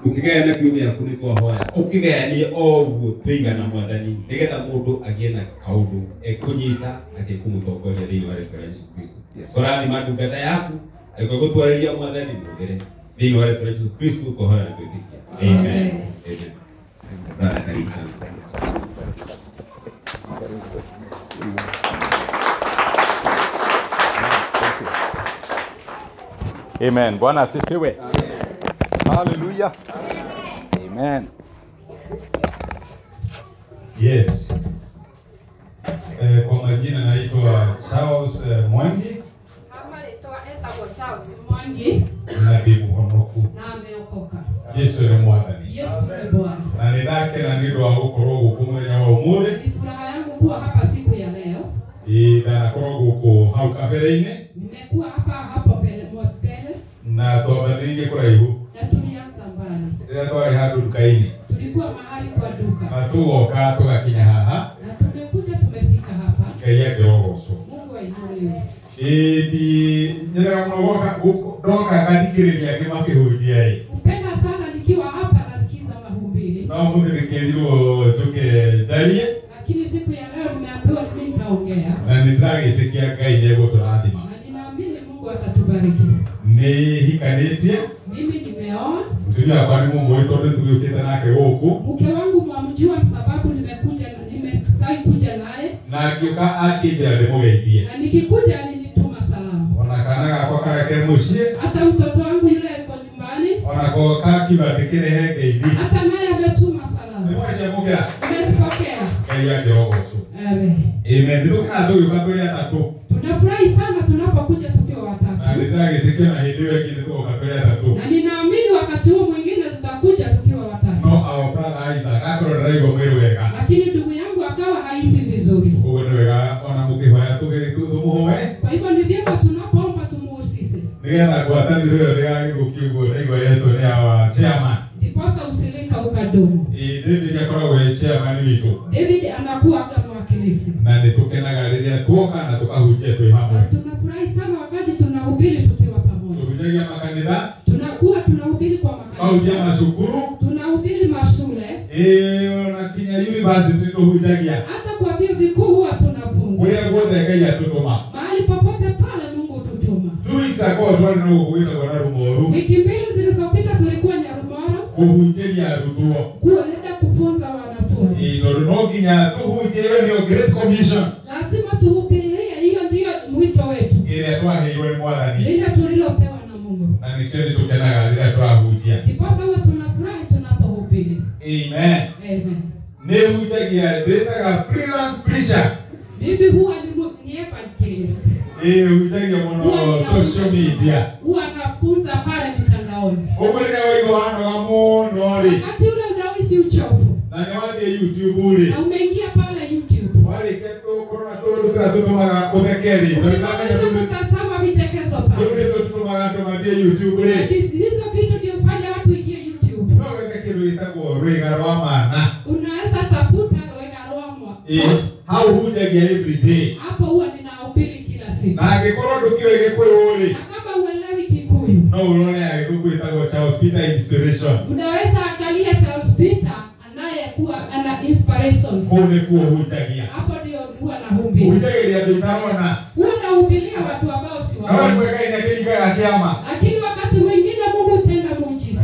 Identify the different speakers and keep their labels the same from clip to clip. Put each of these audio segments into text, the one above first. Speaker 1: ndukigayane kiumia kuni kwa hoya ukigayanie o uguo tuigana mwathani nigetha mundu agie na kaundu ekunyita atekumutongoria thiini wa rĩĩtwa rĩa Yesu Kristo
Speaker 2: Yes.
Speaker 1: korathima ndungata yaku agĩkwa gũtwarĩria mwathani mũgere thiini wa rĩĩtwa rĩa Yesu Kristo kũhoya na kwĩtĩkia amen
Speaker 3: Amen.
Speaker 1: Amen. Brother, karibu sana.
Speaker 4: Amen. Bwana asifiwe. Hallelujah. Amen.
Speaker 5: Yes. Eh, kwa majina naitwa Charles eh, Mwangi
Speaker 3: Kama rĩtwa etagwo Charles Mwangi
Speaker 5: na ndi muhonoku
Speaker 3: na ameokoka.
Speaker 5: Jesu ni mwathani
Speaker 3: Yesu ni Bwana.
Speaker 5: na nä ndakena nä ndå wa gå korwo gå kå må thenya wa å må thä
Speaker 3: Ni furaha yangu kuwa hapa siku ya leo.
Speaker 5: ndanakorwo gå kå hau kabere-inä
Speaker 3: Nimekuwa hapa hapo mbele mwa mbele
Speaker 5: na twambanä rä irie kå raihu
Speaker 3: na tulianza mbali.
Speaker 5: rä rä a twarä handå nduka-inä
Speaker 3: Tulikuwa mahali kwa duka
Speaker 5: na tå goka tå gakinya haha
Speaker 3: na tumekuja tumefika hapa.
Speaker 5: ngai angä rogocwo
Speaker 3: Mungu ainuliwe.
Speaker 5: ndi nyerera må no ndoka ngathikä rä ria angä makä hå njia
Speaker 3: Upenda sana nikiwa hapa nasikiza mahubiri,
Speaker 5: no må thä rä kä rirwo njå ke njarie
Speaker 3: lakini siku ya leo nimeambiwa mimi nitaongea
Speaker 5: na nä ndä ragä tä kia ngai nä egå tå rathima
Speaker 3: na ninaamini Mungu atatubariki.
Speaker 5: nä hikanä tie
Speaker 3: Mimi nimeoa
Speaker 5: mutumia wakwa nä må må ä tondå tå gä å kä te nake gå kå
Speaker 3: mke wangu mwamjua, sababu nimekuja na- nimesai kuja naye
Speaker 5: na angä å ka akä njä ra ndä må geithie
Speaker 3: na nikikuja alinituma salamu.
Speaker 5: ona kana gakwa kareke må ciä
Speaker 3: Hata mtoto wangu yule yuko nyumbani,
Speaker 5: ona goka kiuga ndä kä rehe ngeithi
Speaker 3: hata naye ametuma
Speaker 5: nä
Speaker 3: salamu,
Speaker 5: mwacemå kä ra
Speaker 3: nimezipokea.
Speaker 5: ngai angä rogocwo
Speaker 3: Amen.
Speaker 5: ĩme nä tå kana tå gä å ka tå rä atatå
Speaker 3: Tunafurahi sana tunapokuja tukiwa
Speaker 5: na
Speaker 3: watatu,
Speaker 5: nä ndä ragä tä kia na hä ndä ä yo ä ngä nä tå goka tå rä atatå
Speaker 3: na ninaamini wakati huu mwingine tutakuja tukiwa watatu,
Speaker 5: no ao brother Isaac akorwo ndä raigua mwä rä wega
Speaker 3: lakini ndugu yangu akawa haisi vizuri.
Speaker 5: koguo nä wega ona må kä hoya tå må hoe
Speaker 3: Kwa hivyo ni vyema tunapoomba tumuhusise,
Speaker 5: nä getha ngwatanä ro ä yo ndä gagä gå kie guo raigua yetwo nä awa chairman
Speaker 3: ndiposa usilika ukadumu.
Speaker 5: Ĩĩ, David akoragwo e chairman witå
Speaker 3: David anakuwa kama mwakilisi.
Speaker 5: na nä tå kenaga rä rä a tuoka na tå kahunjia twä hamwe
Speaker 3: tunafurahi sana wakati tunahubiri tukiwa
Speaker 5: tå
Speaker 3: pamoja,
Speaker 5: hunjagia makanitha
Speaker 3: tunakuwa tunahubiri kwa
Speaker 5: kahunjia
Speaker 3: makanisa,
Speaker 5: macukuru
Speaker 3: tunahubiri mashule,
Speaker 5: ĩĩ, ona kinya university tå hunjagia
Speaker 3: hata kwa vyuo vikuu huwa
Speaker 5: kå
Speaker 3: tunafunza.
Speaker 5: rä a guothe ngai atå tå ma
Speaker 3: Mahali popote pale Mungu tutuma.
Speaker 5: akorwo twarä na gå kå gä tagwo na rumoru
Speaker 3: Wiki mbili zilizopita tulikuwa Nyarumoro
Speaker 5: kå hunjäria arutwo
Speaker 3: kuelekea kufunza wanafunzi.
Speaker 5: Ĩĩ, tondå no nginya tå hunjä ä yo nä yo great commission
Speaker 3: Lazima tuhubirie, hiyo ndiyo mwito wetu,
Speaker 5: ä rä a twaheirwo nä mwathani
Speaker 3: lile tulilopewa na Mungu.
Speaker 5: na nä kä o nä tå kenaga rä rä a tårahunjia
Speaker 3: Ndiposa huwa tunafurahi tunapohubiri.
Speaker 5: amen
Speaker 3: Amen.
Speaker 5: nä hunjagia ndätaga freelance preacher
Speaker 3: Mimi huwa ni mu- ni evangelist.
Speaker 5: ĩĩ hunjagia mũno Oh, social media
Speaker 3: huwa nafunza pale mitandaoni.
Speaker 5: ũmwe rĩrĩa waigua wanoga mũno rĩ
Speaker 3: Wakati ule unahisi uchovu
Speaker 5: na nĩ wathiĩ youtube rĩ
Speaker 3: na umeingia pale YouTube,
Speaker 5: warĩkia tũ- kũrora tũndũ tũrĩa tũtũmaga ũtheke rĩ tondũ ndĩramenya
Speaker 3: unaweza
Speaker 5: tũndũ-
Speaker 3: kutazama vichekesho
Speaker 5: tũu nĩ
Speaker 3: pale.
Speaker 5: tuo tũtũmaga andũ mathiĩ youtube
Speaker 3: Na
Speaker 5: rĩ
Speaker 3: ndi- Hizo vitu ndio hufanya watu ingie YouTube.
Speaker 5: no wethe kĩndũ gĩtagwo rwĩga rwa mana
Speaker 3: Unaweza tafuta rwega rwamwa
Speaker 5: Ĩĩ, hau hunjagia every day
Speaker 3: hapo, huwa ninahubiri kila siku,
Speaker 5: na angĩkorwo ndũkĩũĩ gĩkũyũ rĩ
Speaker 3: na kama uelewi Kikuyu
Speaker 5: no ũrore agĩkũkũ ĩtagwo cha hospital inspirations
Speaker 3: unaweza angalia Charles Peter anayekuwa ana inspirations,
Speaker 5: kũu nĩkuo hunjagia
Speaker 3: hapo ndio huwa nahubiri.
Speaker 5: hunjagĩria andũ itarona
Speaker 3: Huwa nahubiria watu ambao si
Speaker 5: no
Speaker 3: wao.
Speaker 5: nĩmwekaine kĩringaga kĩama
Speaker 3: lakini wakati mwingine Mungu tena muujiza.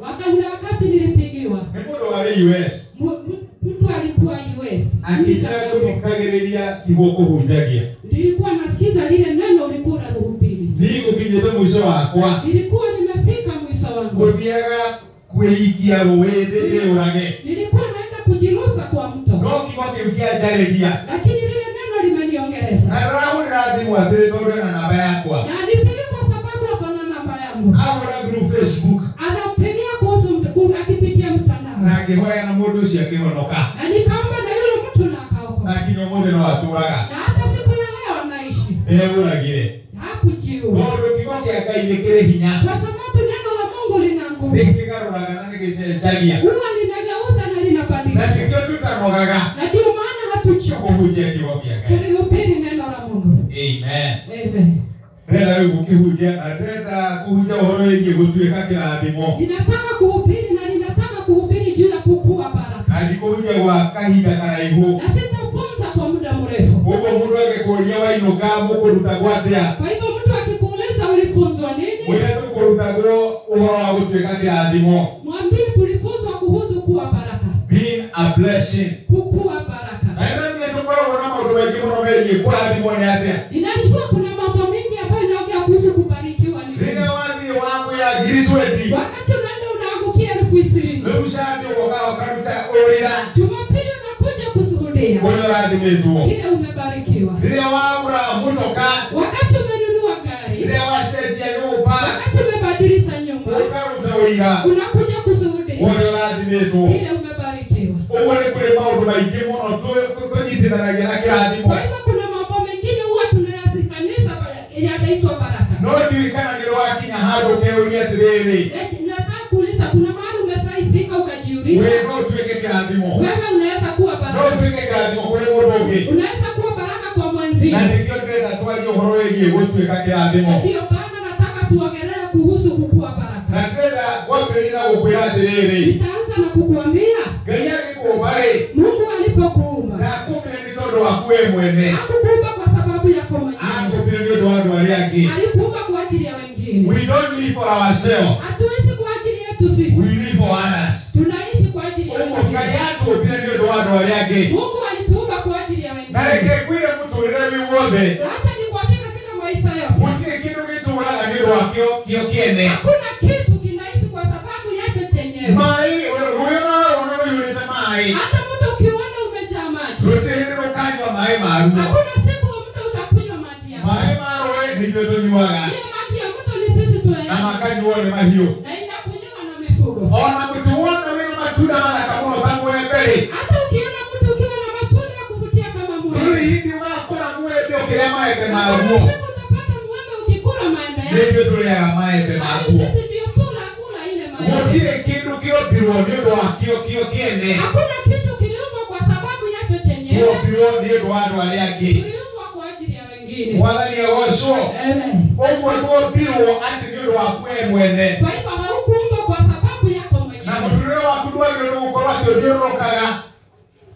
Speaker 3: Wakaula wakati nilipigiwa,
Speaker 5: nä må ndå warä us
Speaker 3: mu- mu- mtu alikuwa US, nchi za
Speaker 5: akä gå
Speaker 3: ng'ambo.
Speaker 5: thikagä rä ria tigwo kå hunjagia
Speaker 3: nilikuwa nasikiza lile neno ulikuwa unalihubiri,
Speaker 5: nigå kinyä te må ico wakwa
Speaker 3: nilikuwa nimefika mwisho wangu,
Speaker 5: gå thiaga kwä ikia gå wä ndä ndä å rage
Speaker 3: nilikuwa naenda kujirusa kwa mto,
Speaker 5: no kigo kä u kä anjarä ria
Speaker 3: lakini lile neno limeniongeleza
Speaker 5: na rarahå rä ra thimå atä rä tondå ena namba yakwa
Speaker 3: na nipigie kwa sababu akona namba yangu,
Speaker 5: ahå ra through facebook
Speaker 3: anampigia kuhusu mt- ku- akipitia mtandao,
Speaker 5: na ngä hoya na må ndå å cio akä honoka
Speaker 3: na nikaomba na yule mtu na akaokoka,
Speaker 5: na nginya må thä no atå raga
Speaker 3: na hata siku ya leo anaishi,
Speaker 5: ndä regå ragire
Speaker 3: hakujiua.
Speaker 5: tondå kigo kä a ngai nä kä rä hinya
Speaker 3: kwa sababu neno la Mungu lina nguvu,
Speaker 5: nä kä garå raga na nä gä cenjagia
Speaker 3: huwa linageuza na
Speaker 5: na
Speaker 3: linabadilisha,
Speaker 5: sikio tutanogaga
Speaker 3: na ndio maana hatuchoki
Speaker 5: kuhunjia kiugo kĩa Ngai.
Speaker 3: kulihubiri neno la Mungu.
Speaker 5: Amen.
Speaker 3: Amen.
Speaker 5: Rĩrĩa ndĩrenda rĩu gũkĩhunjia na ndĩrenda kũhunjia ũhoro wĩgiĩ gũtuĩka kĩrathimo
Speaker 3: ninataka kuhubiri na ninataka kuhubiri juu ya kukua baraka
Speaker 5: na ndikũhunjia gwa kahinda karaihu
Speaker 3: na sitafunza kwa muda mrefu
Speaker 5: ũguo mũndũ angĩkũria wainũka mũkũrutagwo atĩa
Speaker 3: kwa hivyo mtu akikuuliza ulifunzwa nini
Speaker 5: mwĩre tũkũrutagwo ũhoro wa gũtuĩka kĩrathimo
Speaker 3: mwambie tulifunzwa kuhusu kuwa baraka
Speaker 5: being a blessing
Speaker 3: kukua baraka
Speaker 5: na ĩno nĩ tũkoragwo na maũndũ maingĩ mũno megiĩ kũrathimwo nĩ atĩa
Speaker 3: ninajua kuna mambo mengi ambayo inaongea kuhusu kubarikiwa ni nini.
Speaker 5: rĩrĩa wathiĩ wagwĩra ngiri twendi
Speaker 3: wakati unaenda unaangukia elfu ishirini
Speaker 5: rĩu cathi ũgoka ũkaruta ũrĩra
Speaker 3: jumapili unakuja kushuhudia
Speaker 5: ũrĩa ũrathimĩtwo
Speaker 3: vile umebarikiwa
Speaker 5: rĩrĩa wagũra mũnoka
Speaker 3: wakati umenunua gari
Speaker 5: rĩrĩa wacenjia nyũmba
Speaker 3: wakati umebadilisha nyumba
Speaker 5: ũkaruta ũira
Speaker 3: unakuja kushuhudia
Speaker 5: ũrĩa ũrathimĩtwo
Speaker 3: vile umebarikiwa
Speaker 5: ũguo nĩ kũrĩ maũndũ maingĩ mũno tũ- tũ- tũnyitithanagia na kĩrathimo
Speaker 3: kwa hivyo kuna mambo mengine huwa tunayasikanisha kwa- yataitwa baraka
Speaker 5: no ndirikana nĩ rwakinya handũ ũkeũria atĩrĩrĩ
Speaker 3: Eti, nataka kuuliza kuna mahali umesaifika ukajiuliza
Speaker 5: we no tuĩke kĩrathimo
Speaker 3: wewe unaweza kuwa
Speaker 5: no
Speaker 3: baraka
Speaker 5: tuĩke kĩrathimo kũrĩ mũndũ ũngĩ
Speaker 3: unaweza kuwa baraka kwa
Speaker 5: na
Speaker 3: mwenzini
Speaker 5: nĩkĩo ndĩrenda twarie ũhoro wĩgiĩ gũtuĩka kĩrathimo
Speaker 3: ndiyo bana nataka tuongelee kuhusu kukuwa baraka
Speaker 5: na ndĩrenda kwambĩrĩria na gũkwĩra atĩrĩrĩ
Speaker 3: nitaanza na kukuambia
Speaker 5: ngai agĩkũũmba rĩ
Speaker 3: mungu alipokuumba
Speaker 5: ndakũmbire nĩ tondũ waku we mwene
Speaker 3: hakukuumba kwa sababu yako mwenyewe
Speaker 5: akũmbire nĩ ũndũ wa andũ arĩa angĩ
Speaker 3: alikuumba kwa ajili ya wengine
Speaker 5: we don't live for ourselves
Speaker 3: hatuishi kwa ajili yetu
Speaker 5: we
Speaker 3: sisi
Speaker 5: live for others
Speaker 3: tunaishi kwa ajili ya
Speaker 5: ũguo ngai
Speaker 3: wengine
Speaker 5: atũmbire nĩ ũndũ wa andũ arĩa angĩ
Speaker 3: mungu alituumba kwa ajili ya
Speaker 5: na
Speaker 3: wengine
Speaker 5: reke ngwĩre mũtũrĩre wĩ wothe
Speaker 3: acha nikwambie katika maisha yote
Speaker 5: gũtirĩ kĩndũ gĩtũũraga nĩ ũndũ wa kĩo- kĩo kĩene
Speaker 3: hakuna kitu kinaishi kwa sababu yacho chenyewe
Speaker 5: maĩ rũĩ ona rũona rũiyũrĩte maĩ
Speaker 3: hata mtu ukiuona umejaa maji
Speaker 5: rũtirĩ hĩndĩ rũkanyua maĩ maruo
Speaker 3: hakuna siku mtu utakunywa maji yako
Speaker 5: maĩ ma rũĩ nĩ ithuĩ tũnyuaga
Speaker 3: hiyo maji ya mtu ni sisi
Speaker 5: na
Speaker 3: tuyae
Speaker 5: makanyuo nĩ mahiũ
Speaker 3: na inakunywa na mifugo
Speaker 5: ona mũtĩ wona wĩna matunda mathaka mũno ta mwembe-rĩ
Speaker 3: hata ukiona mtu ukiwa na matunda ya kuvutia kama
Speaker 5: rĩu
Speaker 3: mwembe
Speaker 5: hindi ũgakũra mwembe ũkĩrĩa maembe maguo
Speaker 3: hakuna siku utapata mwembe ukikula maembe
Speaker 5: nĩ
Speaker 3: yake
Speaker 5: ithuĩ tũrĩaga maembe
Speaker 3: bali
Speaker 5: maguo
Speaker 3: sisi ndio tunakula ile maembe
Speaker 5: gũtirĩ kĩndũ kĩombirwo nĩ ũndũ wa kĩo kĩo kĩene
Speaker 3: hakuna kitu kiliumbwa kwa sababu yacho chenyewe
Speaker 5: kĩombirwo nĩ ũndũ wa andũ arĩa angĩ
Speaker 3: kiliumbwa kwa ajili ya wengine
Speaker 5: mwathani agocwo
Speaker 3: amen
Speaker 5: ũguo nĩwombirwo atĩ nĩ ũndũ waku we mwene
Speaker 3: kwa hivyo haukuumbwa kwa sababu yako
Speaker 5: na
Speaker 3: mwenyewe
Speaker 5: mũtũrĩre waku ndwagĩrĩirwo nĩ gũkorwo atĩ ũthiũrũrũkaga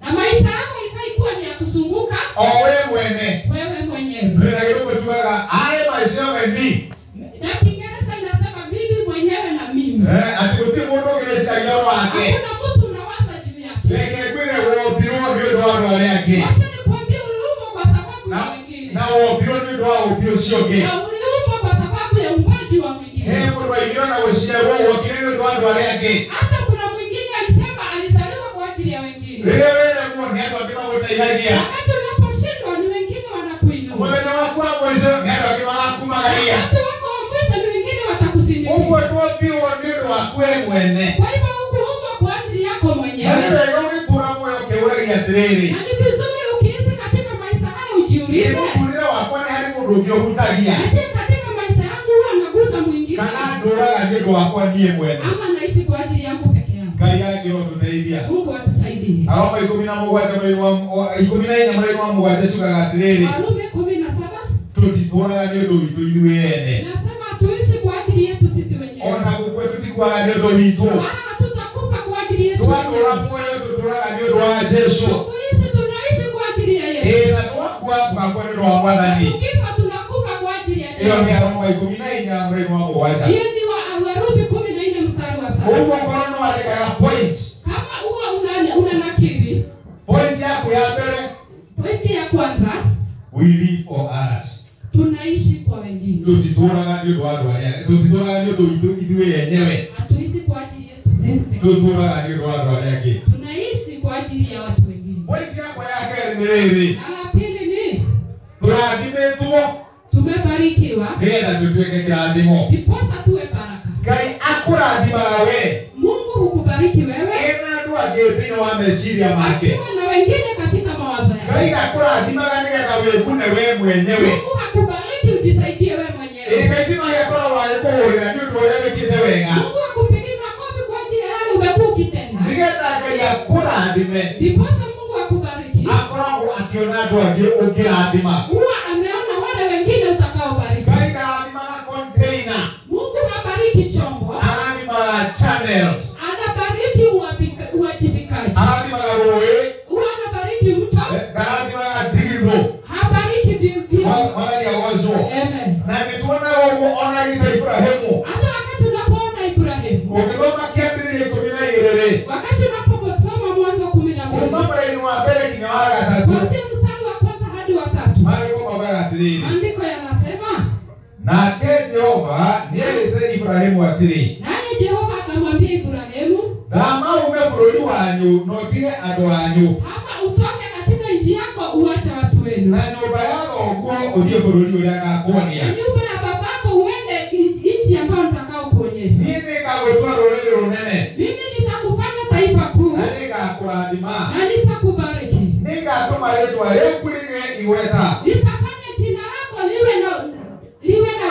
Speaker 3: na maisha yako ifai kuwa ni ya kusunguka
Speaker 5: o we mwene
Speaker 3: wewe mwenyewe
Speaker 5: ndĩna gĩtũngũ tugaga arĩ maica me mi
Speaker 3: na kiingereza inasema mimi mwenyewe na mimi
Speaker 5: Eh, atĩ gũtirĩ mũndũ ũgĩrĩcagia ũhoro wake
Speaker 3: hakuna mtu unawaza juu yake
Speaker 5: reke ngwĩre wombirwo nĩ ũndũ wa andũ arĩa angĩ
Speaker 3: wacha nikwambie uliumbwa kwa sababu ya
Speaker 5: Na-
Speaker 3: wengine
Speaker 5: na wombirwo nĩ ũndũ wa ũmbi ũcio ũngĩ
Speaker 3: na uliumbwa kwa sababu ya umbaji wa
Speaker 5: he
Speaker 3: mwingine
Speaker 5: mũndũ waingĩra na gũciarwo wokire nĩ ũndũ wa andũ arĩa angĩ
Speaker 3: hata kuna mwingine alisema alizaliwa kwa ajili ya wengine
Speaker 5: rĩrĩa wĩremwo nĩ andũ angĩ magũteithagia
Speaker 3: wakati unaposhindwa ni wengine wanakuinua
Speaker 5: mũthenya waku wa mũico nĩ andũ angĩ magakumagaria
Speaker 3: wakati wako wa mwisho ni wengine watakusindikiza
Speaker 5: ũguo twombirwo nĩ ũndũ waku we mwene
Speaker 3: kwa hivyo hukuumbwa kwa ajili yako
Speaker 5: na nĩ
Speaker 3: mwenyewe
Speaker 5: wega ũgĩkũra muoyo ũkĩũragia atĩrĩrĩ
Speaker 3: na ni vizuri ukiishi katika maisha haya ujiulize
Speaker 5: mũtũrĩre wakwa nĩ harĩ mũndũ ũngĩ ũhutagia
Speaker 3: aje katika maisha yangu huwa naguza mwingine
Speaker 5: kana ndũraga nĩ ũndũ wakwa niĩ mwene
Speaker 3: ama naishi kwa ajili yangu peke yangu
Speaker 5: ngai angĩrotũteithia
Speaker 3: mungu atusaidie
Speaker 5: aroma ikũmi na mũgwanja mweri wa mũ- wa- ikũmi na inya mweri wa mũgwanja cugaga atĩrĩrĩ
Speaker 3: warumi kumi na saba
Speaker 5: tũtitũraga nĩ ũndũ witũ ithuĩ ene
Speaker 3: inasema tuishi kwa ajili yetu sisi wenyewe
Speaker 5: ona gũkue tũtikuaga nĩ ũndũ witũ
Speaker 3: wala hatutakufa kwa ajili yetu
Speaker 5: twatũra
Speaker 3: wenyewe.
Speaker 5: muoyo tũtũraga nĩ ũndũ wa jesu
Speaker 3: tuishi tunaishi kwa ajili ya yesu
Speaker 5: ĩĩ na twakua tũgakua nĩ ũndũ wa mwathani
Speaker 3: tukifa tunakufa kwa ajili ya
Speaker 5: ĩyo nĩ
Speaker 3: yesu
Speaker 5: aroma ikũmi na inya mweri wa mũgwanja
Speaker 3: hiyo ni wa- warumi kumi na nne mstari wa saba
Speaker 5: ũguo korwo nĩ wandĩkaga point
Speaker 3: kama huwa una, una nakiri
Speaker 5: point yaku ya mbere
Speaker 3: pointi ya kwanza
Speaker 5: we live for others
Speaker 3: tunaishi kwa wengine
Speaker 5: tũtitũraga nĩ ũndũ wa andũ arĩa tũtitũraga nĩ ũndũ witũ ithuĩ enyewe
Speaker 3: hatuishi kwa ajili yetu sisi pekee.
Speaker 5: tũtũraga nĩ ũndũ wa andũ arĩa angĩ
Speaker 3: tunaishi kwa ajili ya watu wengine
Speaker 5: point yakwa ya kerĩ nĩ rĩrĩ
Speaker 3: na la pili ni
Speaker 5: tũrathimĩtwo
Speaker 3: tumebarikiwa
Speaker 5: nĩgetha tũtuĩke kĩrathimo
Speaker 3: ndiposa tuwe baraka
Speaker 5: ngai akũrathimaga we
Speaker 3: mungu hukubariki wewe
Speaker 5: ena andũ angĩ thĩinĩ wa meciria make
Speaker 3: akiwa na wengine katika mawazo yako
Speaker 5: ngai akũrathimaga nĩgetha wĩgune we mwenyewe
Speaker 3: mungu hakubariki ujisaidie wewe mwenyewe
Speaker 5: ĩgaitima gĩkoragwo agĩkũhũrĩra nĩ ũndũ ũrĩa wĩkĩte wega
Speaker 3: mungu hakupigi makofi kwa ajili ya yale umekuwa ukitenda
Speaker 5: nĩgetha ngai akũrathime
Speaker 3: ndiposa mungu akubariki
Speaker 5: akoragwo akĩona andũ angĩ ũngĩrathima
Speaker 3: huwa ameona wale wengine utakaobariki
Speaker 5: ngai ndarathima
Speaker 3: anabariki chombo
Speaker 5: ararimaga channels
Speaker 3: anabariki uwabika- uwajibikaji
Speaker 5: ararimaga rũĩ
Speaker 3: huwa anabariki mtu
Speaker 5: ndararimaga ndigithũ
Speaker 3: habariki vivyo
Speaker 5: wa- waragia gwacuo
Speaker 3: Amen.
Speaker 5: na nĩ tuonaga ũguo ona gita iburahĩmu
Speaker 3: hata wakati unapoona ibrahimu
Speaker 5: ũngĩthoma kĩambĩrĩria ikũmi na igĩrĩ
Speaker 3: wakati unaposoma mwanzo kumi na mbili
Speaker 5: kuma mũraini wa mbere nginya wa gatatũ
Speaker 3: kwanzia mstari wa kwanza hadi wa tatu
Speaker 5: marĩko maugaga atĩrĩrĩ
Speaker 3: maandiko yanasema
Speaker 5: nake jehova nĩerĩte iburahĩmu atĩrĩ
Speaker 3: naye jehova akamwambia ibrahimu
Speaker 5: thama ume bũrũri wanyu na ũtige andũ wanyu
Speaker 3: kama utoke katika nchi yako uache watu wenu
Speaker 5: na nyũmba ya thoguo ũthiĩ bũrũri ũrĩa
Speaker 3: na
Speaker 5: ngakuonia
Speaker 3: nyumba ya babako uende i- nchi ambayo nitakao kuonyesha
Speaker 5: niĩ nĩngagũtua rũrĩrĩ rũnene
Speaker 3: mimi nitakufanya taifa kuu
Speaker 5: na nĩngakũrathima
Speaker 3: na nitakubariki
Speaker 5: nĩngatũma rĩtwa rĩaku rĩgĩe igweta
Speaker 3: nitafanya jina lako liwe na liwe na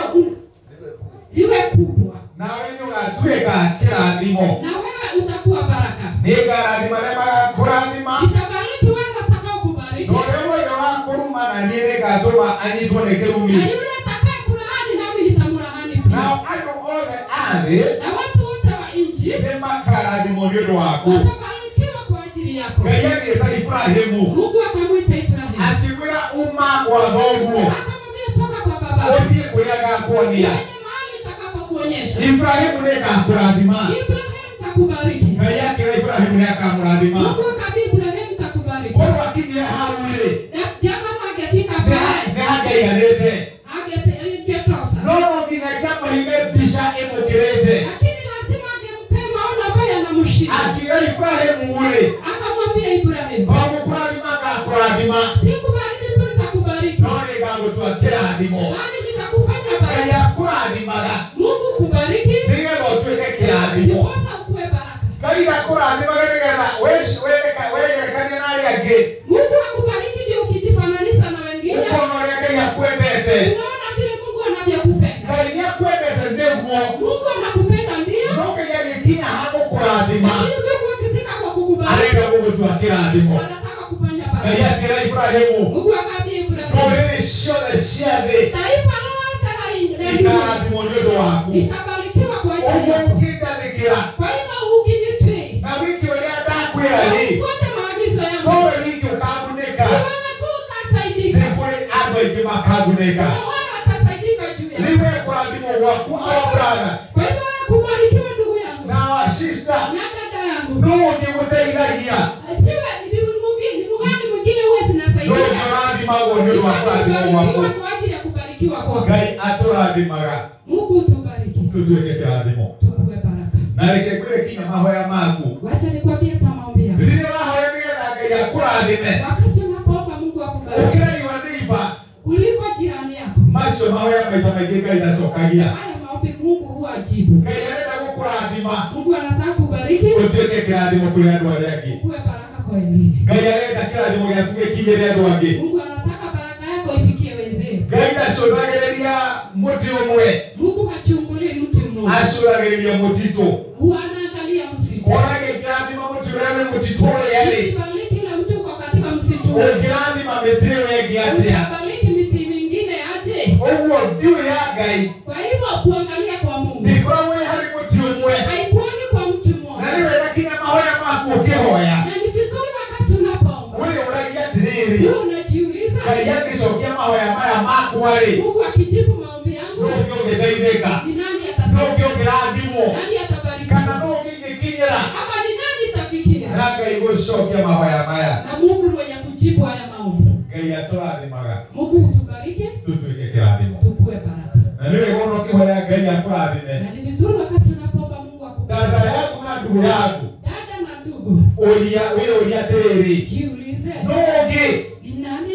Speaker 3: liwe kubwa
Speaker 5: nawe nĩũgatuĩka kĩrathimo
Speaker 3: na wewe utakuwa baraka
Speaker 5: nĩngarathima arĩa magakũrathima
Speaker 3: nitabariki wale watakao kubariki
Speaker 5: na ũrĩa wothe wakũruma na niĩ nĩngatũma anyitwo nĩ kĩrumi
Speaker 3: na yule atakaye kulaani nami nitamlaani
Speaker 5: nao
Speaker 3: pia
Speaker 5: andũ othe a thĩ
Speaker 3: na watu wote wa nchi
Speaker 5: nĩmakarathimwo nĩ ũndũ waku
Speaker 3: watabarikiwa kwa ajili yako
Speaker 5: ngai agĩĩta iburahĩmu
Speaker 3: mungu akamwita ibrahimu
Speaker 5: akĩgwĩra uma wa thoguo
Speaker 3: akamwambia toka kwa baba
Speaker 5: ũthiĩ kũrĩa ngakuonia
Speaker 3: ende mahali nitakapokuonyesha
Speaker 5: ibrahimu nĩngakũrathima
Speaker 3: ibrahimu takubariki
Speaker 5: ngai akĩra ibrahimu nĩakamũrathima
Speaker 3: mungu akamwambia ibrahimu takubariki
Speaker 5: mũndũ akinyire hau-rĩ
Speaker 3: na jamaa angefika
Speaker 5: nĩ-
Speaker 3: pale
Speaker 5: nĩhangaiganĩte
Speaker 3: angetosa
Speaker 5: no no nginyagia mahiga mbica ĩmũkĩrĩte
Speaker 3: lakini lazima angempea maono ambayo yanamshika
Speaker 5: akĩra ibrahimu-rĩ
Speaker 3: akamwambia ibrahimu
Speaker 5: to gũkũrathima ngakũrathima
Speaker 3: sikubariki tu nitakubariki
Speaker 5: no nĩngagũtua kĩrathimo
Speaker 3: bali nitakufanya
Speaker 5: ngai
Speaker 3: baraka
Speaker 5: akũrathimaga
Speaker 3: mungu kubariki
Speaker 5: nĩgetha ũtuĩke kĩrathimo
Speaker 3: ndiposa ukuwe baraka
Speaker 5: ngai akũrathimaga nĩgetha wĩci- wĩrĩka- wĩgerekanie na arĩa angĩ
Speaker 3: mungu akubariki ndio ukijifananisha na wengine
Speaker 5: ũkona ũrĩa ngai akwendete
Speaker 3: unaona vile mungu anavyokupenda
Speaker 5: ngai nĩ akwendete nĩguo
Speaker 3: mungu anakupenda ndio
Speaker 5: no ngai agĩkinya ha gũkũrathima
Speaker 3: lakini mungu akifika kwa kukubariki
Speaker 5: arenda gũgũtua kĩrathimo
Speaker 3: wanataka kufanya
Speaker 5: ngai
Speaker 3: baraka
Speaker 5: akĩra iburahĩmu
Speaker 3: mungu akaambia ibrahimu
Speaker 5: ndũrĩrĩ ciothe cia thĩ
Speaker 3: taifa lote la Israeli
Speaker 5: ikarathimwo nĩ ũndũ waku
Speaker 3: litabarikiwa kwa ajili
Speaker 5: ũguo
Speaker 3: yako
Speaker 5: ũkĩnjathĩkĩra
Speaker 3: kwa hivyo ukinitii
Speaker 5: na wiki ũrĩa ndakwĩra
Speaker 3: na
Speaker 5: rĩ
Speaker 3: ufuate maagizo yangu
Speaker 5: nowe wiki ũkagunĩka
Speaker 3: ni wewe tu
Speaker 5: nĩ
Speaker 3: utasaidika
Speaker 5: kũrĩ andũ aingĩ makagunĩka
Speaker 3: na wale watasaidika juu yako
Speaker 5: rĩwe kũrathimwo gwaku aobrana
Speaker 3: kwa hivyo kubarikiwa ndugu yangu
Speaker 5: na wasista
Speaker 3: na dada yangu
Speaker 5: nũũ ũngĩgũteithagia
Speaker 3: siwe ni mwingine ni mgani mwingine huwa
Speaker 5: nũũ
Speaker 3: zinasaidia
Speaker 5: ũngĩrathimagwo nĩ ũndũ wa kũrathimwo gwaku
Speaker 3: kubarikiwa kwa ajili ya kubarikiwa kwako
Speaker 5: ngai atũrathimaga
Speaker 3: Mungu tubariki
Speaker 5: tutuĩke kĩrathimo
Speaker 3: tukuwe baraka
Speaker 5: na reke kwĩre kinya mahoya maku
Speaker 3: wacha nikwambie hata maombi yako
Speaker 5: rĩrĩa wahoya nĩgetha ngai akũrathime
Speaker 3: wakati unapoomba Mungu akubariki
Speaker 5: ũkĩra iwa nĩiba
Speaker 3: kuliko jirani yako
Speaker 5: macio mahoya maita maingĩ ngai ndacokagia
Speaker 3: haya maombi Mungu huwa ajibu
Speaker 5: ngai arenda gũkũrathima
Speaker 3: Mungu anataka kubariki
Speaker 5: ũtuĩke kĩrathimo kũrĩ andũ arĩa angĩ
Speaker 3: kuwe baraka kwa wengine.
Speaker 5: ngai arenda kĩrathimo gĩaku gĩkinyĩre andũ angĩ
Speaker 3: Mungu anataka baraka yako ifikie wenzenu.
Speaker 5: ngai ndacũthagĩrĩria mũtĩ ũmwe
Speaker 3: Mungu hachungulii mti mmoja,
Speaker 5: acũthagĩrĩria mũtitũ
Speaker 3: huwa anaangalia msitu.
Speaker 5: ũrage kĩrathima mũtĩ ũrĩa nĩ mũtitũ ũrĩa rĩ
Speaker 3: Ukibariki na mti uko katika msitu, huo.
Speaker 5: ũngĩrathima mĩtĩ ĩyo ĩngĩ atĩa
Speaker 3: utabariki miti mingine aje.
Speaker 5: ũguo thiũ ya ngai
Speaker 3: Kwa hivyo kuangalia kwa Mungu
Speaker 5: ndĩkoragwo ĩ harĩ mũtĩ ũmwe
Speaker 3: haikuangi kwa mtu
Speaker 5: na
Speaker 3: mmoja,
Speaker 5: nĩ wega kinya mahoya maku ũkĩhoya
Speaker 3: na ni vizuri wakati unapoomba
Speaker 5: ũrĩ ũragia atĩrĩrĩ
Speaker 3: huwa unajiuliza,
Speaker 5: ngai angĩcokia mahoya maya makwa-rĩ
Speaker 3: Mungu akijibu maombi yangu
Speaker 5: no ũngĩ ũngĩteithĩka
Speaker 3: ni nani
Speaker 5: no
Speaker 3: atasaidia?
Speaker 5: ũngĩ ũngĩrathimwo
Speaker 3: Nani atabariki?
Speaker 5: kana no ũngĩngĩkinyĩra
Speaker 3: Hapa ni nani itafikia?
Speaker 5: na ngai gũcokia mahoya maya
Speaker 3: Na Mungu mwenye kujibu haya maombi.
Speaker 5: ngai atũrathimaga
Speaker 3: Mungu utubariki,
Speaker 5: tũtuĩke kĩrathimo
Speaker 3: tukue baraka.
Speaker 5: na nĩ wega ona ũkĩhoya ngai akũrathime
Speaker 3: Na ni vizuri wakati unapoomba Mungu akubariki.
Speaker 5: dada yaku na ndugu yaku
Speaker 3: Dada na ndugu,
Speaker 5: ũria wĩyũria atĩrĩrĩ
Speaker 3: jiulize
Speaker 5: no ũngĩ
Speaker 3: ni nani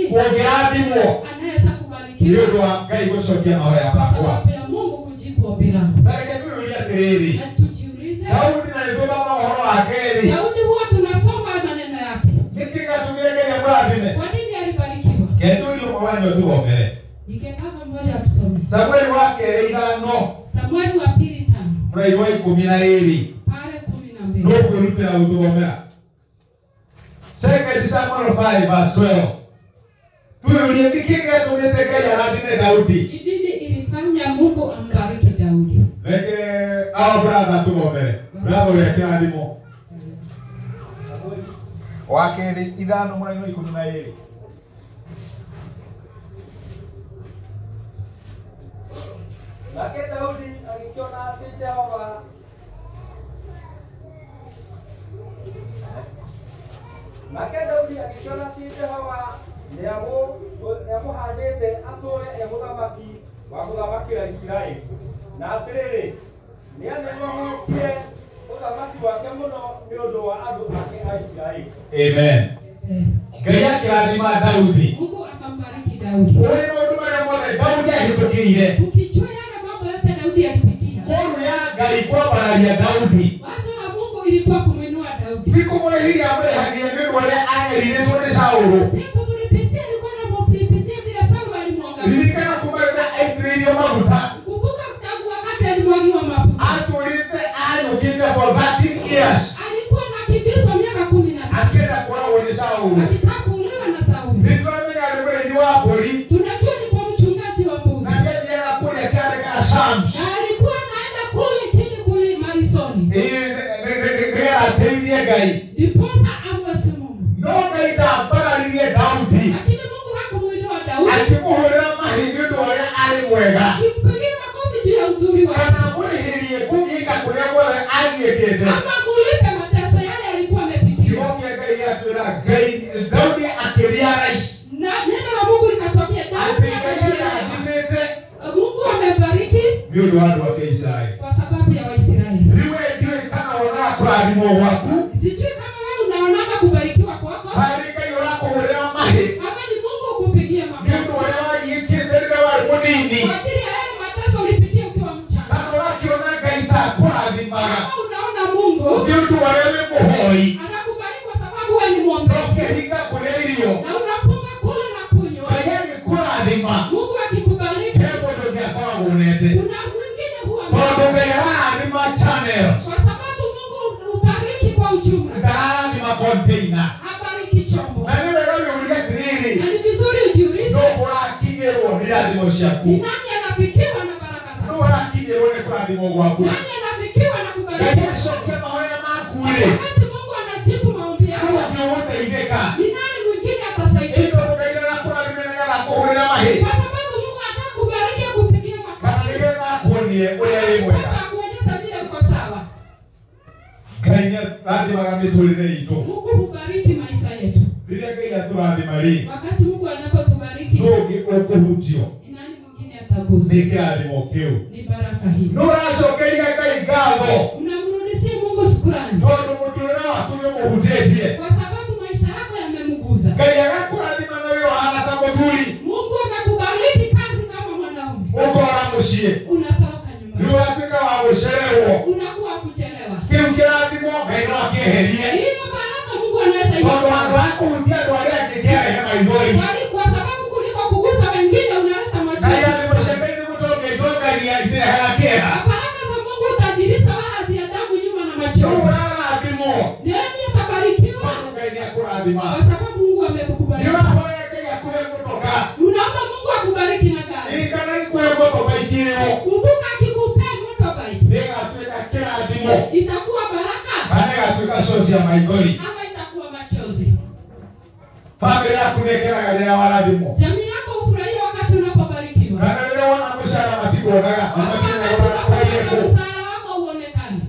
Speaker 5: ũngĩrathimwo
Speaker 3: anaweza
Speaker 5: nĩ
Speaker 3: kubarikiwa
Speaker 5: ũndũ wa ngai gũcokia mahoya
Speaker 3: kwa
Speaker 5: makwa
Speaker 3: sababu ya Mungu kujibu ombi langu.
Speaker 5: na reke twĩyũrie atĩrĩrĩ
Speaker 3: Na tujiulize,
Speaker 5: daudi na nĩtũthoma ũhoro wa kerĩ
Speaker 3: Daudi huwa tunasoma maneno yake,
Speaker 5: nĩkĩ gatũmire ngai akũrathime
Speaker 3: kwa nini alibarikiwa?
Speaker 5: ketũũrio mwawanyo tũthomere
Speaker 3: Ningetaka mmoja tusome
Speaker 5: samueli wa kerĩ ithano
Speaker 3: Samueli wa pili tano
Speaker 5: mũrairi wa ikũmi na ĩrĩ
Speaker 3: pale kumi na
Speaker 5: no
Speaker 3: mbili
Speaker 5: kwĩrutĩra gũtũthomera second samuel 5 verse 12 twĩyũrie nĩkĩ gĩatũmĩte ngai arathime daudi
Speaker 3: Ni nini ilifanya Mungu ambariki Daudi?
Speaker 5: reke ao brother tugomere brother uria kirathimo
Speaker 4: wa kerä ithano må raino ikå mi na ä rä
Speaker 2: Nake Daudi agĩkĩona atĩ Jehova Nake Daudi agĩkĩona atĩ Jehova nĩamũ- nĩamũhaandĩte atũũre e mũthamaki wa gũthamakĩra Isiraeli. Na atĩrĩrĩ, nĩanenogokie ũthamaki wake mũno nĩ ũndũ wa andũ ake a Isiraeli.
Speaker 5: amen ngai akĩrathima daudi
Speaker 3: Eh, Mungu akambariki Daudi.
Speaker 5: ũrĩ maũndũ marĩa mothe daudi ahĩtũkĩire
Speaker 3: Ukijua yale mambo yote Daudi alipitia,
Speaker 5: ngũrũ ya ngai kwambararia daudi
Speaker 3: wazo la Mungu ilikuwa kumwinua Daudi,
Speaker 5: tikumũrĩhithia amũrĩhagia nĩ ũndũ ũrĩa agerithĩtwo nĩ saũlũ
Speaker 3: si kumlipisia. Alikuwa anamlipisia vile Sauli alimwangalia.
Speaker 5: ririkana kuma rĩrĩa aitĩrĩirio maguta
Speaker 3: Kumbuka tangu wakati alimwagiwa mafuta,
Speaker 5: atũrĩte anyũkĩte for 13 years
Speaker 3: alikuwa anakimbizwa miaka kumi na tano
Speaker 5: akĩenda koragwo nĩ saũlũ
Speaker 3: akitaka kuuliwa na Sauli.
Speaker 5: nĩtũramenya nĩ mũrĩithi wa mbũri
Speaker 3: Tunajua ni kwa mchungaji wa mbuzi,
Speaker 5: na nĩathiaga kũrĩa kĩarĩ ga sams
Speaker 3: na alikuwa anaenda kule chini kule Marisoni,
Speaker 5: nĩgetha ateithie ngai
Speaker 3: ndiposa amwesi Mungu.
Speaker 5: no ngai ndambararirie daudi
Speaker 3: Lakini Mungu hakumwinua Daudi,
Speaker 5: akĩmũhũrĩra mahi nĩ ũndũ ũrĩa arĩ mwega
Speaker 3: akimpigia makofi juu ya uzuri wake.
Speaker 5: kana mũrĩhĩrie kũgiĩka kũrĩa guothe agiĩkĩte
Speaker 3: ama mulipe mateso yale alikuwa amepitia.
Speaker 5: kĩhonia ngai atwĩra ngai daudi akĩria raici
Speaker 3: Na neno la Mungu likatwambia Daudi amejielewa.
Speaker 5: atigaiathimĩte
Speaker 3: Mungu amebariki
Speaker 5: nĩ ũndũ wa andũ ake isiraeli
Speaker 3: kwa sababu ya Waisraeli.
Speaker 5: rĩu ndiũĩ kana wonaga kũrathimwo gwaku
Speaker 3: Sijui kama wewe unaonaga kubarikiwa kwako
Speaker 5: harĩ ngai ũrakũhũrĩra mahĩ
Speaker 3: ama ni Mungu ukupigia
Speaker 5: nĩ ũndũ
Speaker 3: makofi
Speaker 5: ũrĩa wagiĩkĩte rĩrĩa warĩ mũnini
Speaker 3: kwa ajili ya yale mateso ulipitia ukiwa mchana.
Speaker 5: kana ũrakĩona ngai ta akũrathimaga
Speaker 3: Kama unaona Mungu
Speaker 5: nĩ ũndũ ũrĩa wĩ mũhoi
Speaker 3: anakubariki kwa sababu wewe ni mwombezi
Speaker 5: ndũkĩhinga kũrĩa irio
Speaker 3: na unafunga kula na kunywa,
Speaker 5: ngai agĩkũrathima
Speaker 3: Mungu akikubariki,
Speaker 5: he mũndũ ũngĩakoragwo ũnete
Speaker 3: kuna mwingine huwa
Speaker 5: tondũ ngai arathima channels
Speaker 3: kwa sababu Mungu ubariki kwa ujumla.
Speaker 5: ndarathima container
Speaker 3: Abariki chombo.
Speaker 5: na nĩ wega wĩũrie atĩrĩrĩ
Speaker 3: Na ni vizuri
Speaker 5: nũ
Speaker 3: ujiulize
Speaker 5: ũrakinyĩrwo nĩ irathimo ciaku
Speaker 3: ni nani anafikiwa na baraka
Speaker 5: nũ
Speaker 3: zako?
Speaker 5: ũrakinyĩrwo nĩ kũrathimo gwaku
Speaker 3: Nani anafikiwa na
Speaker 5: ngai
Speaker 3: kubarikiwa?
Speaker 5: acokia mahoya maku rĩ
Speaker 3: Wakati Mungu anajibu maombi
Speaker 5: nũ
Speaker 3: yako,
Speaker 5: ũngĩ ũgũteithĩka
Speaker 3: ni nani mwingine
Speaker 5: ĩ
Speaker 3: atasaidia?
Speaker 5: tondũ ngai nĩarakũrathima na nĩarakũhũrĩra mahĩ
Speaker 3: Kwa sababu Mungu anataka kubariki akupigie
Speaker 5: kana
Speaker 3: makofi.
Speaker 5: nĩgetha akuonie ũrĩa wĩ mwega
Speaker 3: Sasa akuonyesha vile uko sawa.
Speaker 5: ngai nĩarathimaga mĩtũrĩre itũ
Speaker 3: Mungu hubariki maisha yetu.
Speaker 5: rĩrĩa ngai atũrathima rĩ
Speaker 3: Wakati Mungu anapotubariki,
Speaker 5: nũ ũngĩ ũkũhutio
Speaker 3: ni nani mwingine
Speaker 5: nĩ
Speaker 3: ataguswa?
Speaker 5: kĩrathimo kĩu
Speaker 3: Ni baraka hii.
Speaker 5: nĩ ũracokeria ngai ngatho
Speaker 3: Unamrudishia Mungu shukrani
Speaker 5: tondũ mũtũrĩre waku nĩ mũhutĩtie
Speaker 3: kwa sababu maisha yako yamemguza.
Speaker 5: ngai agakũrathima na wĩ wahana ta mũthuri
Speaker 3: Mungu amekubariki kazi kama mwanaume.
Speaker 5: ũkora mũciĩ
Speaker 3: unatoroka
Speaker 5: nĩ
Speaker 3: nyumbani,
Speaker 5: ũratuĩka wa gũcererwo
Speaker 3: unakuwa kuchelewa.
Speaker 5: kĩu kĩrathimo ngai no akĩeherie
Speaker 3: Hiyo baraka Mungu anaweza
Speaker 5: tondũ handũ
Speaker 3: ikupa
Speaker 5: wa kũhutia andũ arĩa angĩ kĩarehe maithori
Speaker 3: Kwani- kwa sababu kuliko kugusa wengine unaleta
Speaker 5: ngai
Speaker 3: machozi.
Speaker 5: athimũcengai nĩ gũtongeitwo ngai itĩrehera kĩeha
Speaker 3: Baraka za Mungu utajirisha wala ziadamu nyuma na
Speaker 5: nĩ
Speaker 3: machozi.
Speaker 5: ũrarathimwo
Speaker 3: Nani atabarikiwa
Speaker 5: tondũ ngai nĩ akũrathima
Speaker 3: kwa sababu Mungu
Speaker 5: nĩ
Speaker 3: amekubariki.
Speaker 5: ũrahoya ngai akũhe mũtoka
Speaker 3: Unaomba Mungu akubariki na gari.
Speaker 5: ririkana gĩkũhe mũtoka ikĩrĩwo
Speaker 3: Kumbuka akikupea motorbike
Speaker 5: nĩ ĩgatuĩka kĩrathimo
Speaker 3: itakuwa baraka
Speaker 5: kana ĩgatuĩka cocia maithori
Speaker 3: ama itakuwa machozi.
Speaker 5: bamĩrĩ yaku nĩ ĩkenaga rĩrĩa warathimwo
Speaker 3: Jamii yako ufurahia wakati unapobarikiwa.
Speaker 5: kana rĩrĩa wona mũcara matikuonaga
Speaker 3: Wakati
Speaker 5: mamatinagũraĩkũ
Speaker 3: msaada wako uonekane.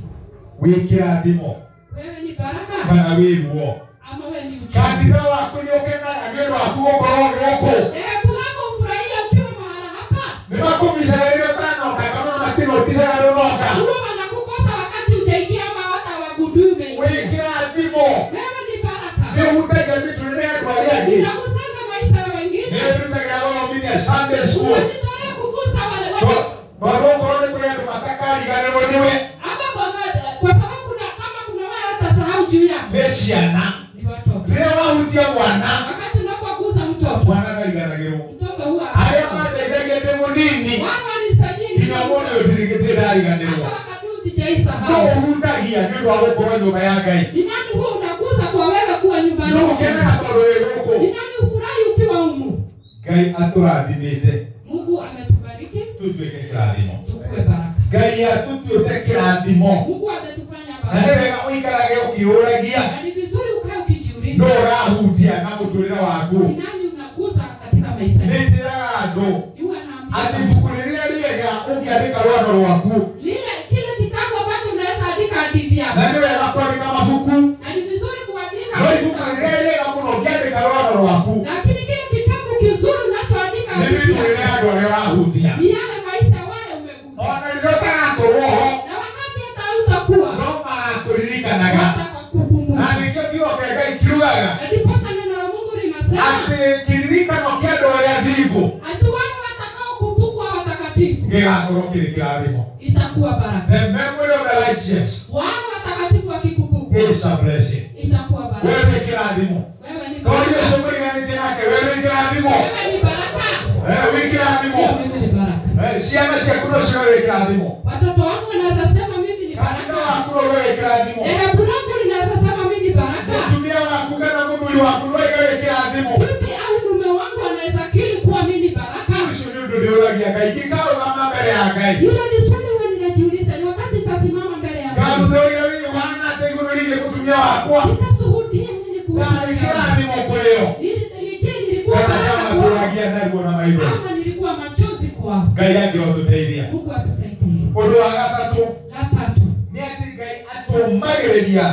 Speaker 5: wĩkĩra thimo
Speaker 3: wewe ni baraka
Speaker 5: kana wĩruo
Speaker 3: ama wewe ni uchumi.
Speaker 5: kanitha waku nĩ ũkenaga nĩ ũndũ waku gũkorwo gũkũ
Speaker 3: Hebu lako furahia ukiwa mahala hapa,
Speaker 5: nĩ makũmicaga rĩrĩa ũtanoka kana ona matinoticaga ndũnoka
Speaker 3: huwa wanakukosa wakati ujaingia, ama hata wagundui umeingia.
Speaker 5: wĩkĩra thimo
Speaker 3: Wewe ni
Speaker 5: nĩ
Speaker 3: baraka,
Speaker 5: ũhutagia mĩtũrĩre ya andũ arĩa angĩ
Speaker 3: unagusana maisha ya
Speaker 5: nĩ
Speaker 3: wengine,
Speaker 5: ĩrutagĩra gũthomithia Sunday school
Speaker 3: unajitolea kufunza wale watu,
Speaker 5: To- tondũ ũkorwo nĩ kũrĩ andũ matakariganĩrwo nĩwe
Speaker 3: ama kwa kwa sababu kuna kama kuna wale watasahau juu yako
Speaker 5: nĩ ciana
Speaker 3: ni watoto.
Speaker 5: rĩrĩa wahutia mwana
Speaker 3: Wakati unapogusa mtoto,
Speaker 5: mwana ndariganagĩrwo
Speaker 3: mtoto huwa
Speaker 5: arĩa
Speaker 3: hatafahamu.
Speaker 5: mateithagia ndĩ mũnini
Speaker 3: Wao walisaidia
Speaker 5: nginya mũndũ ũyũ
Speaker 3: nini?
Speaker 5: ndirigĩtie ndariganĩrwo
Speaker 3: Hata wakati huu
Speaker 5: no
Speaker 3: sijaisahau.
Speaker 5: ũhutagia nĩ ũndũ wa gũkorwo nyũmba ya ngai
Speaker 3: Ni nani huwa unagusa kwa wewe kuwa nyumbani?
Speaker 5: no ũkenaga tondũ wĩ gũkũ
Speaker 3: Ni nani ufurahi ukiwa humu?
Speaker 5: ngai atũrathimĩte
Speaker 3: Mungu ametubariki
Speaker 5: tũtuĩke kĩrathimo
Speaker 3: tukue baraka.
Speaker 5: ngai atutuĩte kĩrathimo
Speaker 3: Mungu ametufanya
Speaker 5: na nĩ
Speaker 3: baraka.
Speaker 5: wega ũikarage ũkĩũragia
Speaker 3: Na ni vizuri ukae
Speaker 5: no
Speaker 3: ukijiuliza
Speaker 5: ũrahutia na mũtũrĩre waku
Speaker 3: ni nani unaguza katika maisha
Speaker 5: nĩ
Speaker 3: yangu.
Speaker 5: njĩraga andũ
Speaker 3: Niwe
Speaker 5: atĩ
Speaker 3: naambia
Speaker 5: ibuku rĩrĩa rĩega ũngĩandĩka rwano rwaku
Speaker 3: lile kile kitabu ambacho unaweza andika hadithi
Speaker 5: na
Speaker 3: yako.
Speaker 5: nĩ wega kwandĩka mabuku
Speaker 3: Na ni vizuri kuandika
Speaker 5: no ibuku
Speaker 3: hadithi.
Speaker 5: rĩrĩa rĩega mũno ũngĩandĩka rwano rwaku
Speaker 3: Lakini kile kitabu kizuri unachoandika
Speaker 5: nĩ
Speaker 3: hadithi
Speaker 5: mĩtũrĩre ya
Speaker 3: yako
Speaker 5: andũ arĩa ũrahutia
Speaker 3: ni yale maisha ya wale umegusa.
Speaker 5: ona rĩrĩa ũtagakorwo ho
Speaker 3: Na wakati hata utakuwa
Speaker 5: no magakũririkanaga na
Speaker 3: watakukumbuka.
Speaker 5: nĩkĩo kiugo kĩa ngai kiugaga
Speaker 3: Na ndiposa neno la Mungu linasema
Speaker 5: atĩ kĩririkano kĩa andũ arĩa thingu
Speaker 3: ati wale watakaokumbukwa watakatifu
Speaker 5: gĩgakorwo kĩrĩ kĩrathimo
Speaker 3: itakuwa baraka.
Speaker 5: the memory of the righteous
Speaker 3: Wale watakatifu wakikumbukwa
Speaker 5: is a blessing
Speaker 3: itakuwa baraka.
Speaker 5: wewe nĩ kĩrathimo
Speaker 3: Wewe ni
Speaker 5: no
Speaker 3: baraka.
Speaker 5: Jesũ mũriganĩtie nake wewe nĩ kĩrathimo
Speaker 3: Wewe ni baraka.
Speaker 5: Eh, wĩ kĩrathimo
Speaker 3: Ndio mimi ni baraka.
Speaker 5: Eh, ciana ciaku no cioe kĩrathimo
Speaker 3: Watoto wangu wanaweza sema mimi ni
Speaker 5: kanitha
Speaker 3: baraka.
Speaker 5: waku no wĩwe kĩrathimo
Speaker 3: Dhehebu langu linaweza sema mimi ni baraka.
Speaker 5: mũtumia waku kana mũthuri waku no ioe kĩrathimo
Speaker 3: Bibi au mume wangu anaweza kiri kuwa mimi ni baraka.
Speaker 5: ũcio nĩ ũndũ ndĩũragia ngai ngĩkaũgama mbere ya ngai
Speaker 3: Hilo ni swali huwa ninajiuliza, ni wakati nitasimama mbele ya Mungu
Speaker 5: ngathuthũria wĩ ũhana atĩa igũrũ rĩgiĩ mũtumia wakwa
Speaker 3: nitashuhudia nini kuhusu
Speaker 5: tarĩ
Speaker 3: Mungu.
Speaker 5: kĩrathimo kũrĩ o
Speaker 3: Ili- ili- je, nilikuwa
Speaker 5: kana
Speaker 3: baraka
Speaker 5: kama
Speaker 3: kwao
Speaker 5: tũragia naguo na maitho
Speaker 3: ama nilikuwa machozi kwao?
Speaker 5: ngai angĩrotũteithia
Speaker 3: Mungu atusaidie.
Speaker 5: ũndũ wa gatatũ
Speaker 3: La tatu,
Speaker 5: nĩ atĩ ngai atũmagĩrĩria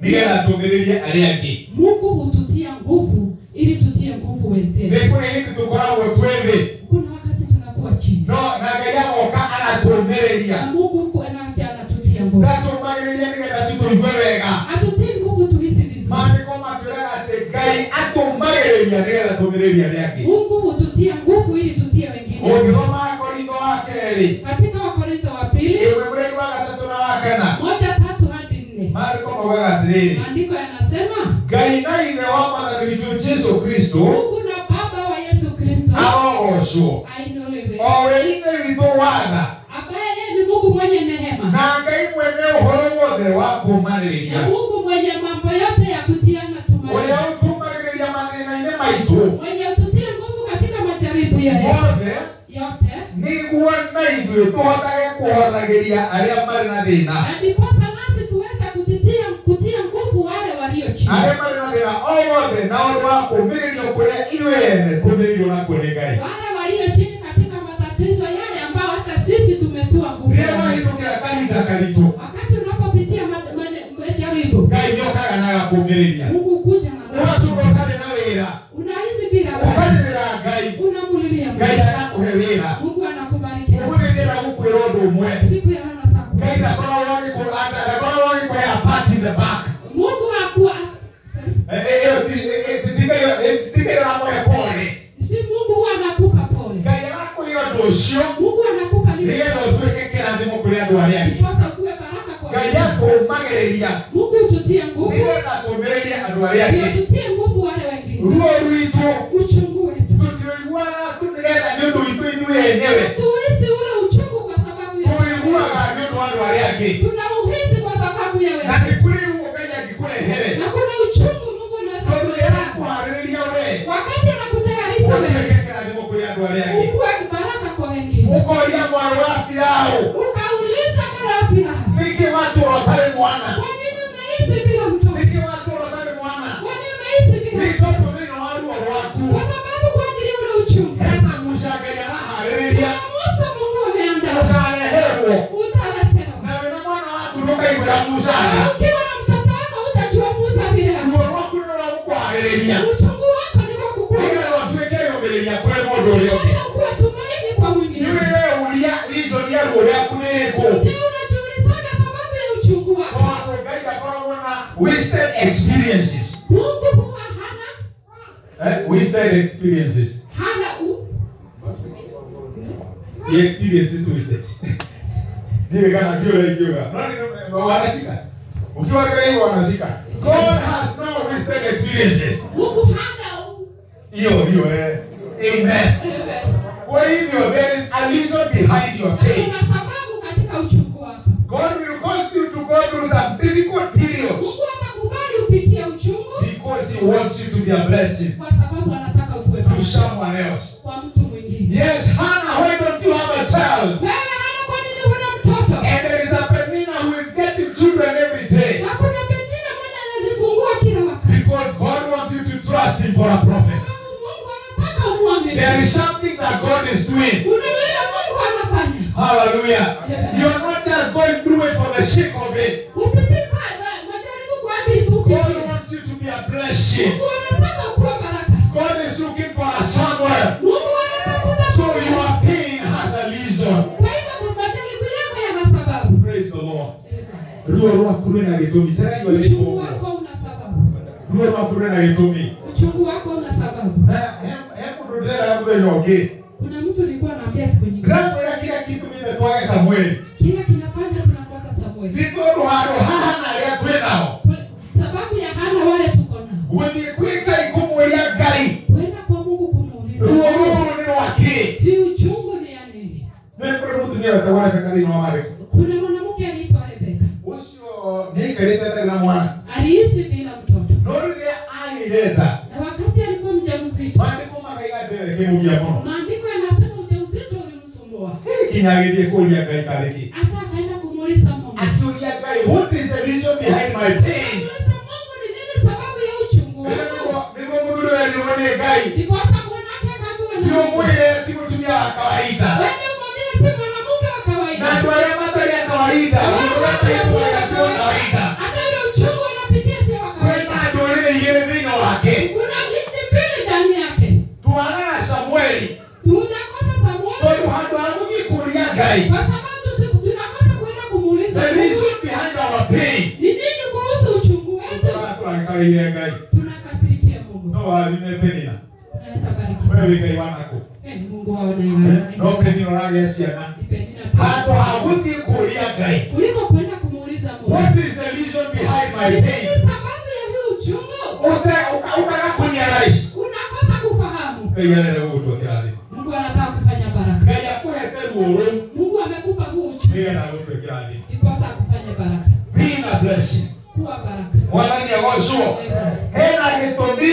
Speaker 5: nĩgetha tũmĩrĩrie arĩa angĩ
Speaker 3: Mungu hututia nguvu ili tutie
Speaker 5: nĩ
Speaker 3: nguvu wenzetu.
Speaker 5: kũrĩ hĩndĩ tũkoragwo twĩ thĩ
Speaker 3: Kuna wakati tunakuwa chini
Speaker 5: no na ngai agoka agatũmĩrĩria
Speaker 3: na Mungu kwa- anakuja anatutia nguvu,
Speaker 5: ndatũmagĩrĩria nĩgetha tũtũigue wega
Speaker 3: atutie nguvu tuishi vizuri.
Speaker 5: maandĩko matwĩraga atĩ ngai atũmagĩrĩria nĩgetha tũmĩrĩria arĩa angĩ
Speaker 3: Mungu hututia nguvu ili tutie wengine.
Speaker 5: ũngĩthoma korintho wa kerĩ
Speaker 3: Katika Wakorintho wa pili
Speaker 5: ĩmwe mweri wa gatatũ na wa kana
Speaker 3: moja tatu hadi nne
Speaker 5: maandĩko maugaga atĩrĩrĩ
Speaker 3: maandiko yanasema
Speaker 5: ngai na ithe wa mwathani witũ jesu kristo
Speaker 3: Mungu na Baba wa Yesu Kristo
Speaker 5: arogocwo
Speaker 3: ainolewe,
Speaker 5: o we ithe witũ watha
Speaker 3: ambaye yeye ni Mungu mwenye nehema
Speaker 5: na ngai mwene ũhoro wothe wa
Speaker 3: na
Speaker 5: kũũmanĩrĩria
Speaker 3: Mungu mwenye mambo yote ya kutiana
Speaker 5: ũrĩa
Speaker 3: tumaini,
Speaker 5: ũtũmagĩrĩria mathĩna-inĩ maitũ
Speaker 3: mwenye kututia nguvu katika majaribu yale
Speaker 5: mothe
Speaker 3: yote,
Speaker 5: nĩguo na ithuĩ tũhotage kũhothagĩria arĩa marĩ na thĩna
Speaker 3: na ndiposa nasi tuweze kututia kutia nguvu wale walio chini,
Speaker 5: arĩa marĩ na thĩna o wothe na ũndũ wa kũũmĩrĩrio kũrĩa ithuĩ ene tũmĩrĩirwo nakuo nĩ ngai
Speaker 3: wale walio chini katika matatizo yale ambao hata sisi tumetua nguvu.
Speaker 5: rĩrĩa mahĩtũkĩra kahinda karitũ
Speaker 3: Wakati unapopitia ma- ma- majaribu,
Speaker 5: ngai nĩokaga na agakũũmĩrĩria
Speaker 3: Mungu kuja na
Speaker 5: ũgatũra ũtarĩ na wĩra
Speaker 3: unahisi bila raha,
Speaker 5: ũkanĩrĩra ngai
Speaker 3: unamulilia
Speaker 5: ngai
Speaker 3: Mungu,
Speaker 5: agakũhe wĩra
Speaker 3: Mungu anakubariki.
Speaker 5: ũgũthĩrĩra gũkwĩra ũndũ ũmwe
Speaker 3: Siku ya leo natakuwa
Speaker 5: ngai ndakoragwo agĩkũranda ndakoragwo agĩkũhe a pat in the back
Speaker 3: Mungu hakuwa sorry.
Speaker 5: Eh, eh, ĩyo ti- eh, eh, ti- tiga ĩyo- eh, tiga ĩyo agakũhe pole
Speaker 3: si Mungu huwa anakupa pole,
Speaker 5: ngai agakũhe ũndũ ũcio
Speaker 3: Mungu anakupa lile
Speaker 5: nĩgetha ũtuĩke kĩrathimo kũrĩ andũ arĩa angĩ
Speaker 3: ndiposa kuwe baraka kwa
Speaker 5: ngai
Speaker 3: wengine.
Speaker 5: akũmagĩrĩria
Speaker 3: Mungu ututie nguvu,
Speaker 5: nĩgetha kũmĩrĩria andũ arĩa
Speaker 3: ndio
Speaker 5: angĩ
Speaker 3: tutie nguvu wale wengine,
Speaker 5: ruo rwitũ
Speaker 3: uchungu wetu
Speaker 5: tũtiroiguaga tu nĩgetha nĩ ũndũ witũ ithuĩ enyewe
Speaker 3: tuisi ule uchungu kwa sababu ya
Speaker 5: tũiguaga nĩ ũndũ wa andũ arĩa angĩ
Speaker 3: tunauhisi kwa sababu ya
Speaker 5: na
Speaker 3: wewe,
Speaker 5: nĩ kũrĩ ruo ngai angĩkũrehere
Speaker 3: na kuna uchungu Mungu anaweza
Speaker 5: tondũ
Speaker 3: kuleta
Speaker 5: nĩarakuharĩrĩria wee
Speaker 3: wakati anakutayarisha wewe
Speaker 5: ũkoria
Speaker 3: ukuwe baraka kwa wengine.
Speaker 5: mwarĩ wa Firaũ
Speaker 3: Ukauliza mara firaha,
Speaker 5: nĩkĩ watũra ũtarĩ mwana
Speaker 3: kwa nini unahisi bila mtoto?
Speaker 5: nĩkĩ watũra ũtarĩ mwana
Speaker 3: Kwa nini unahisi bila
Speaker 5: nĩ tondũ thĩinĩ wa ruo
Speaker 3: kwa
Speaker 5: rwaku
Speaker 3: sababu kwa ajili ya ule uchungu
Speaker 5: hena Musa Ngai araharĩrĩria
Speaker 3: kuna Musa Mungu ameandaa
Speaker 5: ũkareherwo
Speaker 3: utaletewa,
Speaker 5: na wĩna mwana waku ndũkaiguĩra Musa
Speaker 3: na
Speaker 5: tha
Speaker 3: ukiwa na mtoto wako utajua Musa vile
Speaker 5: ruo rwaku nĩ rwagũkũharĩrĩria
Speaker 3: uchungu wako ni kwa
Speaker 5: nĩgetha
Speaker 3: kukuza
Speaker 5: ũtuĩke yũmĩrĩria kũrĩ mũndũ ũrĩa ũngĩ
Speaker 3: hata kuwa tumaini kwa
Speaker 5: nĩ
Speaker 3: mwingine.
Speaker 5: wĩre ũria reason ya ruo rwaku nĩ ĩkũ
Speaker 3: Je, unajiulizaga sababu ya uchungu wako?
Speaker 5: tondũ Ngai ndakoragwo na wasted experiences
Speaker 3: Mungu huwa hana
Speaker 5: Eh, wasted experiences.
Speaker 3: hana u
Speaker 5: The experience is wasted. Ndiwe kama ndio unaikiuka. Nani ndio wanashika? Ukiwa kile hivyo wanashika. God has no wasted experiences.
Speaker 3: Mungu hana u
Speaker 5: Hiyo hiyo eh. Amen.
Speaker 3: wewe.
Speaker 5: Kwa hivyo there is a reason behind your
Speaker 3: na
Speaker 5: pain.
Speaker 3: kuna sababu katika uchungu wako.
Speaker 5: God will cause you to go through some difficult periods
Speaker 3: Mungu atakubali upitie uchungu
Speaker 5: because he wants you to be a blessing
Speaker 3: kwa sababu anataka ukuwe
Speaker 5: to
Speaker 3: baraka
Speaker 5: someone else.
Speaker 3: kwa mtu mwingine.
Speaker 5: Yes, Hannah, why don't you have a child?
Speaker 3: Wewe hana kwa nini huna
Speaker 5: is something that God is doing.
Speaker 3: Unaona Mungu anafanya.
Speaker 5: Hallelujah. You are not just going through it for the sake of it.
Speaker 3: Upitie pale majaribu kwa ajili tu.
Speaker 5: God wants you to be a blessing.
Speaker 3: Mungu anataka kuwa baraka.
Speaker 5: God is looking for us somewhere.
Speaker 3: Mungu anatafuta
Speaker 5: So your pain has a reason.
Speaker 3: Kwa hivyo majaribu yako yana sababu.
Speaker 5: Praise the Lord. Ruo rwaku rwina gĩtũmi tena igua
Speaker 3: Uchungu
Speaker 5: nĩcikũgũa
Speaker 3: wako una sababu.
Speaker 5: ruo rwaku rwĩna gĩtũmi
Speaker 3: Uchungu wako una sababu.
Speaker 5: na he- he mũndũ ndĩrera mũthenya ũngĩ
Speaker 3: Kuna mtu alikuwa anaambia siku nyingine.
Speaker 5: ndĩramwĩra kira kĩndũ gĩthekwaga samweli
Speaker 3: Kila kinafanya tunakosa Samueli.
Speaker 5: nĩ tondũ handũ haha na arĩa twĩnao
Speaker 3: Sababu ya hana wale tuko nao.
Speaker 5: gũthiĩ kwĩ ngai kũmũria ngai
Speaker 3: Kwenda kwa Mungu kumuuliza.
Speaker 5: ruo rũrũ nĩ rwakĩ
Speaker 3: Hii uchungu ni ya nini?
Speaker 5: nĩ kũrĩ mũtumia wetagwo rebeka thĩinĩ wa marĩku
Speaker 3: Kuna mwanamke aliitwa Rebeka.
Speaker 5: ũcio nĩ aikarĩte atarĩ na mwana
Speaker 3: Aliishi bila mtoto.
Speaker 5: no rĩrĩa agĩire nda
Speaker 3: Na wakati alikuwa mjamzito,
Speaker 5: mandĩko makaiga ndĩwe kĩmũgia mũno
Speaker 3: maandiko yanasema ujauzito ulimsumbua.
Speaker 5: Hĩ nginya agĩthiĩ kũria ngai karĩkĩ
Speaker 3: Hata akaenda kumuuliza Mungu.
Speaker 5: akĩũria ngai what is the reason behind my pain
Speaker 3: Kumuuliza Mungu ni nini sababu ya uchungu wako?
Speaker 5: nĩguo mũthuri ũyũ nĩrwo nĩ ngai
Speaker 3: Ndiposa mwanamke akaambiwa na Mungu.
Speaker 5: ndiũmwĩre ti mũtumia wa kawaida
Speaker 3: Wende umwambie si mwanamke wa
Speaker 5: na
Speaker 3: kawaida.
Speaker 5: andũ arĩa matarĩ a kawaida mũndũ mataĩtuaga ti wa kawaida
Speaker 3: Hata ile uchungu unapitia si wa
Speaker 5: kwĩna
Speaker 3: kawaida.
Speaker 5: ndũrĩrĩ igĩrĩ thĩinĩ wake
Speaker 3: Kuna nchi mbili ndani yake.
Speaker 5: twagana samueli
Speaker 3: Tunakosa
Speaker 5: tondũ
Speaker 3: Samueli
Speaker 5: handũ ha gũthiĩ kũria ngai
Speaker 3: kwa sababu si- tunakosa kwenda kumuuliza
Speaker 5: the
Speaker 3: Mungu.
Speaker 5: reason behind our pain
Speaker 3: Ni nini kuhusu uchungu wetu?
Speaker 5: ũkoraga tũrakarĩire ngai
Speaker 3: Tunakasirikia Mungu.
Speaker 5: no wathime penina
Speaker 3: Tunaweza bariki.
Speaker 5: we wĩ ngai wanakũ
Speaker 3: Ee, Mungu waona
Speaker 5: Eh, no
Speaker 3: yeye.
Speaker 5: penina ũragĩa ciana
Speaker 3: Nipendina
Speaker 5: handũ
Speaker 3: tu.
Speaker 5: ha gũthiĩ kũria ngai
Speaker 3: Kuliko kwenda kumuuliza Mungu.
Speaker 5: what is the reason behind my
Speaker 3: Ni
Speaker 5: pain
Speaker 3: nini sababu ya hii uchungu?
Speaker 5: Ũte- ũka- ũkaga kũniaraici
Speaker 3: Unakosa kufahamu.
Speaker 5: ngai arenda gũgũtwakĩra thĩ
Speaker 3: Mungu anataka kufanya baraka.
Speaker 5: ngai akũhete ruo rũu
Speaker 3: Mungu amekupa huu uchungu.
Speaker 5: nĩgetha agũtwĩkĩra thĩ
Speaker 3: Ndiposa akufanye baraka.
Speaker 5: be na blessing
Speaker 3: Kuwa baraka.
Speaker 5: mwathani agocwo hena gĩtũmi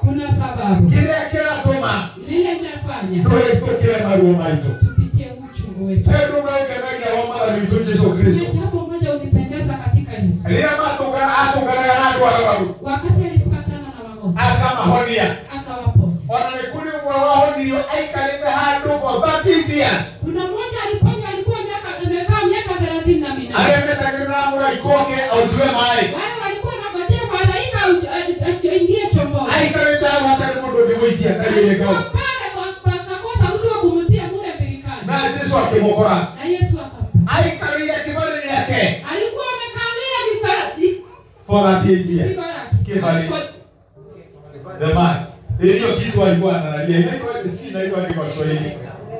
Speaker 3: Kuna sababu.
Speaker 5: kĩrĩa kĩratũma
Speaker 3: Lile linafanya
Speaker 5: tũhĩtũkĩre maruo maitũ
Speaker 3: tupitie huu uchungu wetu.
Speaker 5: hĩndũ maũngenagia wa mwathani witũ jesũ kristo
Speaker 3: Kuna jambo moja unipendeza katika Yesu.
Speaker 5: rĩrĩa matũngana atũnganaga na andũ arwaru
Speaker 3: Wakati alipatana na wagonjwa,
Speaker 5: akamahonia
Speaker 3: akawaponya.
Speaker 5: ona nĩ kũrĩ ũmwe wahonirio aikarĩte handũ for 30 years
Speaker 3: Kuna mmoja aliponya, alikuwa miaka amekaa miaka thelathini na minane.
Speaker 5: arĩa metagĩrĩra mũraika ũngĩ autue maĩ
Speaker 3: Wale walikuwa wanangojea malaika au- a- a- aingie chomboni.
Speaker 5: aikarĩte hau hatarĩ mũndũ ũngĩmũikia karia-inĩ kau
Speaker 3: Alikuwa pale kwa- kwa- akakosa mtu wa kumtia mule birikani,
Speaker 5: na Jesũ akĩmũkora
Speaker 3: na Yesu akampa.
Speaker 5: aikarĩire kĩbarĩ gĩake
Speaker 3: Alikuwa amekalia vifa-
Speaker 5: for 38 years
Speaker 3: vifigo yake.
Speaker 5: Kibali.
Speaker 3: Kwa-
Speaker 5: the match hiyo kitu alikuwa analalia inaitwa sisi inaitwa ni kwa Kiswahili eh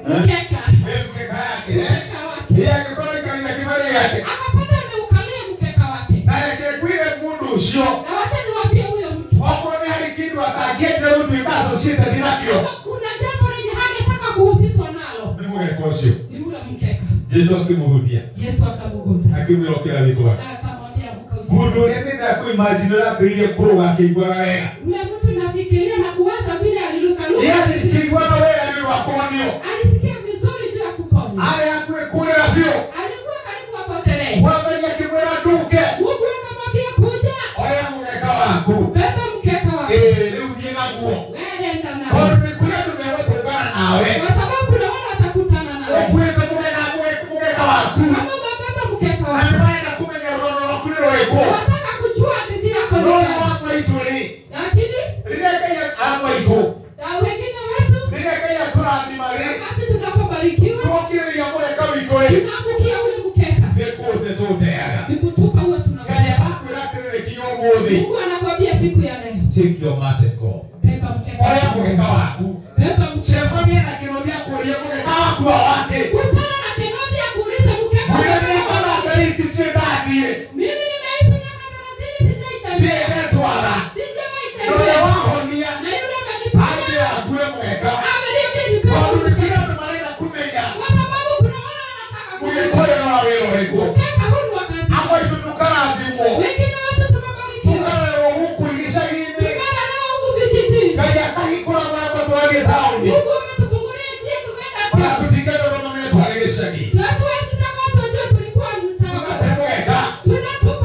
Speaker 3: mkeka.
Speaker 5: mkeka yake eh
Speaker 3: Mkeka wake.
Speaker 5: yeye akikora ikarĩra kĩbarĩ gĩake
Speaker 3: Akapata ameukalia mkeka wake.
Speaker 5: na yakĩkuire mũndũ ũcio
Speaker 3: Na wacha niwaambie huyo mtu.
Speaker 5: okorwo nĩ harĩ kĩndũ atangĩendire gũtuĩka associated nakĩo
Speaker 3: Kama kuna jambo lenye hangetaka kuhusishwa nalo,
Speaker 5: nĩ mũgeka ũcio
Speaker 3: ni ule mkeka.
Speaker 5: Jesũ akĩmũhutia
Speaker 3: Yesu akamugusa.
Speaker 5: akĩmwĩra ũkĩra gĩtwara
Speaker 3: Na akamwambia amka
Speaker 5: mũndũ
Speaker 3: uje.
Speaker 5: ũrĩa nĩnda kũimagine ũrĩa akĩrĩire kũrũga akĩiguaga wega
Speaker 3: Ule mtu nafikiria na kuwaza vile alilukaluka.
Speaker 5: yeye akĩiguaga wega nĩ rwakũonio
Speaker 3: Alisikia vizuri tu ya kupona.
Speaker 5: arĩ hakuĩ kũrĩra biũ
Speaker 3: Alikuwa karibu apotelee.
Speaker 5: mwathani akĩmwĩra nduke
Speaker 3: Mungu akamwambia kuja,
Speaker 5: oya mũgeka waku
Speaker 3: beba mkeka wako,
Speaker 5: ĩĩ rĩu thiĩ naguo
Speaker 3: wewe nenda nao,
Speaker 5: tondũ nĩ kũrĩ andũ megũtũngana nawe
Speaker 3: kwa sababu kuna wale watakutana nao.
Speaker 5: ũkuĩte mũgeka mũge- mũgeka waku
Speaker 3: Kama umebeba mkeka
Speaker 5: na
Speaker 3: wako,
Speaker 5: nĩ marenda kũmenya rũgano rwaku nĩ rũrĩkũ
Speaker 3: wataka kujua hadithi yako ni
Speaker 5: Eh. no nĩ
Speaker 3: gani.
Speaker 5: wamwaitũrĩ
Speaker 3: Lakini
Speaker 5: rĩrĩa ngai amwaitũ
Speaker 3: na wengine wetu,
Speaker 5: rĩrĩa ngai atũrathima rĩ
Speaker 3: wakati tunapobarikiwa
Speaker 5: twokĩrĩria mũgeka witũrĩ
Speaker 3: tunaangukia ule mkeka,
Speaker 5: nĩ kũte tũteaga
Speaker 3: ni kutupa huwa tuna
Speaker 5: ngai arakwĩra atĩrĩrĩ kinya ũmũthĩ
Speaker 3: Mungu anakwambia siku ya leo,
Speaker 5: take your mateko
Speaker 3: beba mkeka
Speaker 5: oya
Speaker 3: wako,
Speaker 5: mũgeka waku
Speaker 3: beba mkeka.
Speaker 5: cemania na kĩno gĩa kũũria mũgeka waku wa wakĩ
Speaker 3: Kutana na kenodi ya kuuliza mkeka
Speaker 5: mwĩre nĩ
Speaker 3: wako
Speaker 5: kona
Speaker 3: ni gani.
Speaker 5: ngai tũtirĩ ndathiĩ
Speaker 3: Mimi nimeishi miaka thelathini sijaitembea.
Speaker 5: ndĩndetwara na ũrĩa
Speaker 3: Sijawaitembea.
Speaker 5: wahonia
Speaker 3: Na yule ameniponya,
Speaker 5: anjĩra akue mũgeka
Speaker 3: ameniambia nipe
Speaker 5: tondũ nĩ kũrĩ
Speaker 3: mkeka.
Speaker 5: andũ marenda kũmenya
Speaker 3: Kwa sababu kuna wale wanataka
Speaker 5: mũgeka
Speaker 3: kujua
Speaker 5: ũyũ no wĩra ũrĩkũ
Speaker 3: mkeka huu ni wa kazi gani.
Speaker 5: amaitu tũkarathimwo
Speaker 3: Wengine watu tumebarikiwa.
Speaker 5: tũkarerwo gũkũ icagi-inĩ
Speaker 3: Tumelelewa huku vijijini.
Speaker 5: ngai akahingũra marango twarĩ taũni
Speaker 3: Mungu ametufungulia njia tumeenda
Speaker 5: ona
Speaker 3: kwao.
Speaker 5: tũtingathomanetwarĩ gĩcagi
Speaker 3: Na hatuwezi taka watu wajue tulikuwa mtaani.
Speaker 5: tũgate mũgeka
Speaker 3: Tunapo-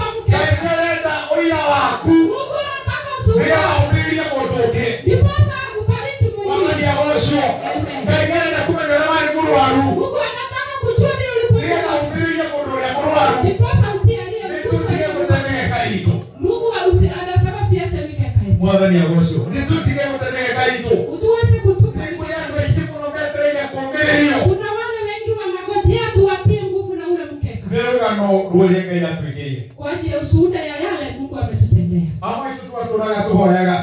Speaker 3: Alipoa sauti aliyekufa
Speaker 5: nitutige gũtenegeka itũ
Speaker 3: Mungu ausi anasema siache mikeka yetu.
Speaker 5: mwathani agocwo nitutige gũtenegeka itũ
Speaker 3: Utuache kutupa
Speaker 5: nĩ kũrĩ
Speaker 3: mikeka.
Speaker 5: andũ aingĩ mũno metereire kũũmĩrĩrio
Speaker 3: Kuna wale wengi wanangojea tuwatie nguvu na ule mkeka
Speaker 5: nĩ rũgano rũrĩa ngai atwĩkĩire
Speaker 3: kwa ajili ya ushuhuda ya yale Mungu ametutendea.
Speaker 5: amwe itũ twatũraga tũhoyaga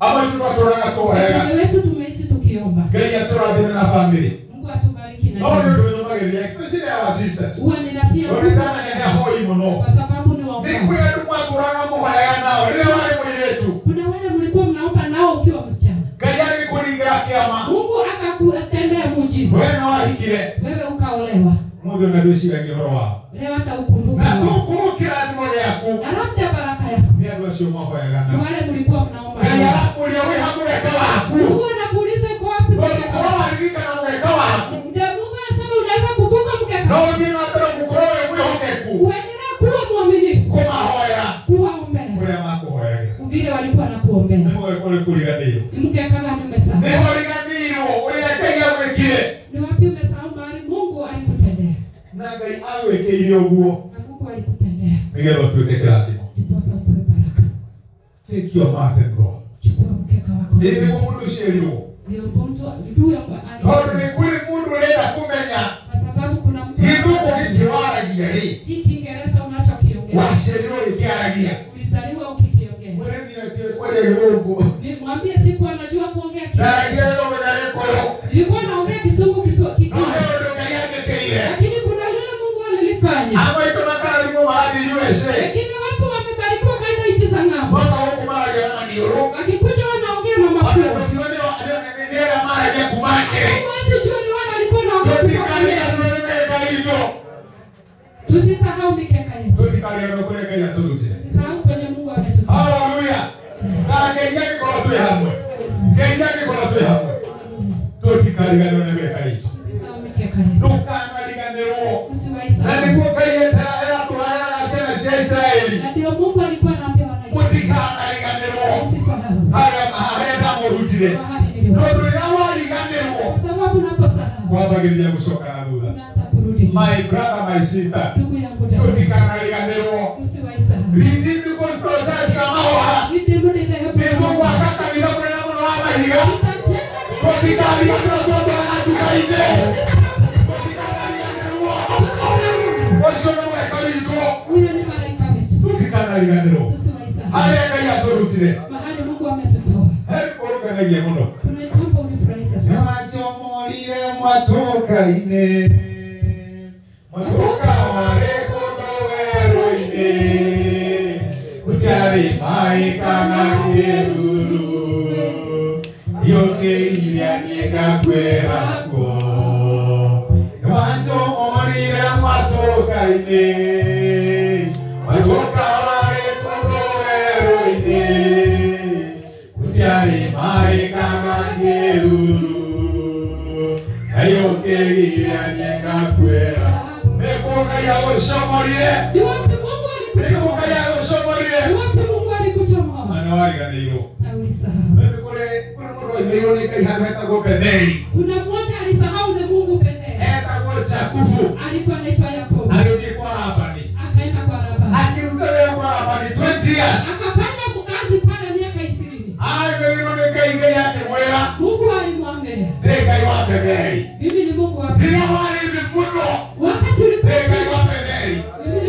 Speaker 5: amwe itũ twatũraga tũhoyaga
Speaker 3: Wengine wetu tumeishi tukiomba.
Speaker 5: ngai atũrathime na bamĩrĩ
Speaker 3: Mungu atubariki na
Speaker 5: no nĩ
Speaker 3: jamii.
Speaker 5: ũndũ nyũmagĩrĩria especially our sisters
Speaker 3: Huwa ninatia nguvu
Speaker 5: onekana nĩ ahoi mũno
Speaker 3: kwa sababu ni
Speaker 5: nĩ
Speaker 3: waomba.
Speaker 5: kwĩ andũ mwakũraga mũhoyaga nao rĩrĩa warĩ mũirĩtu
Speaker 3: Kuna wale mlikuwa mnaomba nao ukiwa msichana.
Speaker 5: ngai agĩkũringĩra kĩama
Speaker 3: Mungu akakutendea muujiza.
Speaker 5: we no wahikire
Speaker 3: Wewe ukaolewa.
Speaker 5: mũthĩ ona ndwĩciragia ũhoro wao
Speaker 3: Leo
Speaker 5: na
Speaker 3: ataukumbuka.
Speaker 5: gũkũrũ kĩrathimo gĩaku
Speaker 3: Na labda baraka yako.
Speaker 5: nĩ andũ acio mahoyaga
Speaker 3: Ni
Speaker 5: nao
Speaker 3: wale mlikuwa mnaomba.
Speaker 5: ngai
Speaker 3: nao.
Speaker 5: arakũria wĩ hamũreka waku
Speaker 3: Mungu anakuuliza iko wapi
Speaker 5: tondũ
Speaker 3: mkeka?
Speaker 5: korwo waririkana mũreka waku
Speaker 3: Ndio Mungu anasema unaweza kumbuka
Speaker 5: no
Speaker 3: mkeka.
Speaker 5: ũthiĩ na mbere gũkorwo wĩ mwĩhokeku
Speaker 3: Uendelee kuwa mwaminifu,
Speaker 5: kũmahoera
Speaker 3: kuwaombea
Speaker 5: kũrĩa makũhoyagĩra
Speaker 3: vile walikuwa nakuombea.
Speaker 5: nĩ mũwe kũrĩ kũriganĩirwo
Speaker 3: Mkeka gani umesahau?
Speaker 5: nĩ mũriganĩirwo ũrĩa ngai agwĩkire
Speaker 3: Ni wapi umesahau mahali Mungu alikutendea?
Speaker 5: na ngai agwĩkĩire ũguo
Speaker 3: Na Mungu alikutendea.
Speaker 5: nĩgetha tuĩke kĩrathimo
Speaker 3: Ndiposa upewe baraka.
Speaker 5: take your mouth and go
Speaker 3: Chukua mkeka wako.
Speaker 5: ĩ nĩguo mũndũ ũcio erirwo
Speaker 3: Ndio mtu ajue kwa ali.
Speaker 5: tondũ nĩ kũrĩ mũndũ ũrenda kũmenya
Speaker 3: Kwa sababu kuna mtu
Speaker 5: gĩthũngũ gĩkĩwaragia rĩ
Speaker 3: hii Kiingereza unachokiongea.
Speaker 5: waciarirwo gĩkĩaragia
Speaker 3: Ulizaliwa ukikiongea. Ni- Mwambie siku anajua kuongea Kiingereza. Nilikuwa naongea kisungu kiswa kikuu. Lakini kuna lile Mungu alilifanya. Wengine watu wamebarikiwa kaenda nchi za ng'ambo. Wakikuja wanaongea na makuu. Huwezi jua ni wale walikuwa wanaongea kwa nini. Tusisahau mikeka yetu. Tusisahau kwenye Mungu ametupa.
Speaker 5: tũtikariganĩrwo nĩ mĩaka itũ
Speaker 3: Tusisahau mikeka yetu.
Speaker 5: ndũkanariganĩrwo na
Speaker 3: Usiwaisahau.
Speaker 5: niguo ngai etũrayaga ciana cia isiraeli
Speaker 3: Na ndio Mungu alikuwa anaambia wana
Speaker 5: mũtikanariganĩrwo
Speaker 3: Usisahau.
Speaker 5: harĩa harĩa ndamũrutire
Speaker 3: Mahali
Speaker 5: tondũ
Speaker 3: nilipo.
Speaker 5: rĩrĩa wariganĩrwo
Speaker 3: Kwa sababu unaposahau
Speaker 5: kwambagĩrĩria gũcoka na thutha
Speaker 3: unaanza kurudi.
Speaker 5: my brother my sister
Speaker 3: Ndugu yangu dada.
Speaker 5: tũtikanariganĩrwo
Speaker 3: Usiwaisahau.
Speaker 5: rindimbi kũcitotacika mahoha nĩguo gwaka kanitha mũnene mũno wa mahiga tũtikariganĩrwo twatũraga nduka-inĩ tũtikanariganĩrwo ũcio nĩ mweka witũ tũtikanariganĩrwo harĩa ngai atũrutire harĩ kũrũnganagia mũno Nĩwanjomorire mwatũka-inĩ Mwatũka warĩ kũndũ werũ-inĩ Gũtiarĩ maĩ kana kĩruru Ndiũkĩire niĩ ngakwĩra kuo Nĩwanjomorire mwatũka-inĩ Mwatũka warĩ kũndũ werũ-inĩ Ujari mai kama kiruru Ayo kegira nyega kwera Nekuka ya gusomorire Nekuka ya gusomorire Mwana wariganĩirwo Mimi kule kule mũndũ aimeirwo nĩ Ngai handũ hetagwo Betheli Hetagwo Jakubu Agĩthiĩ kwa Labani Akĩruta wĩra kwa Labani 20 years Aimeirwo nĩ Ngai Ngai akĩmwĩra Nĩ Ngai wa Betheli Rĩrĩa warĩ thĩ mũno
Speaker 3: Wakati
Speaker 5: Nĩ Ngai
Speaker 3: ulipokuwa
Speaker 5: wa Betheli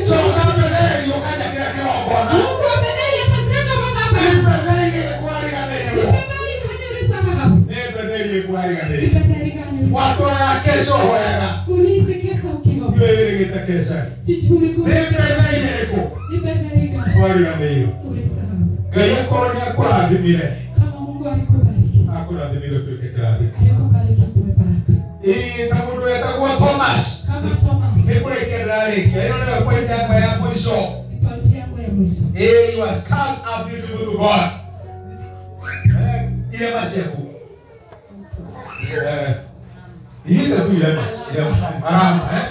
Speaker 5: Coka Betheli ũkanja kĩrĩa kĩrongona
Speaker 3: Mungu amedai atachenga
Speaker 5: Nĩ
Speaker 3: madhabahu.
Speaker 5: Betheli ĩrĩkũ ariganĩirwo
Speaker 3: Tafadhali kanirisahau.
Speaker 5: Nĩ Betheli ĩrĩkũ ariganĩirwo
Speaker 3: Tafadhali kanirisa.
Speaker 5: Watwara kesho hoyaga
Speaker 3: Ulihisi kesa ukiwa.
Speaker 5: Ndiwe wĩrĩgĩte kesha
Speaker 3: Sijui ulikuwa.
Speaker 5: Nĩ Betheli ĩrĩkũ
Speaker 3: Tafadhali gani?
Speaker 5: wariganĩirwo
Speaker 3: Ulisahau.
Speaker 5: Ngai akorwo nĩ akũrathimire
Speaker 3: Kama Mungu alikubariki.
Speaker 5: akũrathimire tuĩke kĩrathimo
Speaker 3: Alikubariki uwe baraka.
Speaker 5: Ĩĩ ta mũndũ wetagwo Thomas
Speaker 3: Kama Thomas.
Speaker 5: nĩ kũrĩkia ndĩrarĩkia ĩno nĩyo kwenda yamba ya mũico
Speaker 3: Ni pauti yangu ya mwisho.
Speaker 5: Ĩĩ he was cast up due to to God Eh, irema ciaku Eh, ihinda tu irema irema arama eh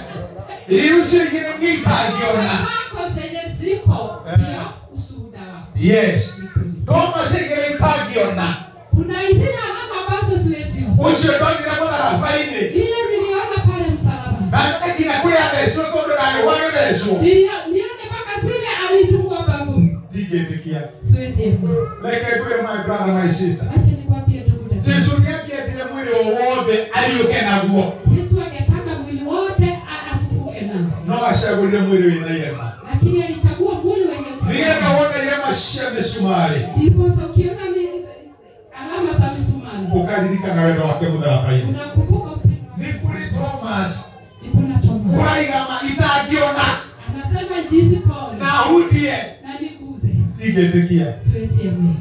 Speaker 5: iu cingine ngitangiona
Speaker 3: Zako zenye ziko pia ushuhuda wako.
Speaker 5: yes ndoma cingine ngitangiona
Speaker 3: Kuna zile alama ambazo siweziona.
Speaker 5: ucio ndonire mũtharaba-inĩ
Speaker 3: Ile niliona pale msalabani.
Speaker 5: na nginya kũrĩa thecirwo tondũ ndarĩ gwagĩthe Yesu
Speaker 3: Nilio- nione mpaka zile alitungwa bavuni.
Speaker 5: ndingĩtĩkia
Speaker 3: Siwezi amini.
Speaker 5: reke ngwĩre my brother my sister
Speaker 3: Acha nikwambie ndugu na dada.
Speaker 5: Jesu nĩangĩendire mwĩrĩ wothe ariũke naguo
Speaker 3: Yesu angetaka mwili wote a- afufuke nao,
Speaker 5: no acagũrire mwĩrĩ wĩna irema
Speaker 3: lakini alichagua mwili wenye
Speaker 5: nĩgetha wona irema cia mĩcumarĩ
Speaker 3: ndiposa. Ukiona mi- alama za misumari
Speaker 5: ũkaririkana wendo wake mũtharaba-inĩ
Speaker 3: unakumbuka upendo
Speaker 5: nĩ
Speaker 3: wake.
Speaker 5: kũrĩ Thomas
Speaker 3: Ni kuna Thomas
Speaker 5: ũraigama itangĩona
Speaker 3: anasema jinsi Paulo
Speaker 5: na hutie
Speaker 3: na niguze.
Speaker 5: ndingĩtĩkia
Speaker 3: Siwezi amini.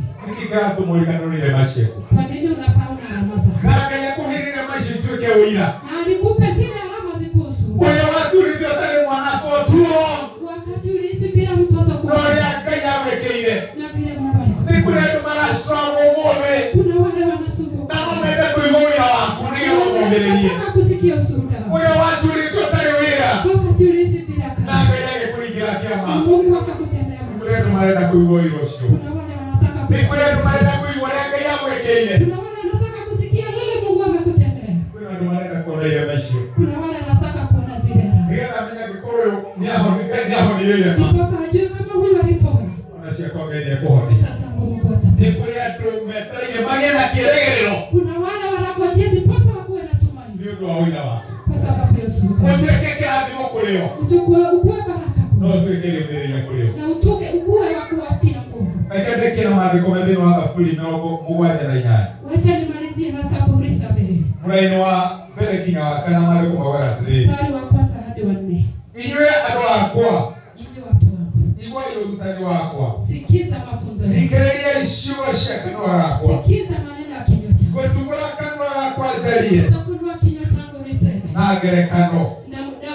Speaker 5: nĩkĩkaratũmũrikanũrire maciaku
Speaker 3: Kwa nini unasahau alama zako?
Speaker 5: na Ngai akũgĩrĩre macio ituĩke ũira
Speaker 3: Na nikupe zile alama zikuhusu
Speaker 5: ũrĩa waturithio atarĩ mwanako tuo
Speaker 3: wakati ulihisi bila mtoto
Speaker 5: na
Speaker 3: kuwa
Speaker 5: ũrĩa Ngai amwĩkĩire
Speaker 3: na vile Mungu alikupa.
Speaker 5: nĩ kũrĩ andũ marastragwo mũthĩ
Speaker 3: kuna wale wanasumbuka
Speaker 5: na mamende kũigua wĩra waku nĩgetha ũmũmĩrĩrie
Speaker 3: wanataka kusikia ushuhuda wao.
Speaker 5: ũrĩa waturithio atarĩ wĩra
Speaker 3: wakati ulihisi bila
Speaker 5: na
Speaker 3: kazi
Speaker 5: Ngai agĩkũringĩra
Speaker 3: na
Speaker 5: kĩama
Speaker 3: Mungu akakutendea
Speaker 5: nĩ kũrĩ andũ
Speaker 3: muujiza.
Speaker 5: marenda kũigua wĩra ũcio
Speaker 3: Kuna wale wanataka
Speaker 5: nĩ kũrĩ andũ
Speaker 3: kusikia-
Speaker 5: marenda kũigua ũrĩa Ngai amwĩkĩire
Speaker 3: kuna wale wanataka kusikia lile Mungu amekutendea.
Speaker 5: kwĩna andũ marenda kuona irema icio
Speaker 3: Kuna wale wanataka kuona zile alama.
Speaker 5: nĩgetha menye angĩkorwo ũyũ nĩahonire nĩahonire irema
Speaker 3: Ndiposa ajue kama huyu alipona.
Speaker 5: ona ciakwa Ngai nĩekũhonia
Speaker 3: Sasa ngumu kuota.
Speaker 5: nĩ kũrĩ andũ metereire magĩe na kĩĩrĩgĩrĩro
Speaker 3: Kuna wale wanakojea ndiposa wakuwe na tumaini
Speaker 5: nĩ ũndũ wa ũira waku
Speaker 3: kwa sababu ya ushuhuda.
Speaker 5: ũtuĩke kĩrathimo kũrĩ o
Speaker 3: Uchukue ukuwe baraka
Speaker 5: no
Speaker 3: kwao.
Speaker 5: ũtuĩke rĩũmĩrĩria kũrĩ o
Speaker 3: na utuke ukuwe wa kuwatia nguvu.
Speaker 5: reke ndĩkĩre maandĩko mathĩinĩ wa thaburi mĩrongo mũgwanja na inyanya
Speaker 3: Wacha nimalizie na Zaburi sabini
Speaker 5: mũraini wa mbere nginya wa kana maandĩko maugaga atĩrĩrĩ
Speaker 3: mstari wa kwanza hadi wa nne.
Speaker 5: inyuĩ andũ akwa
Speaker 3: Nyinyi watu wangu,
Speaker 5: iguai ũrutani wakwa
Speaker 3: sikiza mafunzo yangu,
Speaker 5: thikĩrĩriai ciugo cia kanua gakwa
Speaker 3: sikiza maneno ya kinywa changu,
Speaker 5: ngũtungũra kanua gakwa njarie
Speaker 3: utafunua kinywa changu niseme
Speaker 5: na ngerekano
Speaker 3: na na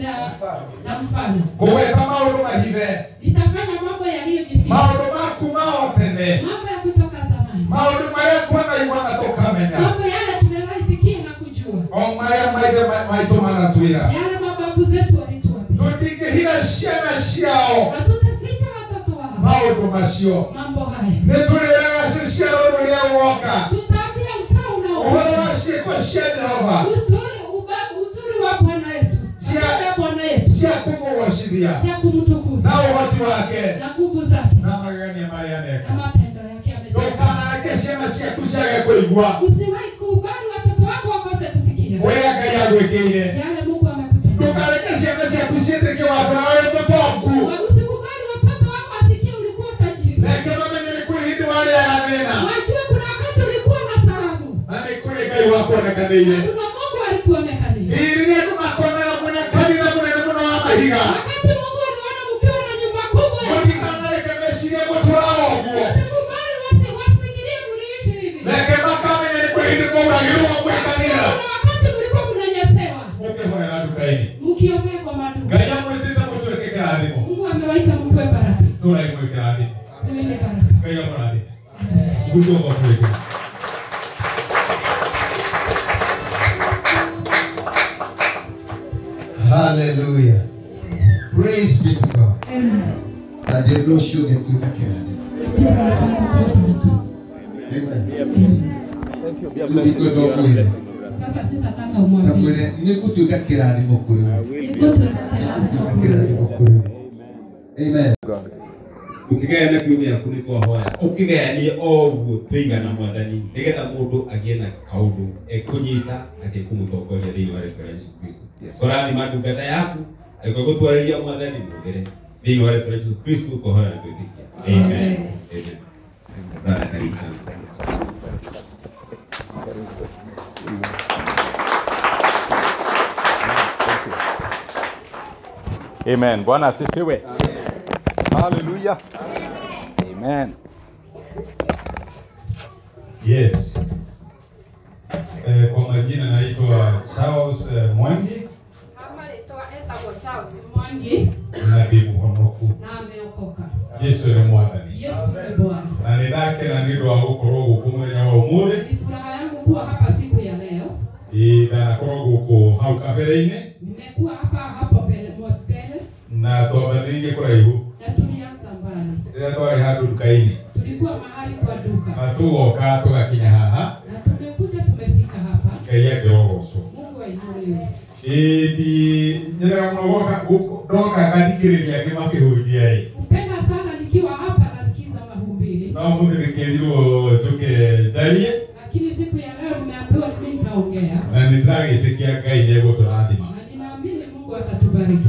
Speaker 3: na, na mfano
Speaker 5: ngũgweta maũndũ mahithe
Speaker 3: nitafanya mambo yaliyojificha,
Speaker 5: maũndũ maku ma o tene
Speaker 3: mambo ya kutoka zamani,
Speaker 5: maũndũ marĩa twanaigua na tũkamenya
Speaker 3: mambo yale tumewaisikia na kujua,
Speaker 5: o marĩa maithe ma- maitũ manatwĩra
Speaker 3: yale mababu zetu walituambia.
Speaker 5: tũtingĩhitha ciana ciao
Speaker 3: Hatutaficha watoto wao
Speaker 5: maũndũ macio
Speaker 3: mambo haya,
Speaker 5: nĩ tũrĩraga ciciaro rũrĩa woka
Speaker 3: tutaambia usawa
Speaker 5: ũhoro
Speaker 3: unaokuja
Speaker 5: wa ciĩko cia jehova
Speaker 3: uzuri uba- uzuri wa bwana yetu
Speaker 5: Sia-
Speaker 3: Katika bwana yetu
Speaker 5: cia kũmũgocithia
Speaker 3: ya kumtukuza
Speaker 5: na ũhoti wake
Speaker 3: na nguvu zake
Speaker 5: na magegania marĩa
Speaker 3: na
Speaker 5: neka
Speaker 3: matendo yake amesema
Speaker 5: ndũkanareke ciana ciaku ciage kũigua
Speaker 3: usiwahi kubali watoto wako wakose kusikia
Speaker 5: ũrĩa ngai agwĩkĩire
Speaker 3: yale mungu amekutendea
Speaker 5: ndũkareke ciana ciaku ciĩtĩkie watho na wĩ mũtongu
Speaker 3: Wa- usikubali watoto wako wasikie ulikuwa tajiri
Speaker 5: reke mamenye nĩ kũrĩ hindi warĩaga thĩna
Speaker 3: wajue kuna wakati ulikuwa na taabu
Speaker 5: na nĩ kũrĩ ngai
Speaker 3: na
Speaker 5: wakuonekanĩire
Speaker 3: kuna mungu alikuonekania
Speaker 5: iri nĩ andũ makonaga mũne kanitha mũnene mũno wa mahiga
Speaker 3: wakati mungu aliona ukiwa na nyumba kubwa ya-
Speaker 5: mũtikanareke meciria gũtũra ũguo
Speaker 3: usikubali wasi- wasifikirie mliishi hivi
Speaker 5: reke makamenya nĩ kũrĩ hindi mũragĩrwo mwĩ kanitha
Speaker 3: kuna wakati mlikuwa mnanyesewa
Speaker 5: ũkĩhorera nduka-inĩ
Speaker 3: mkiongea kwa maduka
Speaker 5: ngai amwĩtĩte mũtwĩke kĩrathimo
Speaker 3: mungu amewaita mkue baraka
Speaker 5: tũrai mwĩ kĩrathimo
Speaker 3: uende baraka
Speaker 5: ngai amũrathime gũtuoka twĩke
Speaker 6: Hallelujah. Praise be to God.
Speaker 3: Amen.
Speaker 6: That the Lord should get to the kingdom.
Speaker 3: Biblia zako kwa baraka.
Speaker 6: Amen.
Speaker 3: Amen.
Speaker 6: Niko ndokwire.
Speaker 3: sasa sitataka umwambie
Speaker 6: Takwire nikutuika kirathimo kuri we.
Speaker 3: niko tunataka
Speaker 6: Nikutuika kirathimo kuri we. Amen.
Speaker 1: ukigayana kiumia yaku nä twahoya å kä gayanie o guo tå igana mwathani nä getha må ndå agä na kaå ndå ekå nyita atekå må tongoria thä inä wa rä yesu kristo korathima ndungata yaku agä gå twarä mwathani må gere thä inä wa rä yesu kristo kåhoya na twä
Speaker 3: Amen.
Speaker 1: tä kia
Speaker 4: Amen. Bwana asifiwe. Hallelujah. Amen.
Speaker 5: Yes. Eh, kwa majina naitwa Charles eh, Mwangi
Speaker 3: kama litoa etagwo Charles Mwangi
Speaker 5: nabii muhonoku
Speaker 3: na ameokoka
Speaker 5: Yesu ni mwathani
Speaker 3: Yesu ni Bwana
Speaker 5: na nä ndake na nä å ndå wa gå korwo gå kå må wa å
Speaker 3: ni furaha yangu kuwa hapa siku ya leo
Speaker 5: ä na nakorwo gå kå hau kabere-inä
Speaker 3: nimekuwa hapa hapo mbele mbele
Speaker 5: na twambanä rä irie kå raihu
Speaker 3: na tulianza mbali
Speaker 5: rä rä a twarä handå nduka-inä
Speaker 3: tulikuwa mahali kwa duka
Speaker 5: na tå goka tå gakinya haha
Speaker 3: na tumekuja tumefika hapa
Speaker 5: ngai angä rogocwo
Speaker 3: Mungu ainuliwe
Speaker 5: ä ndi nyerera må no ndoka ngathikiriria ngi makihunjia i
Speaker 3: upenda sana nikiwa hapa nasikiza mahubiri
Speaker 5: no muthi nikirirwo njuke njarie
Speaker 3: lakini siku ya leo nimeambiwa mimi nitaongea
Speaker 5: na nindiragiitikia ngai nieguturathima
Speaker 3: na ninaamini mungu atatubariki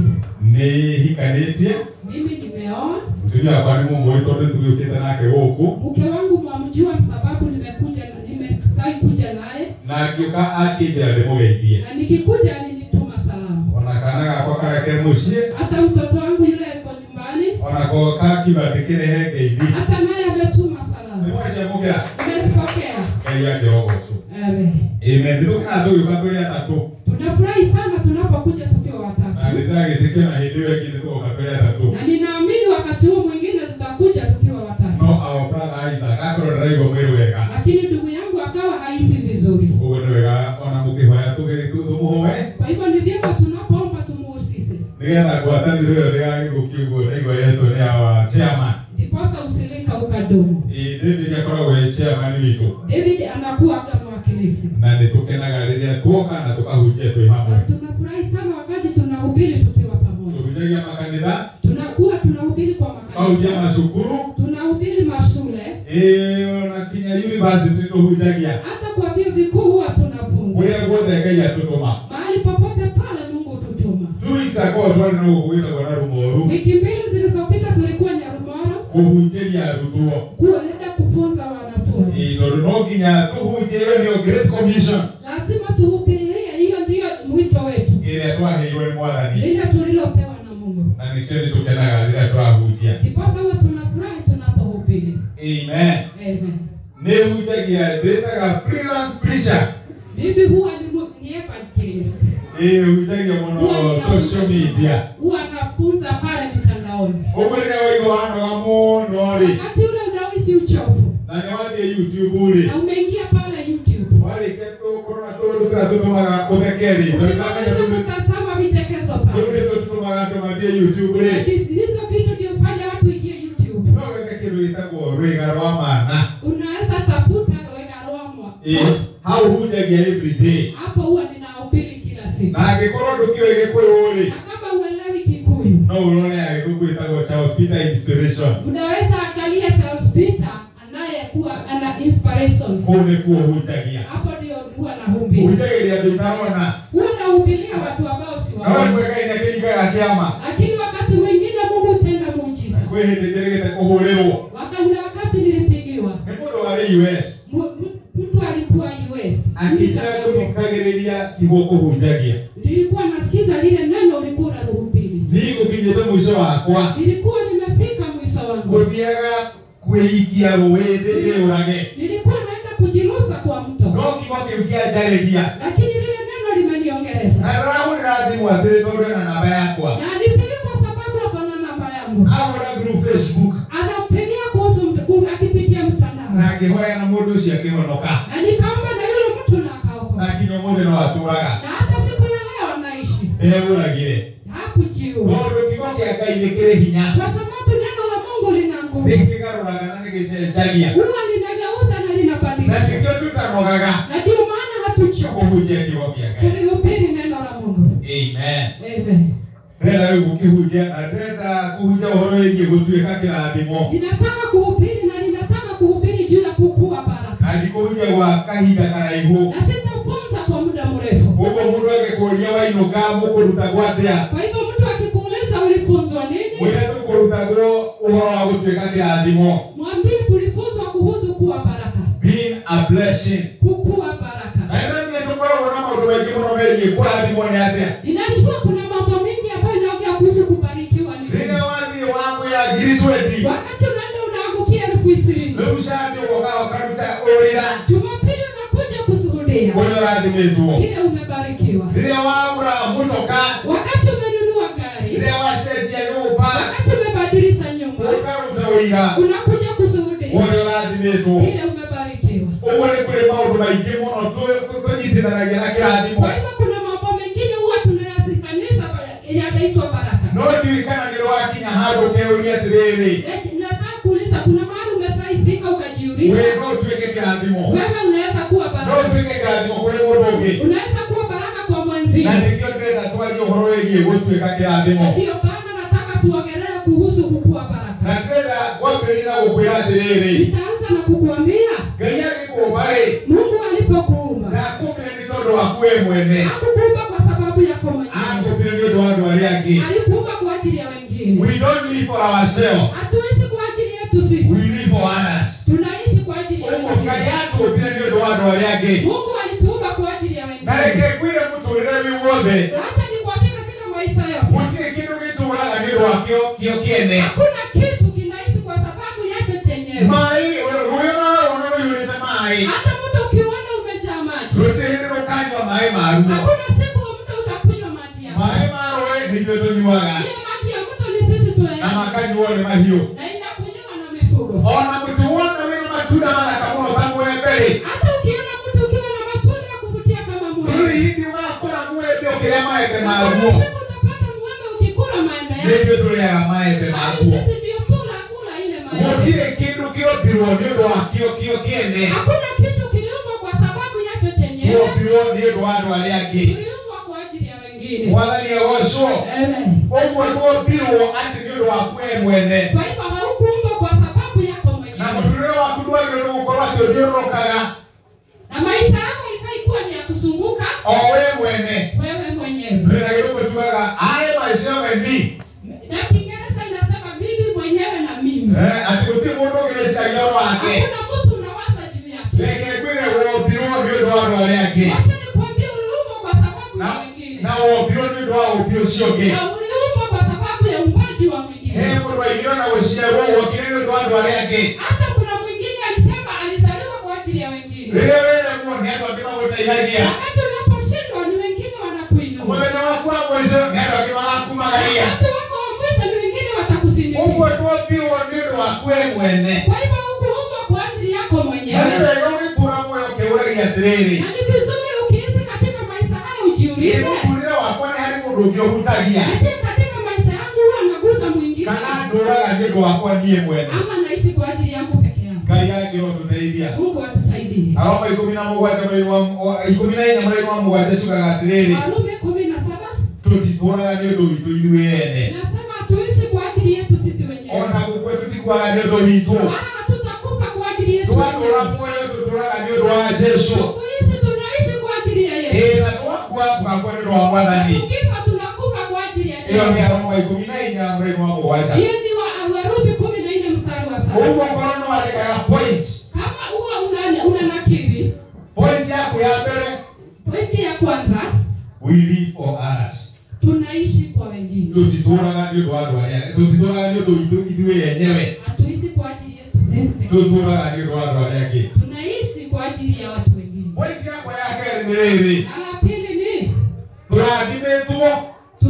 Speaker 5: nihikanitie
Speaker 3: mimi nimeoa
Speaker 5: mutumia wakwa ni mumuri tondu tugiukite nake guku
Speaker 3: mke wangu mwamjua sababu nimekuja nimesai kuja naye
Speaker 5: na ngiuka akinjira ndimugeithie
Speaker 3: na nikikuja alinituma salamu
Speaker 5: ona kana gakwa kareke mucii
Speaker 3: hata mtoto wangu yule yuko nyumbani
Speaker 5: ona ba goka kiba tikirehe ngeithi
Speaker 3: hata naye ametuma salamu
Speaker 5: nimwacemukira
Speaker 3: nimezipokea
Speaker 5: ngai angirogocwo
Speaker 3: Amen.
Speaker 5: amen nitũkĩra tũgĩũka tũrĩ atatũ
Speaker 3: tunafurahi sana tunapokuja tukiwa watatu
Speaker 5: na nĩndĩragĩtĩkia na hĩndĩ ĩyo ĩngĩ nĩtũgoka tũrĩ atatũ
Speaker 3: na ninaamini wakati huu mwingine tutakuja tukiwa watatu
Speaker 5: no ao brother Isaac akorwo ndĩraigua mwĩrĩ wega
Speaker 3: lakini ndugu yangu akawa haisi vizuri
Speaker 5: ũguo nĩ wega ona mũkĩhoya tũgĩ- tũ- tũmũhoe
Speaker 3: kwa hivyo ni vyema tunapoomba tumuhusise
Speaker 5: nĩgetha ngwatanĩro ĩyo ndĩgagĩthũkie ũguo ndaigua yetwo nĩ awa chairman
Speaker 3: ndiposa usilika ukadumu
Speaker 5: ĩĩ David akoragwo e chairman witũ
Speaker 3: david anakuwa aga mwakilisi
Speaker 5: na nĩtũkenaga rĩrĩa tuoka na tũkahunjia twĩ hamwe
Speaker 3: Na tunafurahi sana wakati tunahubiri tukiwa pamoja
Speaker 5: tũhunjagia makanitha
Speaker 3: tunakuwa tunahubiri kwa
Speaker 5: kahunjia
Speaker 3: makanisa
Speaker 5: macukuru
Speaker 3: tunahubiri mashule
Speaker 5: ĩĩ ona kinya university tũhunjagia
Speaker 3: hata kwa vyuo vikuu huwa tunafunza
Speaker 5: kũrĩa guothe ngai atũtũma
Speaker 3: mahali popote pale mungu hututuma
Speaker 5: two weeks ago twarĩ na gũgwĩtagwo na rũmoru
Speaker 3: wiki mbili zilizopita tulikuwa nyarumoro
Speaker 5: kũhunjĩria arutwo
Speaker 3: kuenda kufunza wanafunzi
Speaker 5: Ĩĩ, tondũ no nginya tũhunjĩrio nĩyo great commission
Speaker 3: lazima tuhubirie hiyo ndiyo mwito wetu
Speaker 5: ĩrĩa twaheirwo nĩ mwathani
Speaker 3: lile tulilopewa na mungu
Speaker 5: na nĩkĩo nĩtũkenaga rĩrĩa tũrahunjia
Speaker 3: ndiposa huwa tunafurahi tunapohubiri
Speaker 5: amen
Speaker 3: Amen.
Speaker 5: nĩhunjagia ndĩtaga freelance preacher
Speaker 3: mimi huwa ni mu- ni evangelist
Speaker 5: ĩĩ hunjagia mũno Oh, social media
Speaker 3: huwa nafunza pale mitandaoni
Speaker 5: ũguo rĩrĩa waigua wanoga mũno rĩ
Speaker 3: wakati ule unahisi uchovu
Speaker 5: na nĩwathiĩ youtube rĩ
Speaker 3: na umeingia pale youtube
Speaker 5: warĩkia tũ- kũrora tũndũ tũrĩa tũtũmaga ũtheke rĩ na nĩũramenya
Speaker 3: unaweza
Speaker 5: tũndũ-
Speaker 3: kutazama vichekezo
Speaker 5: tũu
Speaker 3: pale
Speaker 5: nĩtuo tũtũmaga andũ mathiĩ youtube rĩ
Speaker 3: Na hizi- hizo vitu ndio hufanya watu ingie youtube
Speaker 5: no wethe kĩndũ gĩtagwo rwĩga rwa mana
Speaker 3: unaweza tafuta rwega rwamwa
Speaker 5: Ĩĩ, hau hunjagia every day
Speaker 3: hapo huwa ninahubiri kila siku
Speaker 5: na angĩkorwo ndũkĩũĩ gĩkũyũ rĩ
Speaker 3: na kama uelewi kikuyu
Speaker 5: no ũrore agĩthũngũ ĩtagwo Charles Peter Inspirations
Speaker 3: unaweza angalia charles peter anayekuwa ana inspirations
Speaker 5: kũu nĩkuo hunjagia
Speaker 3: hapo ndio huwa nahubiri
Speaker 5: hunjagĩria andũ itarona
Speaker 3: huwa nahubiria watu ambao si
Speaker 5: no
Speaker 3: wao
Speaker 5: rĩmwe Ngai nĩakĩringaga kĩama
Speaker 3: lakini wakati mwingine mungu hutenda muujiza
Speaker 5: kwĩ hĩndĩ njĩrĩgĩte kũhũrĩrwo
Speaker 3: wakaula wakati nilipigiwa
Speaker 5: nĩ mũndũ warĩ US
Speaker 3: mu- mu- mtu alikuwa US
Speaker 5: akĩcira gũthikagĩrĩria tiguo kũhunjagia
Speaker 3: nilikuwa nasikiza lile neno ulikuwa unaruhubiri
Speaker 5: niĩ gũkinyĩte mũico wakwa
Speaker 3: nilikuwa nimefika mwisho wangu
Speaker 5: ngũthiaga kwĩikia rũĩ ndĩũrage
Speaker 3: nilikuwa naenda kujirusa kwa
Speaker 5: no
Speaker 3: mto
Speaker 5: kiugo kĩu kĩanjarĩria
Speaker 3: lakini lile neno limeniongeleza
Speaker 5: na ndĩrahũrĩra thimũ atĩrĩ tondũ ena namba yakwa
Speaker 3: na nipigia kwa sababu akona namba yangu
Speaker 5: ahũra through facebook
Speaker 3: anampigia kuhusu mt- ku- akipitia mtandao
Speaker 5: na ngĩhoya na mũndũ ũcio akĩhonoka
Speaker 3: na nikaomba na yule mtu na akaokoka
Speaker 5: na nginya ũmũthĩ no atũraga
Speaker 3: na hata siku ya leo anaishi
Speaker 5: ndĩreũragire
Speaker 3: hakujiua
Speaker 5: tondũ kiugo kĩa ngai nĩ kĩrĩ hinya
Speaker 3: kwa sababu neno la Mungu lina nguvu
Speaker 5: nĩkĩgarũraga na nĩgĩcenjagia
Speaker 3: huwa linageuza na
Speaker 5: na
Speaker 3: linabadilisha
Speaker 5: cikĩo tũtanogaga
Speaker 3: na ndio maana hatuchoka
Speaker 5: kũhunjia kiugo kĩa ngai
Speaker 3: kulihubiri neno la Mungu.
Speaker 5: amen
Speaker 3: Amen.
Speaker 5: ndĩrenda rĩu gũkĩhunjia na ndĩrenda kũhunjia ũhoro wĩgiĩ gũtuĩka kĩrathimo
Speaker 3: Ninataka kuhubiri na ninataka kuhubiri juu ya kukua baraka,
Speaker 5: na ndikũhunjia gwa kahinda karaihu
Speaker 3: na sitafunza kwa muda mrefu.
Speaker 5: ũguo mũndũ angĩkũria wainũka mũkũruta gwatĩa
Speaker 3: Kwa hivyo mtu akikuuliza ulifunzwa nini,
Speaker 5: mwĩre tũkũrutagwo ũhoro wa gũtuĩka kĩrathimo
Speaker 3: mwambie tulifunzwa kuhusu kuwa baraka,
Speaker 5: being a blessing
Speaker 3: kukua baraka.
Speaker 5: naĩnanie tũkoragwo na maũndũ maingĩ mũno megiĩ kũrathimwo nĩ atĩa
Speaker 3: Ninajua kuna mambo mengi ambayo inaongea kuhusu kubarikiwa ni nini.
Speaker 5: rĩrĩa wathiĩ wamwĩra ngiri twendi
Speaker 3: Wakati unaenda unaangukia elfu ishirini,
Speaker 5: rĩu cathi ũgoka ũkaruta ũrĩra
Speaker 3: Jumapili unakuja kushuhudia
Speaker 5: ũrĩa ũrathimĩtwo
Speaker 3: vile umebarikiwa.
Speaker 5: rĩrĩa wagũra mũtoka
Speaker 3: Wakati umenunua gari,
Speaker 5: rĩrĩa wacenjia nyũmba
Speaker 3: wakati umebadilisha nyumba,
Speaker 5: ũkaruta ũira
Speaker 3: unakuja kushuhudia
Speaker 5: ũrĩa ũrathimĩtwo
Speaker 3: vile umebarikiwa.
Speaker 5: ũguo nĩ kũrĩ maũndũ maingĩ mũno tũ- tũ- tũnyitithanagia na kĩrathimo
Speaker 3: Kwa hivyo kuna mambo mengine huwa tunayasikanisha pale- yataitwa baraka.
Speaker 5: no ndiũĩ kana nĩ rwakinya handũ ũkeũria atĩrĩrĩ
Speaker 3: Eti, Nataka kuuliza, kuna mahali umesaidika ukajiuliza,
Speaker 5: we no tuĩke kĩrathimo
Speaker 3: wewe unaweza kuwa
Speaker 5: no
Speaker 3: baraka,
Speaker 5: tuĩke kĩrathimo kũrĩ mũndũ ũngĩ
Speaker 3: unaweza kuwa baraka kwa
Speaker 5: na
Speaker 3: mwenzio.
Speaker 5: nĩkĩo ndĩrenda twarie ũhoro wĩgiĩ gũtuĩka kĩrathimo
Speaker 3: Ndiyo maana akatuongelea kuhusu kukua baraka.
Speaker 5: Na tena wapelina kukwira atiriri.
Speaker 3: Nitaanza na kukuambia
Speaker 5: Ngai agikuumba ri.
Speaker 3: Mungu alipokuumba.
Speaker 5: Na akumire ni tondu waku we mwene.
Speaker 3: Akukuumba kwa sababu yako mwenyewe.
Speaker 5: Akuumire ni undu wa andu aria angi.
Speaker 3: Alikuumba kwa ajili ya wengine.
Speaker 5: We don't live for ourselves.
Speaker 3: Hatuishi kwa ajili yetu sisi.
Speaker 5: We live for others.
Speaker 3: Tunaishi kwa ajili ya
Speaker 5: Uguo
Speaker 3: wengine.
Speaker 5: Ngai atuumbire ni undu wa andu aria angi.
Speaker 3: Mungu alituumba kwa ajili ya wengine.
Speaker 5: Na reke ngwire muturire wi wothe.
Speaker 3: Na Acha nikwambie katika maisha yote.
Speaker 5: Gutire kindu gituraga ni undu wa kio kio kiene.
Speaker 3: Hakuna kitu kinaishi kwa sababu yacho chenyewe.
Speaker 5: Mai ruyo na ruyo yurite mai.
Speaker 3: Hata mtu ukiona umejaa maji,
Speaker 5: Rutire ni rukanywa mai maruo.
Speaker 3: hakuna siku mtu utakunywa maji yako.
Speaker 5: maĩ ma rũĩ nĩ ithuĩ tũnyuaga
Speaker 3: Ile maji ya mtu ni sisi
Speaker 5: na
Speaker 3: tuyaenzi.
Speaker 5: makanyuo nĩ mahiũ
Speaker 3: Na inakunywa na mifugo.
Speaker 5: ona mũtĩ wothe wĩna matunda mathaka mũno ta mwembe-rĩ
Speaker 3: Hata ukiona mtu ukiwa na matunda ya kuvutia kama
Speaker 5: rĩu
Speaker 3: mwembe.
Speaker 5: hindi ũgakũra mwembe ũkĩrĩa maembe
Speaker 3: Hakuna
Speaker 5: maguo
Speaker 3: siku utapata mwembe ukikula maembe
Speaker 5: nĩ
Speaker 3: yako.
Speaker 5: ithuĩ tũrĩaga maembe
Speaker 3: Bali
Speaker 5: maguo
Speaker 3: sisi ndio tunakula ile maembe.
Speaker 5: gũtirĩ kĩndũ kĩombirwo nĩ ũndũ wa kĩo kĩo kĩene
Speaker 3: Hakuna kitu kiliumbwa kwa sababu yacho chenyewe.
Speaker 5: kĩombirwo nĩ ũndũ wa andũ arĩa angĩ
Speaker 3: Kiliumbwa kwa ajili ya wengine.
Speaker 5: mwathani agocwo
Speaker 3: Amen.
Speaker 5: ũguo nĩwombirwo atĩ nĩ ũndũ waku we mwene
Speaker 3: Kwa hivyo haukuumbwa kwa sababu yako
Speaker 5: na
Speaker 3: mwenyewe,
Speaker 5: mũtũrĩre waku ndwagĩrĩirwo gũkorwo atĩ ũthiũrũrũkaga
Speaker 3: na maisha yako ikaikuwa ni ya kuzunguka
Speaker 5: o we mwene
Speaker 3: wewe mwenyewe.
Speaker 5: ndĩna gĩtũngũ tugaga arĩ maica we me
Speaker 3: Na Kiingereza inasema mimi mwenyewe na mimi.
Speaker 5: Eh, ati gũtirĩ mũndũ ũgĩrĩciragia ũhoro wake
Speaker 3: Hakuna mtu unawaza juu yake.
Speaker 5: reke ngwĩre wombirwo nĩ ũndũ wa andũ arĩa angĩ
Speaker 3: Wacha nikwambie, uliumbwa kwa sababu ya
Speaker 5: Na-
Speaker 3: wengine,
Speaker 5: na wombirwo nĩ ũndũ wa ũmbi ũcio ũngĩ
Speaker 3: na uliumbwa kwa sababu ya umbaji wa
Speaker 5: he
Speaker 3: mwingine.
Speaker 5: mũndũ aingĩra na gũciarwo wokire nĩ ũndũ wa andũ arĩa angĩ
Speaker 3: Hata kuna mwingine alisema alizaliwa kwa ajili ya wengine.
Speaker 5: rĩrĩa weremwo nĩ andũ angĩ magũteithagia
Speaker 3: Wakati unaposhindwa ni wengine wanakuinua,
Speaker 5: mũthenya waku wa mũico nĩ andũ angĩ magakumagaria
Speaker 3: wakati wako wa mwisho ni wengine
Speaker 5: ũguo
Speaker 3: watakusindikiza.
Speaker 5: twombirwo nĩ ũndũ waku we mwene
Speaker 3: Kwa hivyo hukuumbwa kwa ajili yako
Speaker 5: na nĩ
Speaker 3: mwenyewe.
Speaker 5: wega ũgĩkũra muoyo ũkĩũragia atĩrĩrĩ
Speaker 3: na ni vizuri ukiishi katika maisha haya
Speaker 5: "Ĩ,
Speaker 3: ujiulize
Speaker 5: mũtũũrĩre wakwa nĩ harĩ mũndũ ũngĩ ũhutagia
Speaker 3: aje katika maisha yangu huwa naguza mwingine
Speaker 5: kana ndũraga nĩ ũndũ wakwa niĩ mwene
Speaker 3: ama naishi kwa ajili yangu peke yangu
Speaker 5: ngai angĩrotuteithia
Speaker 3: mungu atusaidie
Speaker 5: aroma ikumi na mũgwanja mweri wa mũ- wa- ikumi na inya mweri wa mũgwanja cugaga atĩrĩrĩ
Speaker 3: walume kumi na saba
Speaker 5: tũtitũũraga nĩ ũndũ witũ ithuĩ ene
Speaker 3: nasema tuishi kwa ajili yetu sisi wenyewe
Speaker 5: ona gũkue tũtikuaga nĩ ũndũ witũ
Speaker 3: wala hatutakufa kwa ajili yetu
Speaker 5: twatũũra
Speaker 3: wenyewe.
Speaker 5: muoyo tũtũũraga nĩ ũndũ wa jesu
Speaker 3: tuishi tunaishi kwa ajili ya yesu
Speaker 5: ĩĩ na twakua tũgakua nĩ ũndũ wa mwathani
Speaker 3: tukifa tunakufa kwa ajili ya
Speaker 5: ĩyo nĩ
Speaker 3: yesu
Speaker 5: aroma ikumi na inya mweri wa mũgwanja
Speaker 3: hiyo ni wa- warumi kumi na nne mstari wa saba
Speaker 5: ũguo korwo nĩ wandĩkaga point
Speaker 3: kama huwa una, una nakiri
Speaker 5: point yaku ya mbere
Speaker 3: pointi ya kwanza
Speaker 5: we live for others
Speaker 3: tunaishi kwa wengine
Speaker 5: tũtitũũraga nĩ ũndũ wa andũ arĩa tũtitũũraga nĩ ũndũ witũ ithuĩ enyewe
Speaker 3: hatuishi kwa ajili yetu sisi pekee.
Speaker 5: tũtũũraga nĩ ũndũ wa andũ arĩa angĩ
Speaker 3: tunaishi kwa ajili ya watu wengine
Speaker 5: point yakwa ya kerĩ nĩ rĩrĩ
Speaker 3: na la pili ni
Speaker 5: tũrathimĩtwo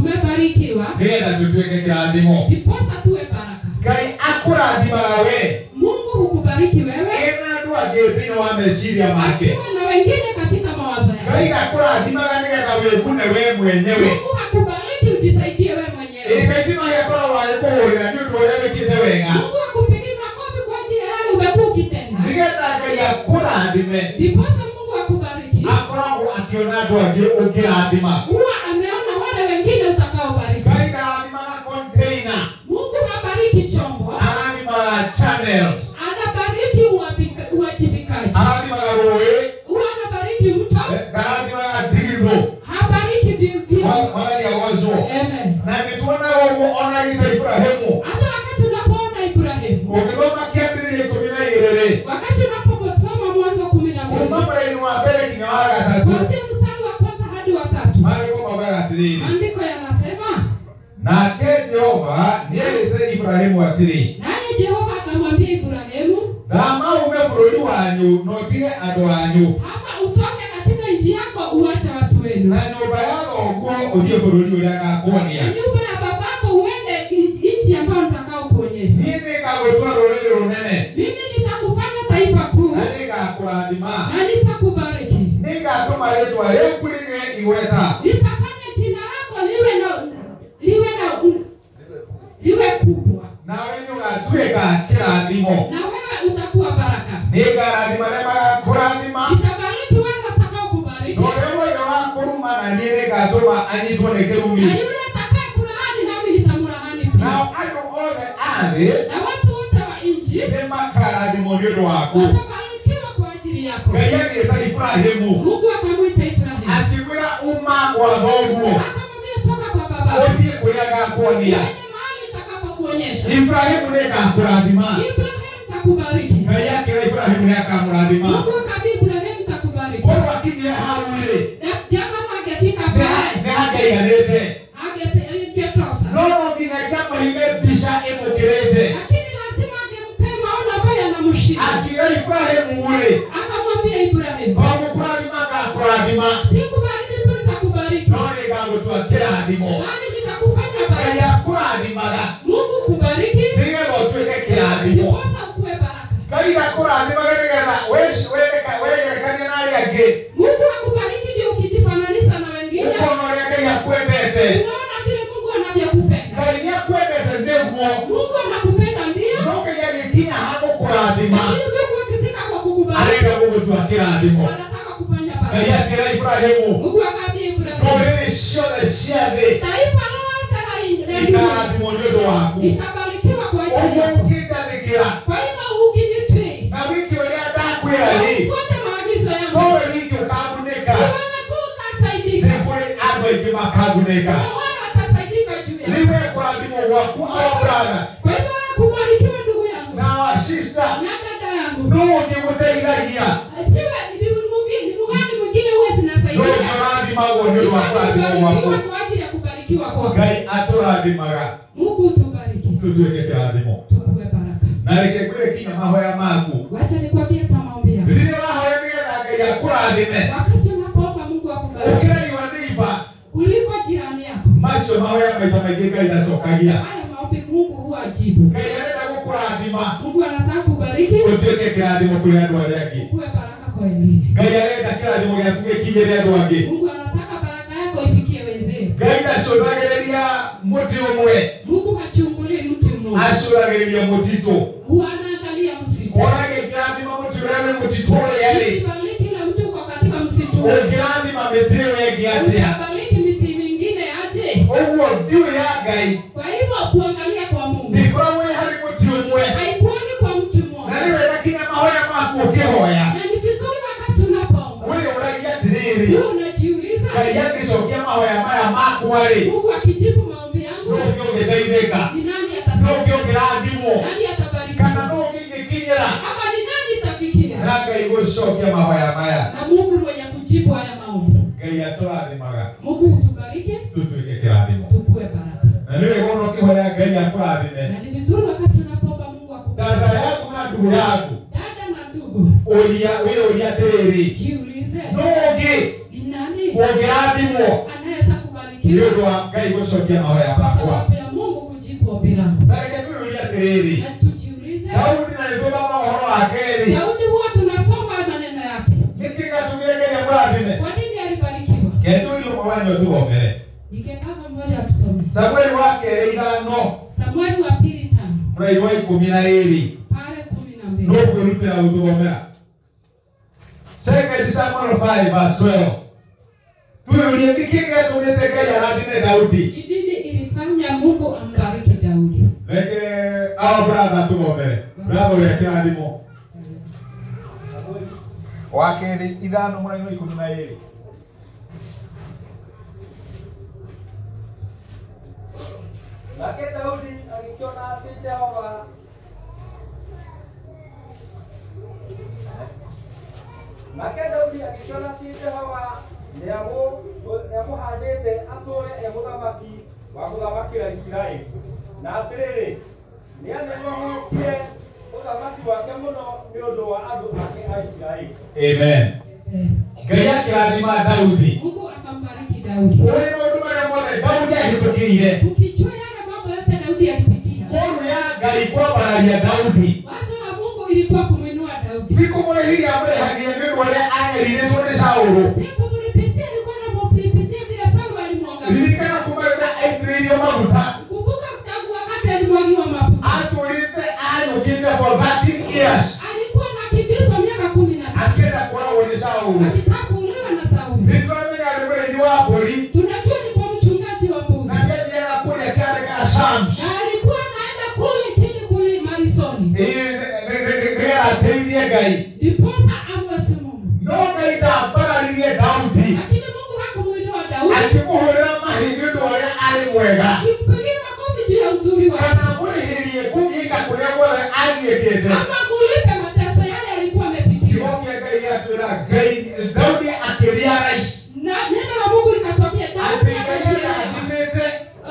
Speaker 3: tumebarikiwa
Speaker 5: nĩgetha tũtuĩke kĩrathimo
Speaker 3: ndiposa tuwe baraka
Speaker 5: ngai akũrathimaga we
Speaker 3: mungu hukubariki wewe
Speaker 5: ĩna andũ angĩ thĩinĩ wa meciria make
Speaker 3: akiwa na wengine katika mawazo yako
Speaker 5: ngai akũrathimaga nĩgetha wĩgune we mwenyewe
Speaker 3: mungu hakubariki ujisaidie wewe mwenyewe
Speaker 5: ĩkaima gĩakoragwo agĩkũhũrĩra nĩ ũndũ ũrĩa wĩkĩte wega
Speaker 3: mungu hakupigi makofi kwa ajili ya yale umekuwa ukitenda
Speaker 5: nĩgetha ngai akũrathime
Speaker 3: ndiposa mungu akubariki
Speaker 5: akoragwo akĩona andũ angĩ ũngĩrathima
Speaker 3: huwa ameona wale wengine utakaobariki
Speaker 5: ngai ndarathimaga container
Speaker 3: mungu habariki chombo
Speaker 5: arathimaga channels
Speaker 3: anabariki uwabika- uwajibikaji
Speaker 5: arathimaga rũĩ eh,
Speaker 3: huwa anabariki mto
Speaker 5: ndarathimaga ndigithũ
Speaker 3: habariki vivyo
Speaker 5: wagaria gwacwo
Speaker 3: Amen.
Speaker 5: na nä tuonaga å guo ona gä ta iburahämu
Speaker 3: Hata wakati unapoona Ibrahimu,
Speaker 5: å ngä thoma kä ambä rä ria ikå mi na igä rä rä
Speaker 3: wakati unaposoma Mwanzo kumi na mbili
Speaker 5: kuma mraini wa mbere nginya wa gatatå
Speaker 3: kuanzia mstari wa kwanza hadi wa tatu,
Speaker 5: marä gå maugaga atä rä rä
Speaker 3: maandiko yanasema,
Speaker 5: nake jehova nä erä te iburahämu atä rä
Speaker 3: naye Jehova akamwambia Ibrahimu,
Speaker 5: thama ume bå rå ri wanyu na å tige andå anyu
Speaker 3: kama utoke katika nchi yako uache watu wenu
Speaker 5: na nyå mba ya thoguo å thiä bå rå ri å rä a
Speaker 3: na
Speaker 5: ngakuonia
Speaker 3: nyumba ya babako uende i- nchi ambayo nitakaokuonyesha.
Speaker 5: niä nä ngagå twa rå rä rä rå nene
Speaker 3: Mimi nitakufanya taifa kuu
Speaker 5: na nä ngakå rathima
Speaker 3: na nitakubariki,
Speaker 5: nä ngatå ma rä twa rä ku rä ge igweta
Speaker 3: nitafanya jina lako liwe na liwe na liwe kubwa
Speaker 5: nawe nä å gatuä ka kä rathimo
Speaker 3: na wewe utakuwa baraka.
Speaker 5: nĩngarathima arĩa magakũrathima
Speaker 3: Nitabariki wale watakaokubariki
Speaker 5: na ũrĩa wothe wakũruma na niĩ nĩngatũma anyitwo nĩ
Speaker 3: na
Speaker 5: kĩrumi
Speaker 3: yule atakaye kulaani nami nitamlaani
Speaker 5: na
Speaker 3: pia.
Speaker 5: thĩ
Speaker 3: na watu wote wa nchi
Speaker 5: nĩ makarathimwo nĩ ũndũ waku
Speaker 3: watabarikiwa kwa ajili yako
Speaker 5: ngai agĩĩta iburahĩmu
Speaker 3: mungu akamwita ibrahimu
Speaker 5: akĩmwĩra uma gwa thoguo
Speaker 3: akamwambia toka kwa baba
Speaker 5: ũthiĩ kũrĩa ngakuonia
Speaker 3: ende mahali nitakapokuonyesha
Speaker 5: iburahĩmu nĩ ngakũrathima
Speaker 3: ibrahimu takubariki
Speaker 5: ngai akĩra iburahĩmu nĩ akamũrathima
Speaker 3: mungu akamwambia ibrahimu takubariki
Speaker 5: mũndũ akinyire hau-rĩ
Speaker 3: na kama angefika
Speaker 5: nĩ- nĩ
Speaker 3: pale
Speaker 5: hakaiganĩte no
Speaker 3: angetosa
Speaker 5: no nginya ngamũhime mbica ĩmũkĩrĩte
Speaker 3: lakini lazima angempea maono ambayo yanamshika
Speaker 5: akĩra iburahĩmu-rĩ
Speaker 3: akamwambia ibrahimu
Speaker 5: to gũkũrathima ngakũrathima
Speaker 3: sikubariki tu nitakubariki
Speaker 5: no nĩ ngagũtua kĩrathimo
Speaker 3: bali nitakufanya
Speaker 5: ngai
Speaker 3: baraka
Speaker 5: akũrathimaga
Speaker 3: mungu kubariki
Speaker 5: nĩgetha ũtuĩke kĩrathimo
Speaker 3: ndiposa ukuwe baraka
Speaker 5: ngai akũrathimaga nĩgetha wĩci- wĩrĩka- wĩgerekanie na arĩa angĩ
Speaker 3: mungu akubariki ndio ukijifananisha na wengine
Speaker 5: ũkona ũrĩa ngai akwendete
Speaker 3: unaona vile mungu anavyokupenda
Speaker 5: ngai nĩ akwendete nĩguo
Speaker 3: mungu anakupenda ndio
Speaker 5: no ngai agĩkinya ha gũkũrathima
Speaker 3: lakini mungu akifika kwa
Speaker 5: arenda
Speaker 3: kukubariki
Speaker 5: gũgũtua kĩrathimo
Speaker 3: wanataka kufanya
Speaker 5: ngai
Speaker 3: baraka
Speaker 5: akĩra iburahĩmu
Speaker 3: mungu akaambia ibrahimu
Speaker 5: ndũrĩrĩ ciothe cia thĩ
Speaker 3: taifa lote la Israeli
Speaker 5: ikarathimwo nĩ ũndũ waku
Speaker 3: litabarikiwa kwa ajili
Speaker 5: ũguo
Speaker 3: yako
Speaker 5: ũngĩgathĩkĩra
Speaker 3: kwa hivyo ukinitii
Speaker 5: na wiki ũrĩa ndakwĩra
Speaker 3: na
Speaker 5: nĩ
Speaker 3: ufuate maagizo yangu
Speaker 5: nowe wiki ũkagunĩka
Speaker 3: ni wewe tu
Speaker 5: nĩ
Speaker 3: utasaidika
Speaker 5: kũrĩ andũ aingĩ makagunĩka
Speaker 3: na wale watasaidika juu yako
Speaker 5: niwe kũrathimwo gwaku o brother
Speaker 3: kwa hivyo kubarikiwa ndugu yangu
Speaker 5: na wa sister
Speaker 3: na dada yangu
Speaker 5: nũũ ũngĩgũteithagia
Speaker 3: siwe ni mwingine ni mgani mwingine huwa
Speaker 5: nũũ
Speaker 3: zinasaidia
Speaker 5: ũngĩrathimagwo nĩ ũndũ wa kũrathimwo gwaku
Speaker 3: kubarikiwa kwa ajili ya kubarikiwa kwako
Speaker 5: ngai atũrathimaga
Speaker 3: Mungu tubariki
Speaker 5: tũtuĩke kĩrathimo
Speaker 3: tukuwe baraka
Speaker 5: na reke kwĩre kinya mahoya maku
Speaker 3: wacha nikwambie hata maombi yako
Speaker 5: rĩrĩa wahoya nĩgetha ngai akũrathime
Speaker 3: wakati unapoomba Mungu akubariki
Speaker 5: ũkĩra iwa neiba
Speaker 3: kuliko jirani yako
Speaker 5: macio mahoya maita maingĩ ngai ndacokagia
Speaker 3: haya maombi Mungu huwa ajibu
Speaker 5: ngai arenda gũkũrathima
Speaker 3: Mungu anataka kubariki
Speaker 5: ũtuĩke kĩrathimo kũrĩ andũ arĩa angĩ
Speaker 3: kuwe baraka kwa wengine
Speaker 5: ngai arenda kĩrathimo gĩaku gĩkinyĩre andũ angĩ
Speaker 3: Mungu anataka baraka yako ifikie wenzenu
Speaker 5: ngai ndacũthagĩrĩria mũtĩ ũmwe
Speaker 3: Mungu hachungulii mtu mmoja
Speaker 5: acũthagĩrĩria mũtitũ
Speaker 3: huwa anaangalia msitu
Speaker 5: ũrage kĩrathima mũtĩ ũrĩa nĩ mũtitũ ũrĩa rĩ
Speaker 3: Ukibariki na mtu uko katika msitu huu,
Speaker 5: ũngĩrathima mĩtĩ ĩyo ĩngĩ atĩa
Speaker 3: utabariki miti mingine aje
Speaker 5: ũguo thiũ ya ngai
Speaker 3: kwa hivyo kuangalia kwa Mungu
Speaker 5: ndĩkoragwo ĩ harĩ mũtĩ ũmwe
Speaker 3: haikuangi kwa mtu
Speaker 5: na nĩ
Speaker 3: mmoja
Speaker 5: wega kinya mahoya maku ũkĩhoya
Speaker 3: na ni vizuri wakati unapoomba
Speaker 5: wĩ ũragia atĩrĩrĩ
Speaker 3: wewe unajiuliza
Speaker 5: ngai angĩcokia mahoya maya makwa rĩ
Speaker 3: Mungu akijibu maombi yangu
Speaker 5: nũũ ũngĩ ũngĩteithĩka
Speaker 3: ni nani
Speaker 5: nũũ
Speaker 3: atasaidia
Speaker 5: ũngĩ ũngĩrathimwo
Speaker 3: nani atabariki
Speaker 5: kana nũũ ũngĩ ingĩkinyĩra
Speaker 3: ama ni nani tafikia
Speaker 5: na ngai gũcokia mahoya maya
Speaker 3: na Mungu mwenye kujibu haya maombi
Speaker 5: ngai atũrathimaga
Speaker 3: Mungu utubariki
Speaker 5: tũtuĩke kĩrathimo
Speaker 3: tukue baraka
Speaker 5: na nĩ wega ona ũkĩhoya ngai akũrathime
Speaker 3: na ni vizuri wakati unapoomba Mungu
Speaker 5: dada
Speaker 3: akubariki
Speaker 5: yaku na ndugu yaku
Speaker 3: dada na ndugu
Speaker 5: ũria wĩyũria atĩrĩrĩ
Speaker 3: jiulize
Speaker 5: nũũ ũngĩ
Speaker 3: ni nani
Speaker 5: ũngĩrathimwo
Speaker 3: anaweza
Speaker 5: nĩ
Speaker 3: kubarikiwa
Speaker 5: ũndũ wa ngai gũcokia mahoya
Speaker 3: kwa
Speaker 5: makwa
Speaker 3: sababu ya Mungu kujibu ombi langu
Speaker 5: na reke twĩyũrie atĩrĩrĩ
Speaker 3: na tujiulize
Speaker 5: daudi na nĩtũthoma ũhoro wa kerĩ
Speaker 3: Daudi huwa tunasoma maneno yake
Speaker 5: nĩkĩ gatũmire ngai akũrathime
Speaker 3: kwa nini alibarikiwa
Speaker 5: ketũũrio mwawanyo tũgomere
Speaker 3: ningetaka mmoja tusome
Speaker 5: samueli wa kerĩ ithano
Speaker 3: Samueli wa pili tano
Speaker 5: mũrairi wa ikũmi na ĩrĩ
Speaker 3: pale kumi na mbili
Speaker 5: nũkwĩrutĩra gũtũgomera second samuel 5 verse 12 twĩyũrie nĩkĩ gĩatũmĩte ngai arathime daudi
Speaker 3: ni nini ilifanya Mungu ambariki Daudi
Speaker 5: reke ao bratha tũgomere bratha ũrĩa kĩrathimo wa kerĩ ithano mũrairi wa ikũmi na ĩrĩ
Speaker 2: nake daudi agĩkĩona atĩ jehova nake daudi agĩkĩona atĩ jehova nĩamũ- nĩamũhaandĩte atũũre e mũthamaki wa gũthamakĩra isiraeli na atĩrĩrĩ nĩanĩmohotie ũthamaki wake mũno nĩ ũndũ wa andũ ake a isiraeli
Speaker 5: amen
Speaker 3: eh,
Speaker 5: ngai akĩrathima daudi
Speaker 3: Mungu akambariki Daudi
Speaker 5: ũrĩ maũndũ marĩa mothe daudi ahĩtũkĩire
Speaker 3: ukijua yale mambo yote Daudi alipitia
Speaker 5: ngũrũ ya ngai kwambararia daudi
Speaker 3: wazo la Mungu ilikuwa kumwinua Daudi
Speaker 5: ti kũmũrĩhithia amũrĩhagia nĩ ũndũ ũrĩa agerirĩtwo nĩ saũlũ
Speaker 3: sikumlipisia alikuwa anamlipisia vile Sauli alimwangalia
Speaker 5: ririkana kuma rĩrĩa aitĩrĩirio maguta
Speaker 3: kumbuka tangu wakati alimwagiwa mafuta
Speaker 5: atũrĩte anyũkĩte for 13 years
Speaker 3: alikuwa anakimbizwa miaka kumi na tano
Speaker 5: akĩenda kũragwo nĩ saũlũ
Speaker 3: akitaka kuuliwa na Sauli
Speaker 5: nĩtũramenya nĩ mũrĩithi wa mbũri
Speaker 3: tunajua ni kwa mchungaji wa mbuzi
Speaker 5: na nĩathiaga kũrĩa kĩarĩ ga shams
Speaker 3: na alikuwa anaenda kule chini
Speaker 5: ngai
Speaker 3: ndiposa amwece Mungu.
Speaker 5: no ngai ndambararirie daudi
Speaker 3: Lakini Mungu hakumwinua Daudi,
Speaker 5: akĩmũhũrĩra mahiga ũndũ ũrĩa arĩ mwega
Speaker 3: akimpigia makofi juu ya uzuri wake,
Speaker 5: kana amũrĩhĩrie kũgiĩka kũrĩa guothe athiĩkĩte
Speaker 3: ama amlipe mateso yale alikuwa amepitia.
Speaker 5: kiugo kĩa ngai atwĩra ngai daudi akĩria raici
Speaker 3: Na neno la Mungu likatwambia Daudi
Speaker 5: atĩ ngai
Speaker 3: amekiri rehema.
Speaker 5: ndathimĩte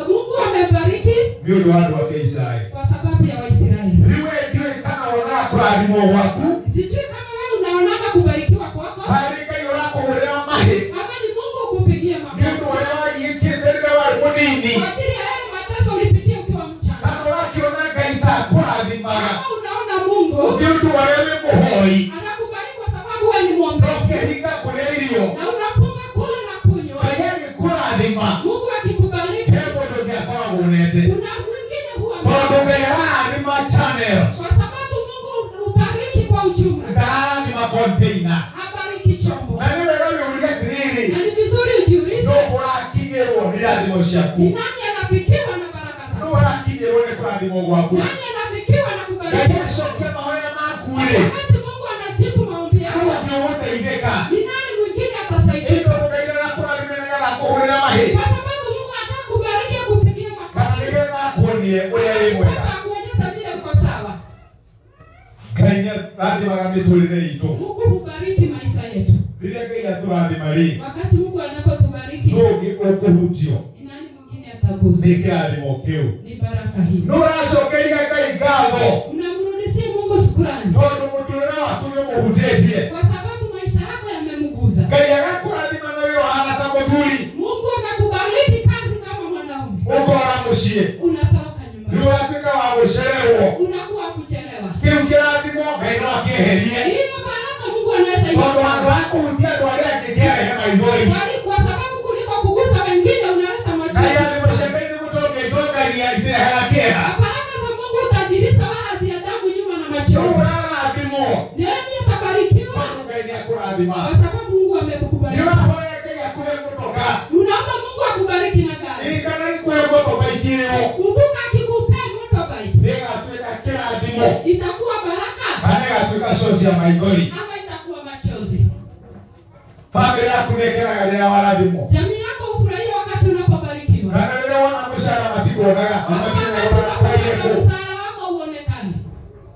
Speaker 3: Mungu amebariki
Speaker 5: nĩ ũndũ wa andũ ake isiraeli
Speaker 3: kwa sababu ya Waisraeli.
Speaker 5: rĩu ndiũĩ kana wonaga kũrathimwo gwaku
Speaker 3: Sijui kama wewe unaonaga kubarikiwa kwako
Speaker 5: harĩ ngai ũrakũhũrĩra mahiga
Speaker 3: ama ni Mungu kukupigia
Speaker 5: nĩ ũndũ
Speaker 3: makofi
Speaker 5: ũrĩa wagiĩkĩte rĩrĩa warĩ mũnini
Speaker 3: kwa ajili ya yale mateso ulipitia ukiwa mchanga.
Speaker 5: kana ũrakĩona ngai ta akũrathimaga
Speaker 3: Kama unaona Mungu
Speaker 5: nĩ ũndũ ũrĩa wĩ mũhoi
Speaker 3: anakubariki kwa sababu wewe ni mwombezi
Speaker 5: ndũngĩhinga kũrĩa irio
Speaker 3: na unafunga kula na kunywa,
Speaker 5: ngai agĩkũrathima
Speaker 3: Mungu akikubariki,
Speaker 5: he mũndũ ũngĩ akoragwo ũnete
Speaker 3: kuna mwingine huwa
Speaker 5: tondũ
Speaker 3: mbaya.
Speaker 5: ngai arathima channels
Speaker 3: kwa sababu Mungu hubariki kwa ujumla,
Speaker 5: ndarathima container
Speaker 3: habariki chombo.
Speaker 5: na nĩ wega wĩũrie
Speaker 3: Na
Speaker 5: tiriri
Speaker 3: ni vizuri
Speaker 5: nũ
Speaker 3: ujiulize
Speaker 5: ũrakinyĩrwo nĩ irathimo ciaku
Speaker 3: ni nani anafikiwa na baraka
Speaker 5: nũ
Speaker 3: zako,
Speaker 5: ũrakinyĩrwo nĩ kũrathimo gwaku
Speaker 3: nani anafikiwa na
Speaker 5: ngai
Speaker 3: kubariki
Speaker 5: acokia mahoya maku rĩ
Speaker 3: wakati Mungu anajibu maombi
Speaker 5: nũ
Speaker 3: yako,
Speaker 5: ũngĩ ũgũteithĩka
Speaker 3: ni nani mwingine atasaidia?
Speaker 5: ĩndũ ngai nĩarakũrathima nĩ agakũhũrĩra mahĩ
Speaker 3: Kwa sababu Mungu anataka kubariki akupigie
Speaker 5: kana
Speaker 3: makofi,
Speaker 5: nĩgetha akuonie ũrĩa wĩ mwega
Speaker 3: Sasa akuonyesha vile uko sawa.
Speaker 5: ngai nĩarathimaga mĩtũrĩre itũ
Speaker 3: Mungu hubariki maisha yetu.
Speaker 5: rĩrĩa ngai atũrathima rĩ
Speaker 3: Wakati Mungu anapotubariki,
Speaker 5: nũ ũngĩ ũkũhutio
Speaker 3: ni nani mwingine ataguswa?
Speaker 5: nĩ kĩrathimo kĩu
Speaker 3: Ni baraka hii.
Speaker 5: nĩ ũracokeria ngai ngatho
Speaker 3: Unamrudishia Mungu shukrani
Speaker 5: tondũ mũtũrĩre waku nĩ mũhutĩtie
Speaker 3: kwa sababu maisha yako yamemguza.
Speaker 5: ngai agakũrathima na wĩ wahana ta mũthuri
Speaker 3: Mungu amekubariki kazi kama mwanaume,
Speaker 5: ũkora mũciĩ
Speaker 3: unatoroka
Speaker 5: nĩ
Speaker 3: nyumbani,
Speaker 5: ũratuĩka wa gũcererwo
Speaker 3: unakuwa kuchelewa.
Speaker 5: kĩu kĩrathimo ngai no akĩeherie
Speaker 3: Hiyo baraka Mungu anaweza
Speaker 5: tondũ handũ
Speaker 3: ikupa.
Speaker 5: wa kũhutia andũ arĩa angĩ kĩarehe maithori
Speaker 3: Bali kwa sababu kuliko kugusa wengine unaleta
Speaker 5: ngai
Speaker 3: machozi.
Speaker 5: athimocemei gũtongĩtwo ngai itĩrehera kĩeha
Speaker 3: Baraka za Mungu utajirisha wala ziadamu nyuma na
Speaker 5: nĩ
Speaker 3: machozi.
Speaker 5: ũrarathimwo
Speaker 3: Nani atabarikiwa
Speaker 5: tondũ ngai nĩ akũrathima
Speaker 3: kwa sababu Mungu
Speaker 5: nĩ
Speaker 3: amekubariki.
Speaker 5: ũrahoya ngai akũhe mũtoka
Speaker 3: Unaomba Mungu akubariki na gari.
Speaker 5: ririkana gĩkũhe mũtoka ikirĩo
Speaker 3: Kumbuka akikupea motorbike
Speaker 5: nĩgatuĩka kĩrathimo
Speaker 3: itakuwa baraka
Speaker 5: kana gatuĩka cocia maithori
Speaker 3: ama itakuwa machozi.
Speaker 5: bamĩrĩ yaku nĩkenaga rĩrĩa warathimwo
Speaker 3: Jamii yako hufurahia wakati unapobarikiwa.
Speaker 5: kana rĩrĩa wona mũcara matikuonaga
Speaker 3: Kama
Speaker 5: mamatinagora
Speaker 3: wakati
Speaker 5: kwairĩkũ
Speaker 3: wa msaada wako uonekane.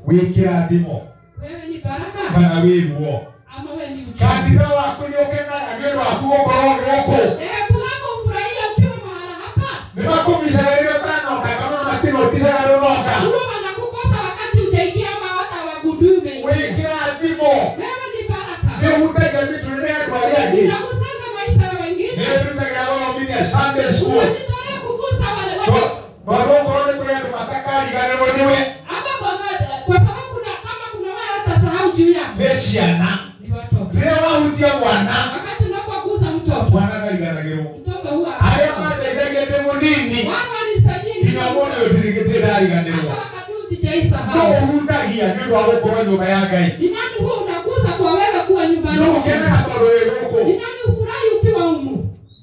Speaker 5: wĩ kĩrathimo
Speaker 3: Wewe ni baraka
Speaker 5: kana wĩ ruo
Speaker 3: ama wewe ni uchumi.
Speaker 5: kanitha waku nĩũkenaga nĩ ũndũ waku gũkorwo gũkũ
Speaker 3: Dhehebu lako hufurahia ukiwa mahala hapa.
Speaker 5: nĩmakũmicaga rĩrĩa ũtanoka kana ona matinoticaga rĩũnoka
Speaker 3: Huwa wanakukosa wakati hujaingia ama hata wagundui
Speaker 5: wĩ
Speaker 3: umeingia.
Speaker 5: kĩrathimo
Speaker 3: Wewe ni baraka.
Speaker 5: nĩhutagia mĩtũrĩre ya andũ arĩa angĩ
Speaker 3: Unagusanga maisha ya wengine.
Speaker 5: nĩrutagĩra gũthomithia Sunday school
Speaker 3: Unajitolea kufunza wale watu.
Speaker 5: tondũ ũkorwo nĩ kũrĩ andũ matakariganĩrwo nĩwe
Speaker 3: Hapa kwa kwa sababu kuna kama kuna wale watasahau juu yako.
Speaker 5: nĩ ciana
Speaker 3: Ni watoto.
Speaker 5: rĩrĩa wahutia mwana
Speaker 3: Wakati unapogusa mtoto,
Speaker 5: mwana ndariganagĩrwo
Speaker 3: mtoto huwa
Speaker 5: arĩa mateithagia ndĩ mũnini
Speaker 3: Wao walisaidia ni
Speaker 5: nginya mwana ũyũ ndirigĩtie ndariganĩrwo
Speaker 3: hata wakati
Speaker 5: no
Speaker 3: sijaisahau.
Speaker 5: ũhutagia nĩ ũndũ wa gũkorwo nyũmba ya ngai
Speaker 3: Ni nani huwa unagusa kwa wewe kuwa nyumbani?
Speaker 5: no ũkenaga tondũ wĩ gũkũ
Speaker 3: Ni nani ufurahi ukiwa humu?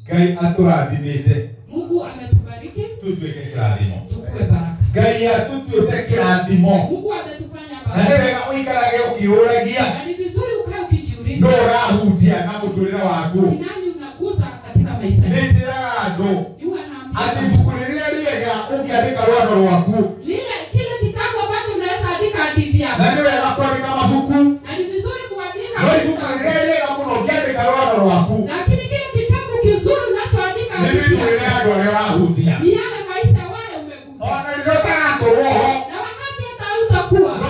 Speaker 5: ngai atũrathimĩte
Speaker 3: Mungu ametubariki
Speaker 5: tũtuĩke kĩrathimo
Speaker 3: tukue baraka.
Speaker 5: ngai atũtuĩte kĩrathimo
Speaker 3: Mungu ametufanya
Speaker 5: na nĩ
Speaker 3: baraka.
Speaker 5: wega ũikarage ũkĩũragia
Speaker 3: Na ni vizuri ukae
Speaker 5: no
Speaker 3: ukijiuliza
Speaker 5: ũrahutia na mũtũrĩre waku
Speaker 3: ni nani unagusa katika maisha
Speaker 5: nĩ
Speaker 3: yangu?
Speaker 5: njĩraga andũ
Speaker 3: Huwa
Speaker 5: atĩ
Speaker 3: naambia
Speaker 5: ibuku rĩrĩa rĩega ũngĩandĩka rwano rwaku
Speaker 3: lile kile kitabu ambacho unaweza andika hadithi
Speaker 5: na
Speaker 3: yako.
Speaker 5: nĩ wega kwandĩka mabuku
Speaker 3: Na ni vizuri kuandika
Speaker 5: no ibuku
Speaker 3: hadithi.
Speaker 5: rĩrĩa rĩega mũno ũngĩandĩka rwano rwaku
Speaker 3: Lakini kile kitabu kizuri unachoandika
Speaker 5: nĩ
Speaker 3: hadithi
Speaker 5: mĩtũrĩre ya
Speaker 3: yako.
Speaker 5: andũ arĩa ũrahutia
Speaker 3: ni yale maisha wale umegusa
Speaker 5: ona rĩrĩa ũtagakorwo ho
Speaker 3: na wakati hata utakuwa
Speaker 5: no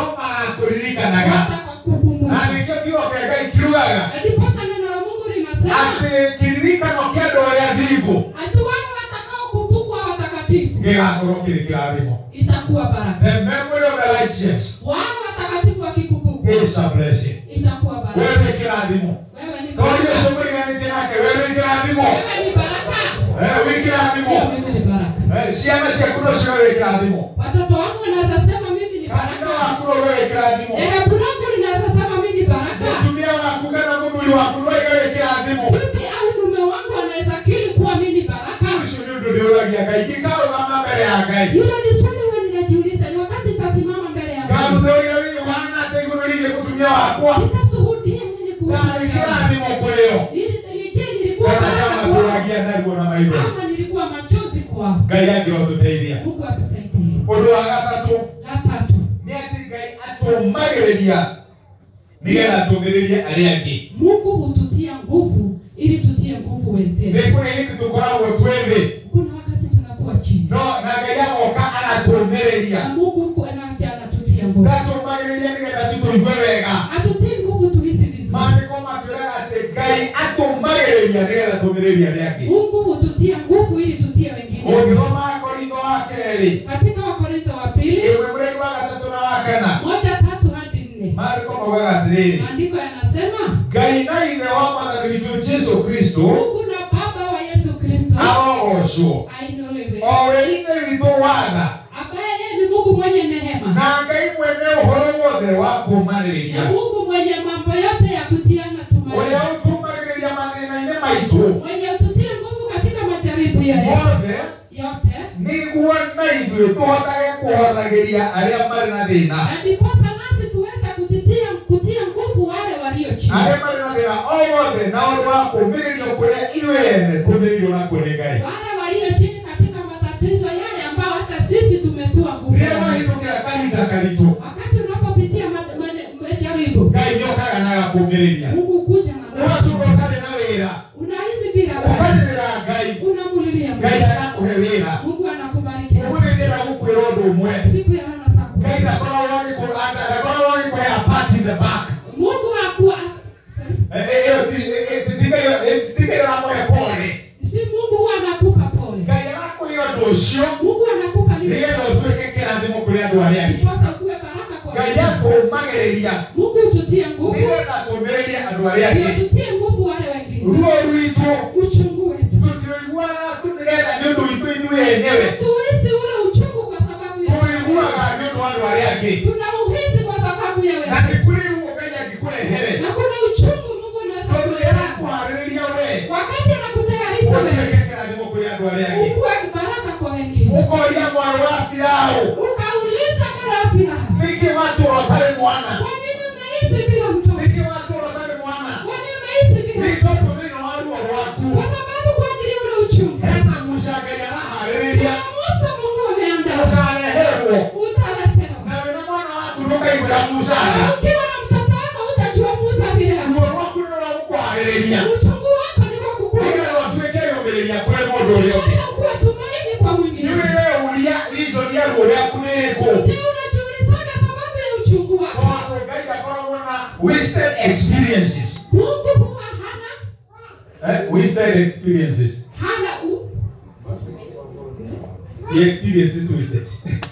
Speaker 5: magakũririkanaga
Speaker 3: hata kwa
Speaker 5: na
Speaker 3: kukumbuka
Speaker 5: nĩkĩo kiugo kĩa ngai kiugaga
Speaker 3: Na ndiposa neno la Mungu linasema
Speaker 5: atĩ kĩririkano kĩa andũ arĩa thingu
Speaker 3: hatu wale watakaokumbukwa watakatifu
Speaker 5: gĩgakorwo kĩrĩ kĩrathimo
Speaker 3: itakuwa baraka
Speaker 5: the memory of the righteous
Speaker 3: wale watakatifu wakikumbukwa
Speaker 5: is a blessing
Speaker 3: itakuwa
Speaker 5: wewe
Speaker 3: baraka
Speaker 5: nĩ kĩrathimo
Speaker 3: wewe ni
Speaker 5: no
Speaker 3: baraka
Speaker 5: Yesu mũriganĩtie nake wewe nĩ kĩrathimo
Speaker 3: wewe ni baraka
Speaker 5: Eh, wĩ
Speaker 3: Ndio
Speaker 5: kĩrathimo
Speaker 3: mimi ni baraka
Speaker 5: Eh, ciana ciaku no ciwe wĩ kĩrathimo
Speaker 3: watoto wangu wanaweza sema mimi ni
Speaker 5: kanitha
Speaker 3: baraka
Speaker 5: waku no we wĩ kĩrathimo
Speaker 3: dhehebu langu linaweza sema mimi ni baraka
Speaker 5: mũtumia waku kana mũthuri waku no iwe wĩ kĩrathimo
Speaker 3: bibi au mume wangu anaweza kiri kuwa mimi ni baraka
Speaker 5: ũcio nĩ ũndũ ndĩũragia ngai ngĩkarũgama mbere ya ngai
Speaker 3: hilo ni swali huwa ninajiuliza ni wakati nitasimama mbele ya Mungu
Speaker 5: ngathuthũria wĩ ũhana atĩa igũrũ rĩgiĩ mũtumia waku wakwa
Speaker 3: nikashuhudia nilikuwa
Speaker 5: na kirathimo kwĩyo
Speaker 3: nije nilikuwa
Speaker 5: kana kama tũragia naguo na maitho
Speaker 3: kama nilikuwa machozi kwao
Speaker 5: ngai angĩrotũteithia
Speaker 3: mungu atusaidie
Speaker 5: ũndũ wa gatatũ
Speaker 3: la tatu
Speaker 5: nĩ atĩ ngai atũmagĩrĩria nĩgetha tũmĩrĩrie arĩa angĩ
Speaker 3: mungu hututia nguvu ili tutie nguvu
Speaker 5: nĩ
Speaker 3: wenzetu
Speaker 5: kũrĩ hĩndĩ tũkoragwo twĩ thĩ
Speaker 3: kuna wakati tunakuwa chini
Speaker 5: no na ngai agoka agatũmĩrĩria
Speaker 3: na mungu ku- anaja anatutia nguvu
Speaker 5: ndatũmagĩrĩria nĩgetha tũtũigue wega
Speaker 3: atutie nguvu tuhisi vizuri
Speaker 5: maandĩko matwĩraga atĩ ngai atũmagĩrĩria nĩgetha tũmĩrĩrie arĩa angĩ
Speaker 3: mungu hututia nguvu ili tutie wengine
Speaker 5: ũngĩthoma akorintho wa kerĩ
Speaker 3: katika wakorintho wa pili
Speaker 5: ĩmwe mweri wa gatatũ na wa kana
Speaker 3: moja tatu hadi nne
Speaker 5: maandĩko maugaga atĩrĩrĩ
Speaker 3: maandiko yanasema
Speaker 5: ngai na ithe wa mwathani witũ jesu kristo
Speaker 3: mungu na baba wa yesu kristo
Speaker 5: arogocwo
Speaker 3: ainolewe
Speaker 5: o we ithe witũ watha
Speaker 3: ambaye yeye ni mungu mwenye nehema
Speaker 5: na ngai mwene ũhoro wothe wa
Speaker 3: na
Speaker 5: kũũmanĩrĩria
Speaker 3: mungu mwenye mambo yote ya kutiana
Speaker 5: ũrĩa
Speaker 3: tumaini
Speaker 5: ũtũmagĩrĩria mathĩna-inĩ maitũ
Speaker 3: mwenye kututia nguvu katika majaribu yale
Speaker 5: mothe
Speaker 3: yote
Speaker 5: nĩguo na ithuĩ tũhotage kũhothagĩria arĩa marĩ na thĩna
Speaker 3: na ndiposa nasi tuweze kutitia kutia nguvu wale walio chini
Speaker 5: arĩa marĩ na thĩna o wothe na ũndũ wa kũũmĩrĩrio kũrĩa ithuĩ ene tũmĩrĩirwo na kũrĩ ngai
Speaker 3: wale walio chini katika matatizo yale ambayo hata sisi tumetua nguvu
Speaker 5: rĩrĩa mahĩtũkĩra kahinda karitũ
Speaker 3: wakati unapopitia ma- ma- majaribu
Speaker 5: ngai nĩokaga na agakũũmĩrĩria
Speaker 3: mungu kuja na
Speaker 5: ũgaturwo ũtarĩ na wĩra
Speaker 3: unahisi bila raha.
Speaker 5: ũkanĩrĩra ngai
Speaker 3: unamulilia
Speaker 5: ngai
Speaker 3: mungu
Speaker 5: agakũhe wĩra
Speaker 3: mungu anakubariki
Speaker 5: ũmũthĩrĩra gũkwĩra ũndũ ũmwe
Speaker 3: siku ya leo natakupa.
Speaker 5: ngai ndakoragwo agĩkũranda ndakoragwo agĩkũhe a pat in the back
Speaker 3: mungu hakuwa sorry.
Speaker 5: Eh, eh, ĩyo ti- eh, eh, ti- tiga ĩyo- eh, tiga ĩyo akũhe pole
Speaker 3: si mungu huwa anakupa pole
Speaker 5: ngai agakũhe ũndũ ũcio
Speaker 3: mungu anakupa lile
Speaker 5: nĩgetha ũtuĩke kĩrathimo kũrĩ andũ arĩa angĩ
Speaker 3: ndiposa ukuwe baraka kwa
Speaker 5: ngai
Speaker 3: wengine.
Speaker 5: akũmagĩrĩria
Speaker 3: mungu ututie nguvu
Speaker 5: nĩgetha kũmĩrĩria andũ arĩa
Speaker 3: ndio
Speaker 5: angĩ
Speaker 3: tutie nguvu wale wengine
Speaker 5: ruo rwitũ
Speaker 3: uchungu wetu
Speaker 5: tũtiroiguaga tu nĩgetha nĩ ũndũ witũ ithuĩ enyewe
Speaker 3: tuuhisi ule uchungu kwa sababu ya
Speaker 5: tũiguaga nĩ ũndũ wa andũ arĩa angĩ
Speaker 3: tunauhisi kwa sababu ya
Speaker 5: na
Speaker 3: wewe
Speaker 5: nĩ kũrĩ ruo ngai angĩkũrehere
Speaker 3: na kuna uchungu mungu anaweza
Speaker 5: tondũ
Speaker 3: kuleta
Speaker 5: nĩarakuharĩrĩria wee
Speaker 3: wakati anakutayarisha wewe
Speaker 5: ũkoria
Speaker 3: ukuwe baraka kwa wengine
Speaker 5: mwarĩ wa Firaũ
Speaker 3: ukauliza mara firaha
Speaker 5: nĩkĩ watũra ũtarĩ mwana
Speaker 3: kwa nini unahisi bila mtoto
Speaker 5: nĩkĩ watũra ũtarĩ mwana
Speaker 3: kwa nini unahisi bila
Speaker 5: nĩ tondũ thĩinĩ wa ruo
Speaker 3: kwa
Speaker 5: rwaku
Speaker 3: sababu kwa ajili ya ule uchungu
Speaker 5: hena Musa Ngai araharĩrĩria
Speaker 3: kuna Musa Mungu ameandaa
Speaker 5: ũkareherwo
Speaker 3: utaletewa
Speaker 5: na wĩna mwana waku ndũkaiguĩra Musa
Speaker 3: na
Speaker 5: tha
Speaker 3: ukiwa na mtoto wako utajua Musa bila
Speaker 5: ruo rwaku nĩ rwagũkũharĩrĩria
Speaker 3: uchungu wako ni kwa
Speaker 5: nĩgetha
Speaker 3: kukuza
Speaker 5: ũtuĩke yũmĩrĩria kũrĩ mũndũ ũrĩa ũngĩ
Speaker 3: hata kuwa tumaini kwa mwingine
Speaker 5: nĩ wĩreũria reason ya ruo rwaku nĩ ĩkũ
Speaker 3: je unajiulizaga sababu ya uchungu wako
Speaker 5: tondũ Ngai ndakoragwo na wasted experiences
Speaker 3: Mungu huwa hana
Speaker 5: Eh, wasted experiences.
Speaker 3: hana u
Speaker 5: The experience is wasted.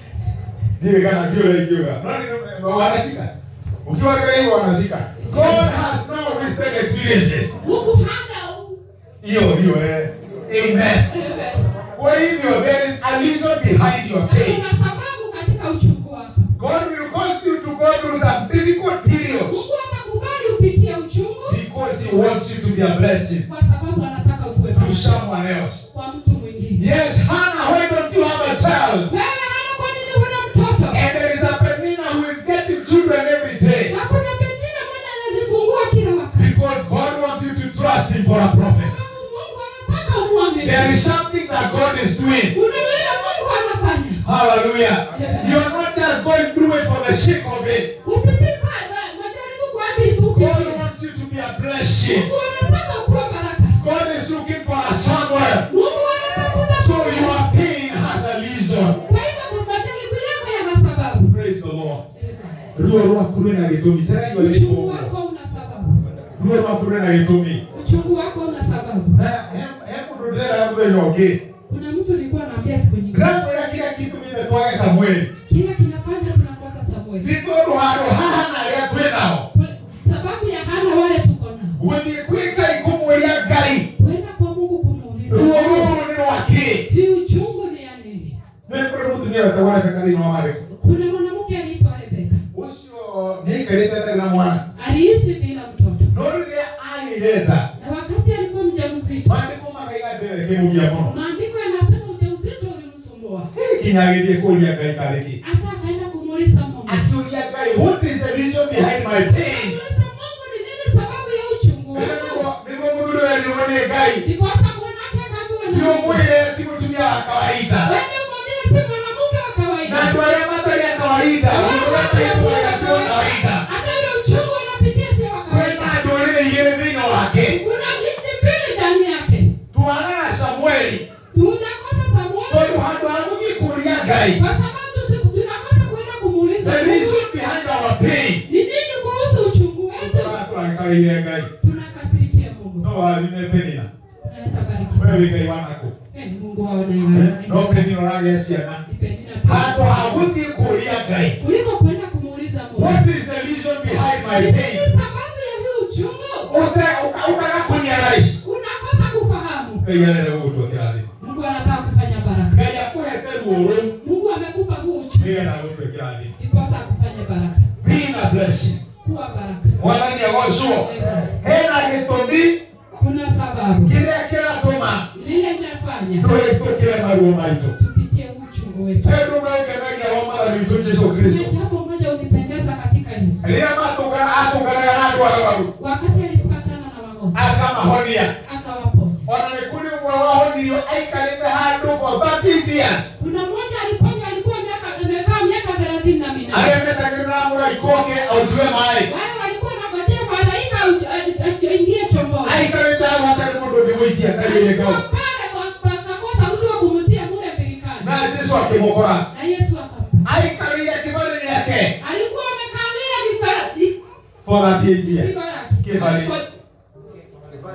Speaker 5: Ndiyo kana ndio ile ndio. Nani wanashika? Ukiwa kile hivyo wanashika. God has no wasted experiences.
Speaker 3: Mungu hana u
Speaker 5: Hiyo hiyo eh. Amen. Kwa hivyo there is a reason behind your
Speaker 3: Na
Speaker 5: pain.
Speaker 3: kuna sababu katika uchungu wako
Speaker 5: God will cause you to go through some difficult periods
Speaker 3: Mungu atakubali upitie uchungu
Speaker 5: because he wants you to be a blessing
Speaker 3: kwa sababu anataka ukuwe
Speaker 5: to
Speaker 3: baraka
Speaker 5: someone else.
Speaker 3: kwa mtu mwingine
Speaker 5: Yes, Hannah, why don't you have a child?
Speaker 3: wewe hana kwa nini huna mtoto
Speaker 5: And there is a Penina who is getting children every day.
Speaker 3: na kuna pengine mwana anajifungua kila wakati
Speaker 5: Because God wants you to trust Him for a prophet.
Speaker 3: Sababu Mungu anataka umwamini
Speaker 5: There is something that God is doing.
Speaker 3: kuna lile Mungu anafanya
Speaker 5: Hallelujah. You are not just going through it for the sake of it.
Speaker 3: upitie ma- ma- majaribu kwa ajili tu
Speaker 5: God
Speaker 3: upitie
Speaker 5: wants you to be a blessing.
Speaker 3: Mungu anataka ukuwe baraka
Speaker 5: God is looking for a somewhere.
Speaker 3: Mungu anatafuta
Speaker 5: So your pain has a reason.
Speaker 3: Kwa hivyo majaribu yako yana sababu.
Speaker 5: Praise the Lord. Ruo rwaku rwĩna gĩtũmi tena igua
Speaker 3: Uchungu
Speaker 5: nĩrĩkũmwo.
Speaker 3: wako una sababu.
Speaker 5: ruo rwaku rwĩna gĩtũmi
Speaker 3: Uchungu wako una sababu.
Speaker 5: na he- he mũndũ ndĩrera mũthenya ũngĩ
Speaker 3: Kuna mtu alikuwa anaambia siku nyingine
Speaker 5: ndĩramwĩra kira kĩndũ gĩthe twage samweli
Speaker 3: kila kinafanya tunakosa Samueli.
Speaker 5: nĩ tondũ handũ haha na arĩa twĩ nao
Speaker 3: Kwa- Sababu ya hana wale tuko nao.
Speaker 5: gũthiĩ kwĩ ngai kũmũria ngai
Speaker 3: Kwenda kwa Mungu kumuuliza.
Speaker 5: ruo rũrũ nĩ rwakĩ
Speaker 3: Hii uchungu ni ya nini?
Speaker 5: nĩ kũrĩ mũtumia wetagwo rebeka thĩinĩ wa marĩkũ
Speaker 3: Kuna mwanamke aliitwa Rebeka.
Speaker 5: ũcio nĩ aikarĩte atarĩ na mwana
Speaker 3: Aliishi bila mtoto.
Speaker 5: no rĩrĩa agĩire nda
Speaker 3: Na wakati alikuwa mjamzito,
Speaker 5: mandĩko makaiga ndĩwe kĩmũgia mũno
Speaker 3: maandiko yanasema ujauzito ulimsumbua.
Speaker 5: Hĩ, nginya agĩthiĩ kũria ngai karĩkĩ
Speaker 3: Hata akaenda kumuuliza Mungu.
Speaker 5: akĩũria ngai what is the reason behind my pain
Speaker 3: Aliuliza
Speaker 5: nĩ ngai
Speaker 3: ndiposa mwanake akamwona
Speaker 5: niũmwĩre ti mũtumia wa kawaida
Speaker 3: wende umwambie si mwanamke wa
Speaker 5: na
Speaker 3: kawaida
Speaker 5: andũ arĩa matarĩ a kawaida nĩmatĩtwo na andũ a kawaida
Speaker 3: hata ile uchungu anapitia sio wa
Speaker 5: kwĩna
Speaker 3: kawaida
Speaker 5: ndũrĩrĩ igĩrĩ thĩinĩ wake
Speaker 3: kuna nchi mbili ndani yake
Speaker 5: twagaga samueli
Speaker 3: tunakosa
Speaker 5: tondũ
Speaker 3: samweli
Speaker 5: handũ ha gũthiĩ kũria ngai
Speaker 3: kwa sababu siku tunakosa kwenda kumuuliza
Speaker 5: the
Speaker 3: Mungu,
Speaker 5: reason behind our pain
Speaker 3: ni nini kuhusu uchungu wetu
Speaker 5: tũrakarĩire ngai
Speaker 3: tunakasirikia Mungu
Speaker 5: no ah, warime penina
Speaker 3: tunaweza
Speaker 5: we
Speaker 3: barikiwa
Speaker 5: wĩ ngai wanakũ
Speaker 3: Peni Mungu aone yeye.
Speaker 5: no penina ũragĩa ciana
Speaker 3: Nipeni na
Speaker 5: handũ ha
Speaker 3: peni.
Speaker 5: gũthiĩ kũria ngai
Speaker 3: kuliko kwenda kumuuliza Mungu
Speaker 5: what is the reason behind my
Speaker 3: Ni
Speaker 5: pain
Speaker 3: nini sababu ya hii uchungu
Speaker 5: Uta- uka- ukaga kũniaraici
Speaker 3: unakosa kufahamu
Speaker 5: ngai arenda gũgũtwekera thĩ
Speaker 3: Mungu anataka kufanya baraka
Speaker 5: ngai akũhete ruo rũu
Speaker 3: Mungu amekupa huu uchungu
Speaker 5: nĩgetha agũtwekera thĩ
Speaker 3: ndiposa akufanye baraka
Speaker 5: being a blessing
Speaker 3: kuwa baraka
Speaker 5: mwathani agocwo hena gĩtũmi
Speaker 3: kuna sababu
Speaker 5: kĩrĩa kĩratũma
Speaker 3: lile linafanya
Speaker 5: tũhĩtũkĩre maruo maitũ
Speaker 3: tupitie huu uchungu wetu
Speaker 5: tendo maũngenagia wa mwathani witũ jesũ kristo
Speaker 3: Kuna jambo moja unipendeza katika Yesu
Speaker 5: rĩrĩa matũngana atũnganaga na andũ arwaru
Speaker 3: wakati alipatana na wagonjwa
Speaker 5: akamahonia
Speaker 3: akawaponya
Speaker 5: ona nĩ kũrĩ ũmwe wahonirio aikarĩte handũ for 30 years
Speaker 3: kuna mmoja aliponya alikuwa miaka amekaa miaka 38 na minane
Speaker 5: arĩa metagĩrĩra mũraika ũngĩ autue maĩ
Speaker 3: wale walikuwa wanangojea malaika au- a- a- aingie chomboni
Speaker 5: aikarĩte hau hatarĩ mũndũ ũngĩmũikia karia-inĩ kau
Speaker 3: alikuwa pale kwa- kwa- akakosa mtu wa kumtia mule birikani
Speaker 5: na jesũ akĩmũkora
Speaker 3: na Yesu akampa
Speaker 5: aikarĩire kĩbarĩ gĩake
Speaker 3: alikuwa amekalia vika-
Speaker 5: for 38 years
Speaker 3: vifigo yake
Speaker 5: Kibali.
Speaker 3: Alikuwa-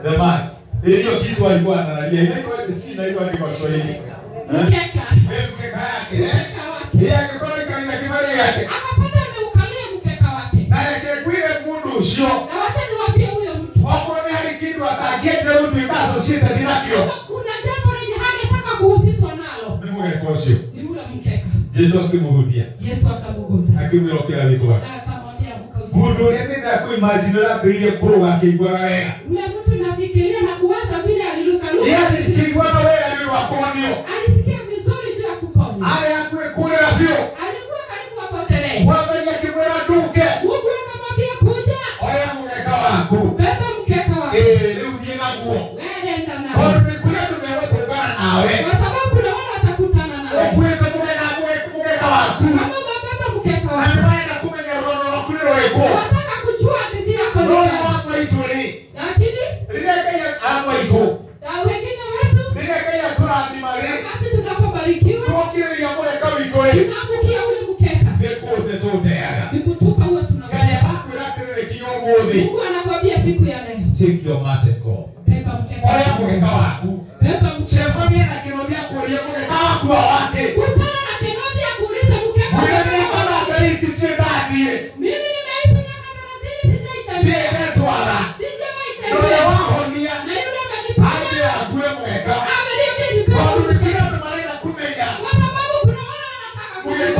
Speaker 5: the man iliyo kitu alikuwa analalia inaitwa sijui inaitwa ni kwa Kiswahili Eh? Eh,
Speaker 3: mkeka
Speaker 5: mkeka yake eh?
Speaker 3: mkeka wake
Speaker 5: yeye angĩkorwo aikarĩire kĩbarĩ gĩake
Speaker 3: akapata ameukalia mkeka wake
Speaker 5: na rekekuire mũndũ ũcio
Speaker 3: na wacha niwaambie huyo mtu
Speaker 5: okorwo nĩ harĩ kĩndũ atangĩendire gũtuĩka associated nakĩo
Speaker 3: kama kuna jambo lenye hangetaka kuhusishwa nalo
Speaker 5: nĩ mũgeka ũcio
Speaker 3: ni ule mkeka
Speaker 5: jesu akĩmũhutia
Speaker 3: yesu akamgusa
Speaker 5: akĩmwĩra ũkĩra gĩtwa
Speaker 3: na akamwambia amka
Speaker 5: mũndũ
Speaker 3: uje
Speaker 5: ũrĩa nĩnda kũimajini ũrĩa akĩrĩire kũrũga akĩiguaga wega
Speaker 3: ule mtu nafikiria na kuwaza vile
Speaker 5: nĩ
Speaker 3: alilukaluka
Speaker 5: akĩiguaga wega nĩ ũndũ wa kũhonio
Speaker 3: alisikia vizuri juu ya kuponywa
Speaker 5: arĩ hakuĩ kũrĩra biũ
Speaker 3: alikuwa karibu apotelee
Speaker 5: mwathani akĩmwĩra nduke
Speaker 3: mungu akamwambia kuja
Speaker 5: oya mũgeka waku
Speaker 3: beba mkeka wako
Speaker 5: ĩĩ rĩu thiĩ naguo
Speaker 3: weenda nao
Speaker 5: tondũ nĩ kũrĩ andũ megũtũngana nawe
Speaker 3: kwa sababu kuna wale watakutana nao
Speaker 5: ũkuĩte mũgeka mũge- mũgeka waku
Speaker 3: kama umebeba mkeka
Speaker 5: na
Speaker 3: wako
Speaker 5: nĩ marenda kũmenya rũgano rwaku nĩ rũrĩkũ
Speaker 3: wataka kujua bidii yako ni
Speaker 5: no nĩ
Speaker 3: gani.
Speaker 5: wakwa itũrĩ
Speaker 3: lakini
Speaker 5: rĩrĩa ngai amwa itũ
Speaker 3: na wengine wetu
Speaker 5: rĩrĩa ngai atũrathima rĩ
Speaker 3: wakati tunapobarikiwa
Speaker 5: twokĩrĩria mũreka witũ rĩ
Speaker 3: tunaangukia ule mkeka
Speaker 5: nĩ kũte tũteaga
Speaker 3: ni kutupa huwa tuna
Speaker 5: ngai arakwĩra atĩrĩrĩ kinya ũmũthĩ
Speaker 3: mungu anakwambia siku ya leo
Speaker 5: take your mateko
Speaker 3: beba mkeka
Speaker 5: oya
Speaker 3: wako.
Speaker 5: mũgeka waku
Speaker 3: beba mkeka
Speaker 5: cemania na kĩno gĩa kũũria mũgeka waku wa wakĩ
Speaker 3: kutana na kinodi ya kuuliza mkeka
Speaker 5: mwĩre
Speaker 3: wako
Speaker 5: mĩaka na
Speaker 3: wako.
Speaker 5: ngai titĩ ndathiĩ
Speaker 3: mimi nimeishi miaka thelathini sijaitembea
Speaker 5: ndĩndetwara na ũrĩa
Speaker 3: sijawaitembea
Speaker 5: wahonia
Speaker 3: na yule ameniponya
Speaker 5: anjĩra nguĩ mũgeka
Speaker 3: ameniambia
Speaker 5: tondũ nĩ kũrĩ
Speaker 3: nipewe
Speaker 5: andũ marenda kũmenya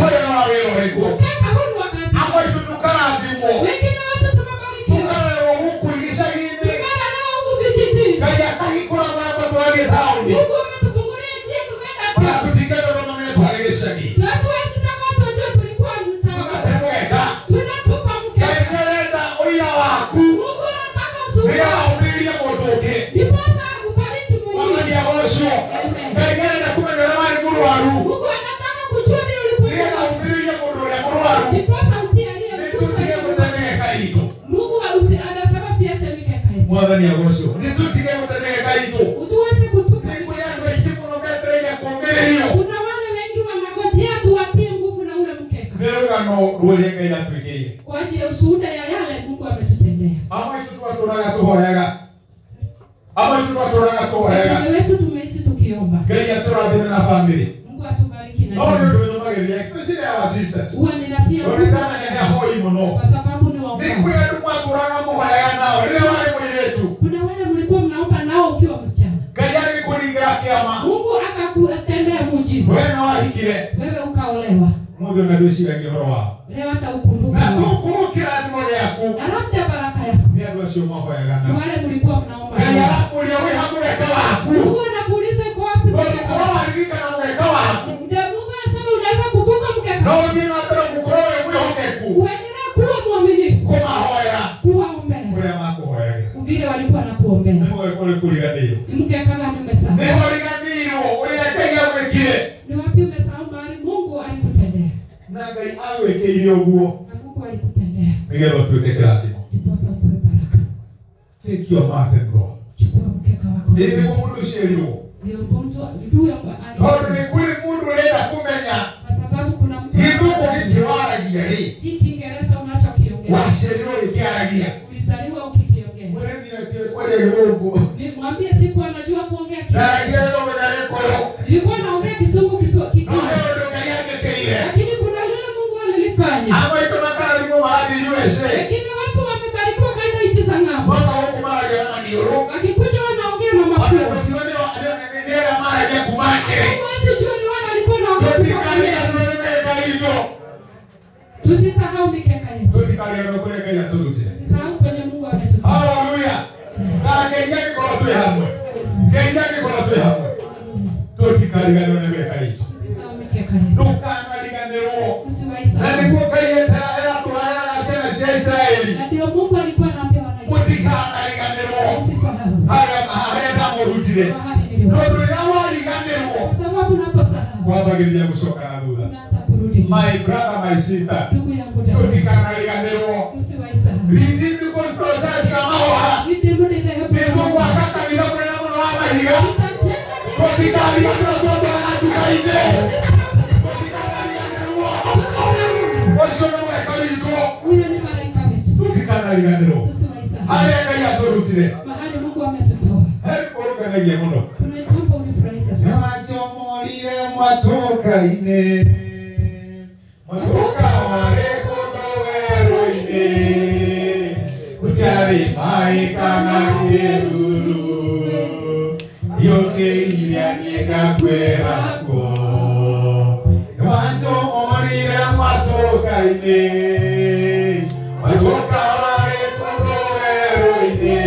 Speaker 3: kwa sababu kuna
Speaker 5: mũgeka ũyũ
Speaker 3: wale wanataka kujua.
Speaker 5: no wĩra ũrĩkũ
Speaker 3: Mkeka huu ni wa kazi
Speaker 5: amwe
Speaker 3: gani?
Speaker 5: tu tũkarathimwo
Speaker 3: wengine watu tumebarikiwa
Speaker 5: tũkarerwo gũkũ icagi-inĩ
Speaker 3: tumeenda nao huku vijijini
Speaker 5: ngai akahingũra marango twathiĩ taũni
Speaker 3: mungu ametufungulia njia tumeenda
Speaker 5: ona
Speaker 3: kwa
Speaker 5: tũtingĩenda tũmenye twarĩ gĩcagi
Speaker 3: hatuwezi taka tujue tulikuwa
Speaker 5: tũgate
Speaker 3: mtaani
Speaker 5: mũgeka
Speaker 3: tunatupa
Speaker 5: ngai
Speaker 3: mkeka
Speaker 5: nĩarenda ũira waku
Speaker 3: mungu anataka
Speaker 5: nĩgetha
Speaker 3: usubiri
Speaker 5: ũmbĩrĩrie mũndũ ũngĩ
Speaker 3: ndiposa akubariki
Speaker 5: wathani
Speaker 3: mwingine
Speaker 5: agocwo
Speaker 3: Amen.
Speaker 5: ngai nĩarenda kũmenya ũrĩa warĩ mũrwaru
Speaker 3: mungu anataka kujua vile
Speaker 5: nĩgetha
Speaker 3: ulikuwa
Speaker 5: ũmbĩrĩrie mũndũ ũrĩa mũrwaru
Speaker 3: ndiposa utie aliye
Speaker 5: nĩtũtige gũte mĩgeka itũ
Speaker 3: mungu ausi- anasema siache mikeka yetu
Speaker 5: mwathani agocwo nĩtũtige gũte mĩgeka itũ
Speaker 3: utuache kutupa
Speaker 5: nĩ kũrĩ
Speaker 3: mikeka
Speaker 5: andũ aingĩ mũno metereire kũũmĩrĩrio
Speaker 3: kuna wale wengi wanangojea tuwatie nguvu na ule mkeka
Speaker 5: nĩ rũgano rũrĩa ngai atwĩkĩire
Speaker 3: kwa ajili ya ushuhuda ya yale mungu ametutendea
Speaker 5: amwe itũ twatũraga tũhoyaga amwe itũ twatũraga tũhoyaga
Speaker 3: wengine wetu tumeishi tukiomba
Speaker 5: ngai atũrathime na bamĩrĩ
Speaker 3: mungu atubariki na
Speaker 5: no nĩ
Speaker 3: jamii.
Speaker 5: ũndũ nyũmagĩrĩria especially our sisters
Speaker 3: huwa ninatia
Speaker 5: tondũ nĩndamenya nĩ ahoi mũno
Speaker 3: kwa sababu ni
Speaker 5: nĩ
Speaker 3: waomba
Speaker 5: kwĩ andũ mwakũraga mũhoyaga nao rĩrĩa warĩ mũirĩtu
Speaker 3: kuna wale mlikuwa mnaomba nao ukiwa msichana
Speaker 5: ngai agĩkũringĩra kĩama
Speaker 3: mungu akakutendea muujiza
Speaker 5: we nĩ wahikire
Speaker 3: wewe ukaolewa
Speaker 5: mũthĩ ona ndwĩciragia ũhoro wao
Speaker 3: leo hata
Speaker 5: na
Speaker 3: ukumbuka
Speaker 5: tũkũrũ kĩrathimo gĩaku
Speaker 3: na labda baraka yako
Speaker 5: nĩ andũ acio mahoyaga
Speaker 3: ni
Speaker 5: nao
Speaker 3: wale mlikuwa mnaomba
Speaker 5: ngai
Speaker 3: nao.
Speaker 5: arakũria wĩ ha mũgeka waku
Speaker 3: mungu anakuuliza iko wapi
Speaker 5: tondũ
Speaker 3: mkeka
Speaker 5: korwo waririkana mũgeka waku
Speaker 3: Ndio mungu anasema unaweza kumbuka
Speaker 5: no
Speaker 3: mkeka
Speaker 5: ũthiĩ na mbere gũkorwo wĩ mwĩhokeku
Speaker 3: uendelee kuwa mwaminifu
Speaker 5: kũmahoera
Speaker 3: kuwaombea
Speaker 5: kũrĩa makũhoyagĩra
Speaker 3: vile walikuwa
Speaker 5: nĩ
Speaker 3: nakuombea
Speaker 5: mũgeka ũrĩ kũriganĩirwo agĩtwerekeire ũguo
Speaker 3: na Mungu alikutendea
Speaker 5: nĩgetha tuĩke kĩrathimo
Speaker 3: ndiposa upewe baraka.
Speaker 5: take your mat and go
Speaker 3: Chukua mkeka wako.
Speaker 5: ĩ nĩguo mũndũ ũcio erirwo
Speaker 3: Ndio mgonjwa juu ya kwa-
Speaker 5: tondũ nĩ kũrĩ mũndũ ũrenda kũmenya
Speaker 3: kwa sababu kuna mtu
Speaker 5: gĩthũngũ gĩkĩwaragia rĩ
Speaker 3: hii Kiingereza unachokiongea
Speaker 5: waciarirwo gĩkĩaragia
Speaker 3: ulizaliwa ukikiongea.
Speaker 5: mũrĩmi akĩũĩ kũrĩa gĩthũngũ
Speaker 3: Nimwambie siku anajua kuongea Kiingereza.
Speaker 5: ndaragia gĩthũngũ na gĩkũrũ
Speaker 3: Nilikuwa naongea kisungu kiswa
Speaker 5: no he
Speaker 3: kikuu.
Speaker 5: ũndũ ngai angĩkĩire
Speaker 3: Lakini kuna lile Mungu alilifanya.
Speaker 5: amwe tũ makarimwo marathiĩ USA
Speaker 3: Wengine watu wamebarikiwa kanda nchi za ng'ambo.
Speaker 5: mwaka ũkũ maragia na maniũrũ
Speaker 3: Wakikuja wanaongea na
Speaker 5: ona
Speaker 3: makuu.
Speaker 5: tũtiũĩ nĩ- nĩ- nĩ- nĩ arĩa maragia kuma Nyeri.
Speaker 3: Huwezi jua ni wale walikuwa naongea kutoka
Speaker 5: tũtikarie
Speaker 3: Kenya.
Speaker 5: tũrĩ mĩka itũ
Speaker 3: Tusisahau mikeka yetu.
Speaker 5: tũtikarie tũkũrĩ ngai atũrute
Speaker 3: Tusisahau kwenye Mungu
Speaker 5: Ah!
Speaker 3: ametupa.
Speaker 5: haleluya na ngeithia angĩkorwo twĩ hamwe ngeithia angĩkorwo twĩ hamwe tũtikariganĩrwo nĩ mĩka itũ
Speaker 3: Tusisahau mikeka yetu.
Speaker 5: ndũkanariganĩrwo
Speaker 3: Usiwahi
Speaker 5: na
Speaker 3: sahau.
Speaker 5: nĩguo ngai etaratũrayaga ciana cia isiraeli
Speaker 3: Na ndio Mungu alikuwa anaambia wana
Speaker 5: mũtikanariganĩrwo
Speaker 3: Usisahau.
Speaker 5: harĩa harĩa ndamũrutire
Speaker 3: Mahali nilipo.
Speaker 5: tondũ rĩrĩa wariganĩrwo
Speaker 3: Kwa sababu unaposahau
Speaker 5: kwambagĩrĩria gũcoka na thutha
Speaker 3: unaanza kurudi.
Speaker 5: my brother my sister
Speaker 3: Ndugu yangu dada.
Speaker 5: tũtikanariganĩrwo
Speaker 3: Usiwahi sahau.
Speaker 5: rĩngĩ nĩkũcitũtaciga mahũha nĩkũgwaka kanitha mũnene mũno wa mahiga tũtikariganĩrwo twatũraga nduka-inĩ tũtikanariganĩrwo ũcio nĩ mweka witũ tũtikanariganĩrwo harĩa ngai atũrutire harĩ kũrũnganagia mũno nĩwanjomorire mwatũka-inĩ mwatũka warĩ kũndũ werũ-inĩ gũtarĩ maĩ kana kĩruru ndiokĩire niĩ ngakwĩra kuo nĩwanjomorire mwatũka-inĩ mwatũka warĩ kũndũ werũ-inĩ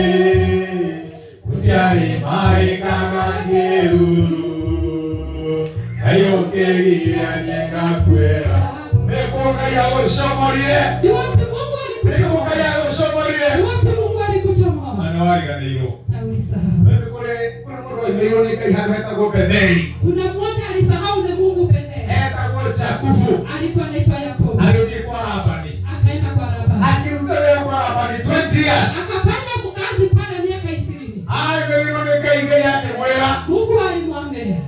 Speaker 5: Ujari mai kama kiruru Ayo kegira nienga kwea Mekuka ya gusomorire Mekuka ya gusomorire Manawari ganeiro Mimi kule kule mundu aimeiro ni kai handu etagwo Betheli etagwo Jakubu agithii kwa Labani akiruta wĩra kwa Labani 20 years aimeiro ni ngai ngai akimwĩra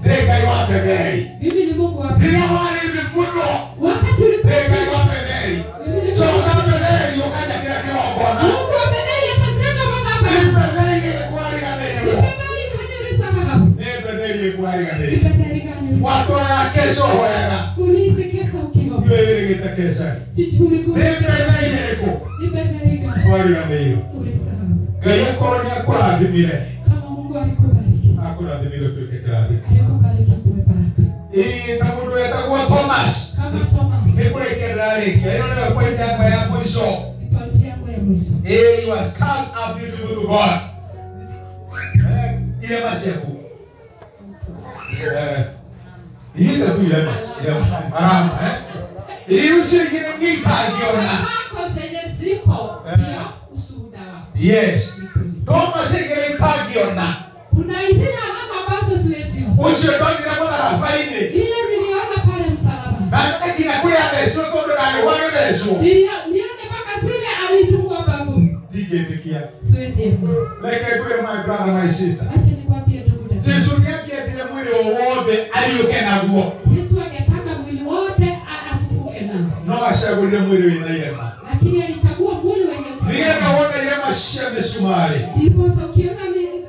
Speaker 5: nĩ ngai wa Betheli rĩrĩa warĩ thĩ mũno
Speaker 3: Wakati
Speaker 5: nĩ
Speaker 3: ulipokuwa
Speaker 5: ngai wa Betheli coka Betheli ũkanja kĩrĩa kĩrongona
Speaker 3: Mungu amedai atajenga madhabahu.
Speaker 5: Nipeleke kuwariganĩirwo.
Speaker 3: Ibadari kanisahau.
Speaker 5: Nipeleke kuwariganĩirwo.
Speaker 3: Ibadari kanisa.
Speaker 5: Watwara kesho hoyaga.
Speaker 3: Ulihisi kesa ukiwa.
Speaker 5: Ndiyo ĩrĩgĩte kesha.
Speaker 3: Sijui ulikuwa.
Speaker 5: Nipeleke ku
Speaker 3: Ibadari kanisa.
Speaker 5: kuwariganĩirwo.
Speaker 3: Ulisahau.
Speaker 5: Ngai akorwo nĩ akũrathimire.
Speaker 3: Kama Mungu alikubariki.
Speaker 5: Akũrathimire tuĩke kĩrathimo.
Speaker 3: Alikubariki kuwe baraka.
Speaker 5: Ĩĩ ta mũndũ wetagwo Thomas.
Speaker 3: Kama Thomas.
Speaker 5: Nĩ kũrĩkia ndĩrarĩkia. Ĩno nĩyo point yakwa ya mũico.
Speaker 3: Ripoti yangu ya mwisho.
Speaker 5: Ĩĩ you are scars are beautiful to God. Eh, Irema ciaku. Eh, Ihinda tu irema. Irema. Arama, eh? Iu cingine ngitangiona.
Speaker 3: Zako zenye ziko pia ushuhuda wako.
Speaker 5: Yes. Ndoma cingine ngitangiona.
Speaker 3: Kuna zile alama ambazo siweziona.
Speaker 5: Ucio ndonire mũtharabainĩ.
Speaker 3: Ile niliona pale msalabani.
Speaker 5: Na nĩ nginya kũrĩa athecwo tondũ ndarĩ wa gũthecwo.
Speaker 3: Nilio- Nione mpaka zile alidungwa bavuni.
Speaker 5: Ndingĩtĩkia.
Speaker 3: Siwezi elewa.
Speaker 5: Reke ngwĩre my brother my sister.
Speaker 3: Acha nikwambie ndugu dada.
Speaker 5: Jesu nĩangĩendire mwĩrĩ o wothe ariũke naguo.
Speaker 3: Yesu angetaka mwili wote a- afufuke nao.
Speaker 5: No acagũrire mwĩrĩ wĩna irema.
Speaker 3: Lakini alichagua mwili wenye
Speaker 5: nĩgetha wona irema cia mĩcumarĩ
Speaker 3: Ndipo sasa ukiona mi-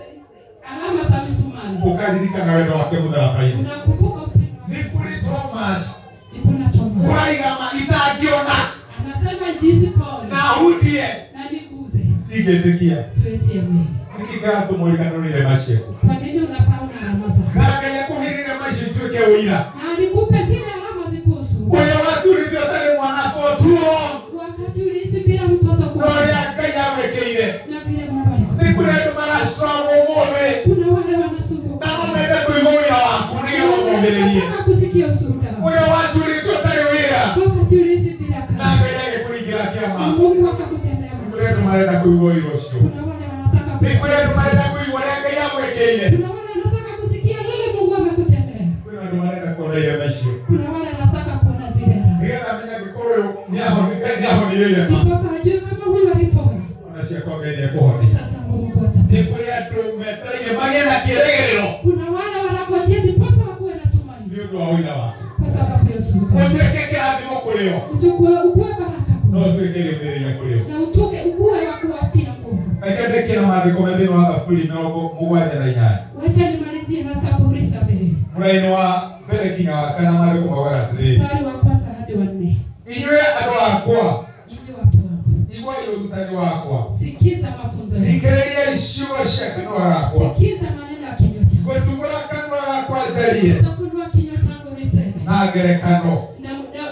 Speaker 3: alama za misumari
Speaker 5: ũkaririkana wendo wake mũtharabainĩ
Speaker 3: unakumbuka upendo
Speaker 5: nĩ
Speaker 3: wake.
Speaker 5: kũrĩ thomas
Speaker 3: Ndipo na Thomas.
Speaker 5: ũraigama itangĩona
Speaker 3: Anasema jinsi pole
Speaker 5: na hutie
Speaker 3: na niguze.
Speaker 5: ndingĩtĩkia
Speaker 3: Siwezi elewa.
Speaker 5: nĩkĩkaratũmũrikano nĩ irema ciaku
Speaker 3: Kwa nini unasahau na alama zako?
Speaker 5: na ngai akũhĩrĩire irema icio ituĩke ũira
Speaker 3: Na alikupe zile alama zikuhusu.
Speaker 5: ũrĩa waturithio ũtarĩ mwana fotuo
Speaker 3: Wakati ulihisi bila mtoto
Speaker 5: na
Speaker 3: kuona
Speaker 5: ũrĩa ngai awĩkĩire
Speaker 3: na vile Mungu alikupa.
Speaker 5: nĩ kũrĩ andũ marastragwo mũthĩ
Speaker 3: kuna wale
Speaker 5: na
Speaker 3: wanasumbuka
Speaker 5: mamende kũigua wĩra waku nĩgetha ũmũmĩrĩrie
Speaker 3: Wanataka kusikia ushuhuda wako.
Speaker 5: ũrĩa waturithio ũtarĩ wĩra
Speaker 3: wakati ulihisi bila
Speaker 5: na
Speaker 3: kazi
Speaker 5: ngai agĩkũringĩra
Speaker 3: na
Speaker 5: kĩama
Speaker 3: Mungu akakutendea
Speaker 5: kũrĩ andũ
Speaker 3: mema.
Speaker 5: marenda kũigua wĩra ũcio
Speaker 3: Kuna wale wanataka
Speaker 5: nĩ kũrĩ andũ marenda
Speaker 3: kusikia-
Speaker 5: kũigua ũrĩa ngai amwĩkĩire
Speaker 3: kuna wale wanataka kusikia lile Mungu amekutendea.
Speaker 5: kwĩna andũ marenda kuona irema icio
Speaker 3: Kuna wale wanataka kuona zile raha.
Speaker 5: nĩgetha menye angĩkorwo ũyũ nĩahonire ira
Speaker 3: ndiposa hajui kama huyu alipona
Speaker 5: ona ciakwa ngai nĩekũhonia
Speaker 3: sasa mumkota
Speaker 5: nĩ kũrĩ andũ metereire magĩe na kĩĩrĩgĩrĩro
Speaker 3: kuna wale wanangojea ndiposa wakuwe na tumaini
Speaker 5: nĩ ũndũ wa ũira waku
Speaker 3: kwa sababu ya ushuhuda
Speaker 5: ũtuĩke kĩrathimo kũrĩ o
Speaker 3: uchukue ukue baraka
Speaker 5: no
Speaker 3: kwa
Speaker 5: ũtuĩke rĩũmĩrĩria kũrĩ o
Speaker 3: na utuke ukue wa kuwatia nguvu
Speaker 5: reke ndĩkĩre maandĩko me thĩinĩ wa thaburi mĩrongo mũgwanja na inyanya
Speaker 3: wacha nimalizie na saburi sabini
Speaker 5: mũraini wa mbere nginya wa kana maandĩko maugaga atĩrĩrĩ
Speaker 3: mstari wa kwanza hadi wa nne
Speaker 5: inyuĩ andũ akwa
Speaker 3: nyinyi watu wangu
Speaker 5: igwai ũrutani wakwa
Speaker 3: sikiza mafunzo yangu
Speaker 5: thikĩrĩriai ciugo cia kanua gakwa
Speaker 3: sikiza maneno ya kinywa changu
Speaker 5: ngũtungũra kanua gakwa njarie
Speaker 3: utafunua kinywa changu niseme
Speaker 5: na ngerekano
Speaker 3: na na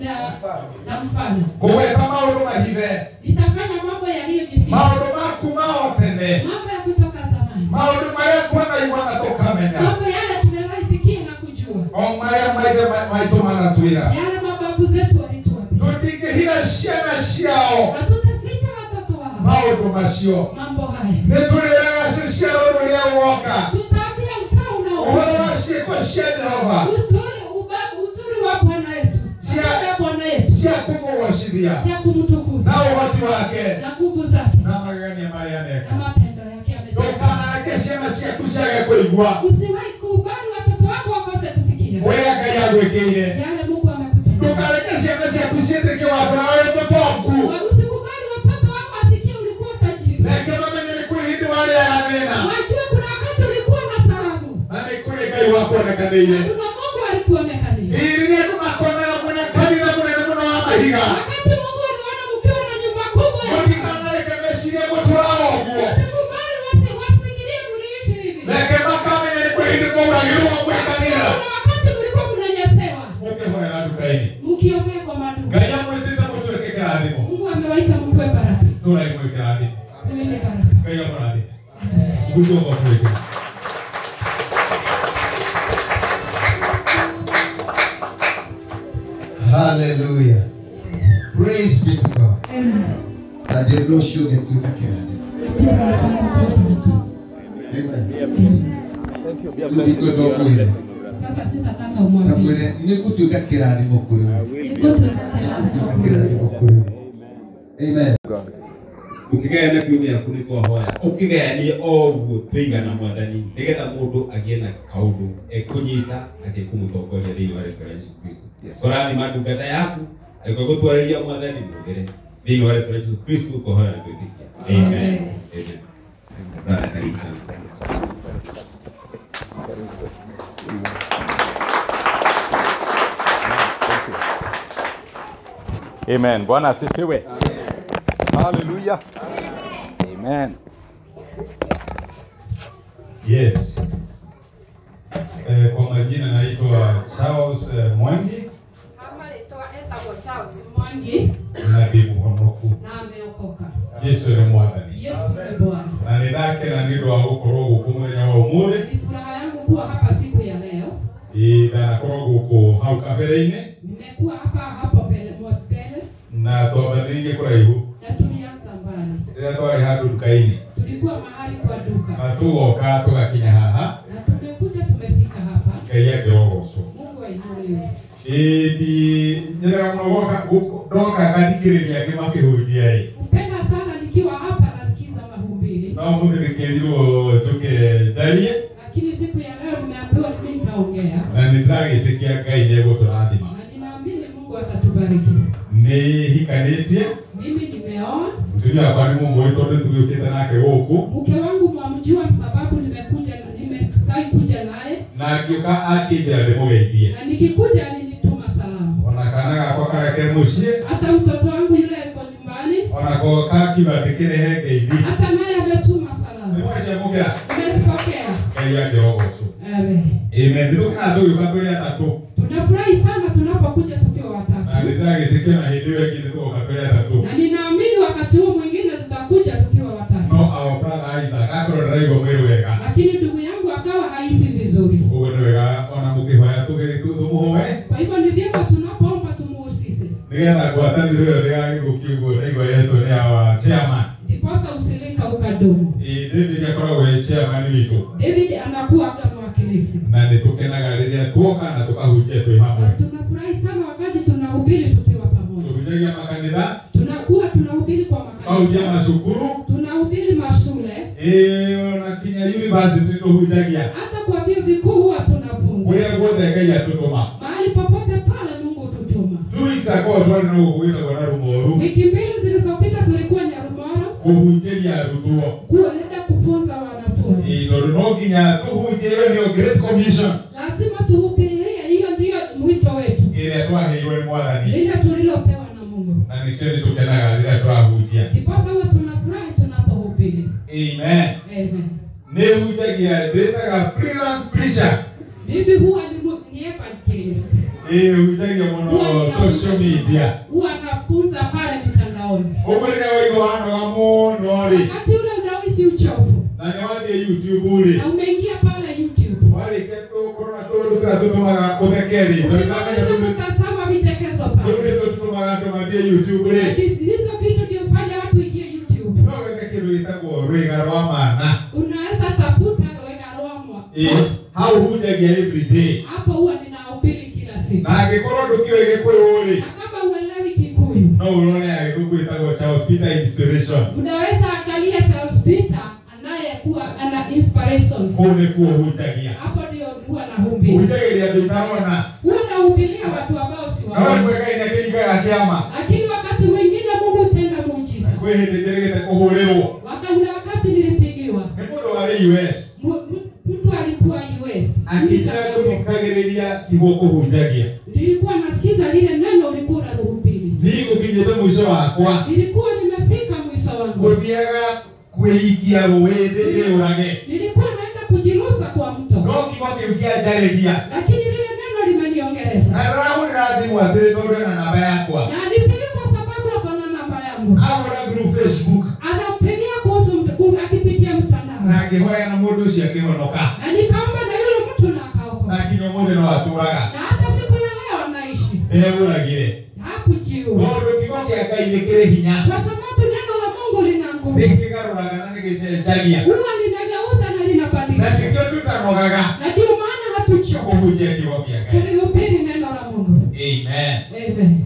Speaker 3: na, na mfano
Speaker 5: kũgweta maũndũ mahithe
Speaker 3: nitafanya mambo yaliyojificha
Speaker 5: maũndũ maku ma o tene
Speaker 3: mambo ya kutoka zamani
Speaker 5: maũndũ marĩa twanaiwa na tũkamenya
Speaker 3: mambo yale tumewaisikia na kujua
Speaker 5: o marĩa maithe ma- maitũ manatwĩra
Speaker 3: yale mababu zetu walituambia
Speaker 5: tũtingĩhitha ciana ciao
Speaker 3: hatutaficha watoto wao
Speaker 5: maũndũ macio
Speaker 3: mambo haya
Speaker 5: nĩ tũrĩraga ciciaro rũrĩa woka
Speaker 3: tutaambia usaa
Speaker 5: ũhoro wa
Speaker 3: unaoa
Speaker 5: ciĩko cia jehova
Speaker 3: uzuri uba- uzuri wa bwana yetu
Speaker 5: Sia-
Speaker 3: Katika bwana yetu
Speaker 5: cia kũmũgocithia
Speaker 3: ya kumtukuza
Speaker 5: na ũhoti wake
Speaker 3: na nguvu zake
Speaker 5: na magegania marĩa aneka
Speaker 3: na matendo yake amesema
Speaker 5: ndũkanareke ciana ciaku ciage kũigua
Speaker 3: usiwahi kubali watoto wako wakose kusikia
Speaker 5: ũrĩa ngai agwĩkĩire
Speaker 3: yale mungu amekutendea
Speaker 5: ndũkareke ciana ciaku ciĩtĩkie watho na wĩ mũtongu
Speaker 3: Wa- usikubali watoto wako wasikie ulikuwa tajiri
Speaker 5: reke mamenye nĩ kũrĩ hindi warĩa ya thĩna
Speaker 3: wajue kuna wakati ulikuwa na taabu
Speaker 5: na nĩ kũrĩ ngai
Speaker 3: na
Speaker 5: wakuonekanĩire
Speaker 3: kuna mungu alikuonekania
Speaker 5: iri nĩ andũ makonaga mũne kanitha mũnene mũno wa mahiga
Speaker 3: wakati mungu aliona mkiwa na nyumba kubwa ya-
Speaker 5: mũtikanareke mecirie gũtũra ũguo
Speaker 3: usikubali wasi- wasifikirie mliishi hivi
Speaker 5: reke makamenya nĩ kũrĩ hindi mũragĩrwo mwĩ kanitha
Speaker 3: kuna wakati mlikuwa mnanyasewa
Speaker 5: ũkĩhoera nduka-inĩ
Speaker 3: mkiongea kwa maduka
Speaker 5: ngai amwĩtĩte mũtwĩke kĩrathimo
Speaker 3: mungu amewaita mkue baraka
Speaker 5: ndũrai mwĩ kĩrathimo
Speaker 3: uende baraka
Speaker 5: ngai amũrathime Mkujua kwa kweli.
Speaker 6: Hallelujah. Praise be to God.
Speaker 3: Amen.
Speaker 6: That the Lord should get to the kingdom.
Speaker 3: Pia baraka kwa baraka.
Speaker 6: Amen.
Speaker 4: Thank you. Be a
Speaker 6: Mungu iko ndogo ile.
Speaker 3: sasa sitataka umwambie
Speaker 6: Takwire nikutuika kirathimo kuri we.
Speaker 3: niko tunakutana
Speaker 6: Nikutuika kirathimo kuri we. Amen.
Speaker 1: ukigayana kiumia kuni kwahoya ukigayanie o ũguo tũigana mwathani nĩgetha mũndũ agĩe na kaũndũ ekũnyita agĩkũmũtongoria thĩinĩ wa rĩtwa rĩa Jesũ Kristo ũrathima ndungata yaku agĩkwa gũtwarĩria mwathani mũthere thĩinĩ wa rĩtwa rĩa Jesũ Kristo ũkũhoya na kwĩtĩkia Amen.
Speaker 3: Amen.
Speaker 1: Amen. Brother, karibu sana.
Speaker 4: Amen. Bwana asifiwe. Hallelujah. Amen.
Speaker 5: Yes. Eh, kwa majina naitwa Charles eh, Mwangi
Speaker 3: kama litoa etagwo Charles Mwangi
Speaker 5: nabibu wa mwaku
Speaker 3: na ameokoka
Speaker 5: Yesu ni mwathani
Speaker 3: Yesu ni Bwana
Speaker 5: na nä ndake na nä å ndå wa gå korwo gå kå må wa å må thä
Speaker 3: ni furaha yangu kuwa hapa siku ya leo
Speaker 5: ndanakorwo gå kå hau kabere-inä
Speaker 3: nimekuwa hapa hapo mbele mwa- mbele
Speaker 5: na twambanä rä irie kå raihu
Speaker 3: na tulianza mbali
Speaker 5: rä rä a twarä handå nduka-inä
Speaker 3: tulikuwa mahali kwa duka
Speaker 5: na tå goka tå gakinya haha
Speaker 3: na tumekuja tumefika hapa
Speaker 5: ngai angä rogocwo
Speaker 3: Mungu ainuliwe
Speaker 5: ndi nyerera må no ndoka ngathikä rä ria angä makä hå njiaä
Speaker 3: upenda sana nikiwa hapa nasikiza mahubiri
Speaker 5: no må thä nä kä rirwo njå ke njarie
Speaker 3: lakini siku ya leo nimeambiwa mimi nitaongea
Speaker 5: na nä ndäragätäkia ngai nä egå tå rathima
Speaker 3: na ninaamini Mungu atatubariki
Speaker 5: nä hikanä tie
Speaker 3: mimi nimeoa
Speaker 5: mũtumia wakwa nä må måä tondå nä tå gä å kä te nake gå kå
Speaker 3: mke wangu mwamjua sababu nimekuja nimesai kuja naye
Speaker 5: na ngä å ka akä njä ra ndä må geithie
Speaker 3: na nikikuja alinituma salamu
Speaker 5: ona kana gakwa kareke må ciä
Speaker 3: hata mtoto wangu yule yuko nyumbani
Speaker 5: ona ko kakiuga ndä kä rehe ngeithi
Speaker 3: hata naye ametuma
Speaker 5: nä
Speaker 3: salamu
Speaker 5: mwaciamå ra
Speaker 3: umezipokea
Speaker 5: ngai angä rogocwo
Speaker 3: Amen.
Speaker 5: ĩme nä tå kana tå gä å ka tå rä atatå
Speaker 3: tunafurahi sana tunapokuja tukiwa
Speaker 5: na
Speaker 3: watatu
Speaker 5: nä ndäragä tä kia na hä ndä ä yo ä ngä nä tå goka tå rä atatå
Speaker 3: na ninaamini wakati huu mwingine tutakuja tukiwa watatu
Speaker 5: no aobragaagakorwo ndä raigua mwä rå wega
Speaker 3: lakini ndugu yangu akawa haisi vizuri
Speaker 5: koguo nä wega ona må kä hoya tå må hoe
Speaker 3: kwa hivyo ni vyema tunapoomba tumuhusise
Speaker 5: nä getha ngwatanä ro ä yo ndä gagä thå kie å guo raigua yetwo nä awa chairman
Speaker 3: ndiposa usilika ukadumu
Speaker 5: ĩĩ david akoragwo e chairman witũ
Speaker 3: david anakuwa aga mwakilisi
Speaker 5: na nĩ tũkenaga rĩrĩa tuoka na tũkahunjia twĩ hamwe
Speaker 3: Na tunafurahi sana wakati tunahubiri tukiwa pamoja
Speaker 5: tũhunjagia tunakuja makanitha
Speaker 3: tunakuwa tunahubiri kwa
Speaker 5: tukahujia
Speaker 3: makanisa
Speaker 5: mashukuru
Speaker 3: tunahubiri mashule
Speaker 5: ĩyo na kinya university tuhunjagia
Speaker 3: hata kwa vyuo vikuu huwa tunafunza
Speaker 5: kuria guothe ngai atutuma
Speaker 3: mahali popote pale mungu hututuma
Speaker 5: two weeks ago twari na gũkũ gwĩtagwo na rumoru
Speaker 3: wiki mbili zilizopita tulikuwa nyarumoro
Speaker 5: kũhunjĩria arutwo
Speaker 3: kueleza kufunza wanafunzi
Speaker 5: Ĩ, tondũ no nginya tuhunjie ĩyo nĩyo great commission
Speaker 3: lazima tuhubirie hiyo ndiyo mwito wetu
Speaker 5: ĩrĩa twaheirwo nĩ mwathani
Speaker 3: lile tulilopewa na mungu
Speaker 5: na nĩkĩo nĩ tũkenaga rĩrĩa tũrahunjia
Speaker 3: ndiposa huwa tunafurahi tunapohubiri
Speaker 5: amen
Speaker 3: amen
Speaker 5: nĩ hunjagia ndĩtaga freelance preacher
Speaker 3: mimi huwa ni mu- ni evangelist
Speaker 5: ĩĩ hunjagia mũno Oh, social media
Speaker 3: huwa nafunza pale mitandaoni
Speaker 5: ũmwe rĩrĩa waigua wanoga mũno rĩ
Speaker 3: wakati ule unahisi uchovu
Speaker 5: na nĩ wathiĩ youtube rĩ
Speaker 3: na umeingia pale youtube
Speaker 5: warĩkia kũrora tũndũ tũrĩa tũtũmaga ũtheke rĩ tondũ nĩwamenya
Speaker 3: unaweza
Speaker 5: tũndũ-
Speaker 3: kutazama vichekesho
Speaker 5: tũu
Speaker 3: pale
Speaker 5: nĩ tũo tũtũmaga andũ mathiĩ youtube rĩ
Speaker 3: Na hizi- hizo vitu ndio hufanya watu ingie youtube
Speaker 5: no wethe kĩndũ gĩtagwo rwĩga rwa mana
Speaker 3: unaweza tafuta rwega rwamwa
Speaker 5: Ĩ, hau hunjagia every day
Speaker 3: hapo huwa ninahubiri kila siku
Speaker 5: na angĩkorwo ndũkĩũĩ gĩkũyũ rĩ
Speaker 3: na kama uelewi kikuyu
Speaker 5: no ũrore agĩkũkũ ĩtagwo Charles Peter Inspirations
Speaker 3: unaweza angalia charles peter anayekuwa ana inspirations
Speaker 5: kũu nĩkuo hunjagia
Speaker 3: hapo ndio huwa nahubiri
Speaker 5: hunjagĩria andũ itarona
Speaker 3: huwa nahubiria watu ambao si
Speaker 5: no
Speaker 3: wao
Speaker 5: nĩmwekaĩ nĩ akĩringaga kĩama
Speaker 3: lakini wakati mwingine mungu hutenda muujiza
Speaker 5: kwĩ hĩndĩ njĩrĩgĩte kũhũrĩrwo
Speaker 3: wakaula wakati nilipigiwa
Speaker 5: nĩ mũndũ warĩ US
Speaker 3: mu- mu- mtu alikuwa US
Speaker 5: akĩnjĩra ngũthikagĩrĩria tiguo kũhunjagia
Speaker 3: nilikuwa nasikiza lile neno ulikuwa unaruhubiri
Speaker 5: nĩgũkinyĩte mũico wakwa
Speaker 3: nilikuwa nimefika mwisho wangu
Speaker 5: ngũthiaga kwĩikia rũĩ ndĩũrage
Speaker 3: nilikuwa naenda kujirusa kwa
Speaker 5: no
Speaker 3: mto
Speaker 5: kiugo kĩu kĩanjarĩria
Speaker 3: lakini lile neno
Speaker 5: na
Speaker 3: limeniongeleza
Speaker 5: ndĩrahũrĩra thimũ atĩrĩ tondũ ena namba yakwa
Speaker 3: na nipigia kwa sababu akona namba yangu
Speaker 5: ahũra through facebook
Speaker 3: anampigia kuhusu mt- ku- akipitia mtandao
Speaker 5: na ngĩhoya na mũndũ ũcio akĩhonoka
Speaker 3: na nikaomba na yule mtu na
Speaker 5: na
Speaker 3: akaokoka
Speaker 5: nginya ũmũthĩ no atũraga
Speaker 3: na hata siku ya leo anaishi
Speaker 5: ndĩreũragire
Speaker 3: hakujiua
Speaker 5: tondũ kiugo kĩa ngai nĩ kĩrĩ hinya
Speaker 3: kwa sababu neno la Mungu lina nguvu
Speaker 5: nĩ kĩgarũraga na nĩ gĩcenjagia
Speaker 3: huwa linageuza na
Speaker 5: na
Speaker 3: linabadilisha
Speaker 5: cikĩo tutanogaga
Speaker 3: na ndio maana hatuchoka
Speaker 5: kũhunjia kiugo kĩa ngai
Speaker 3: kulihubiri neno la Mungu.
Speaker 5: amen
Speaker 3: Amen.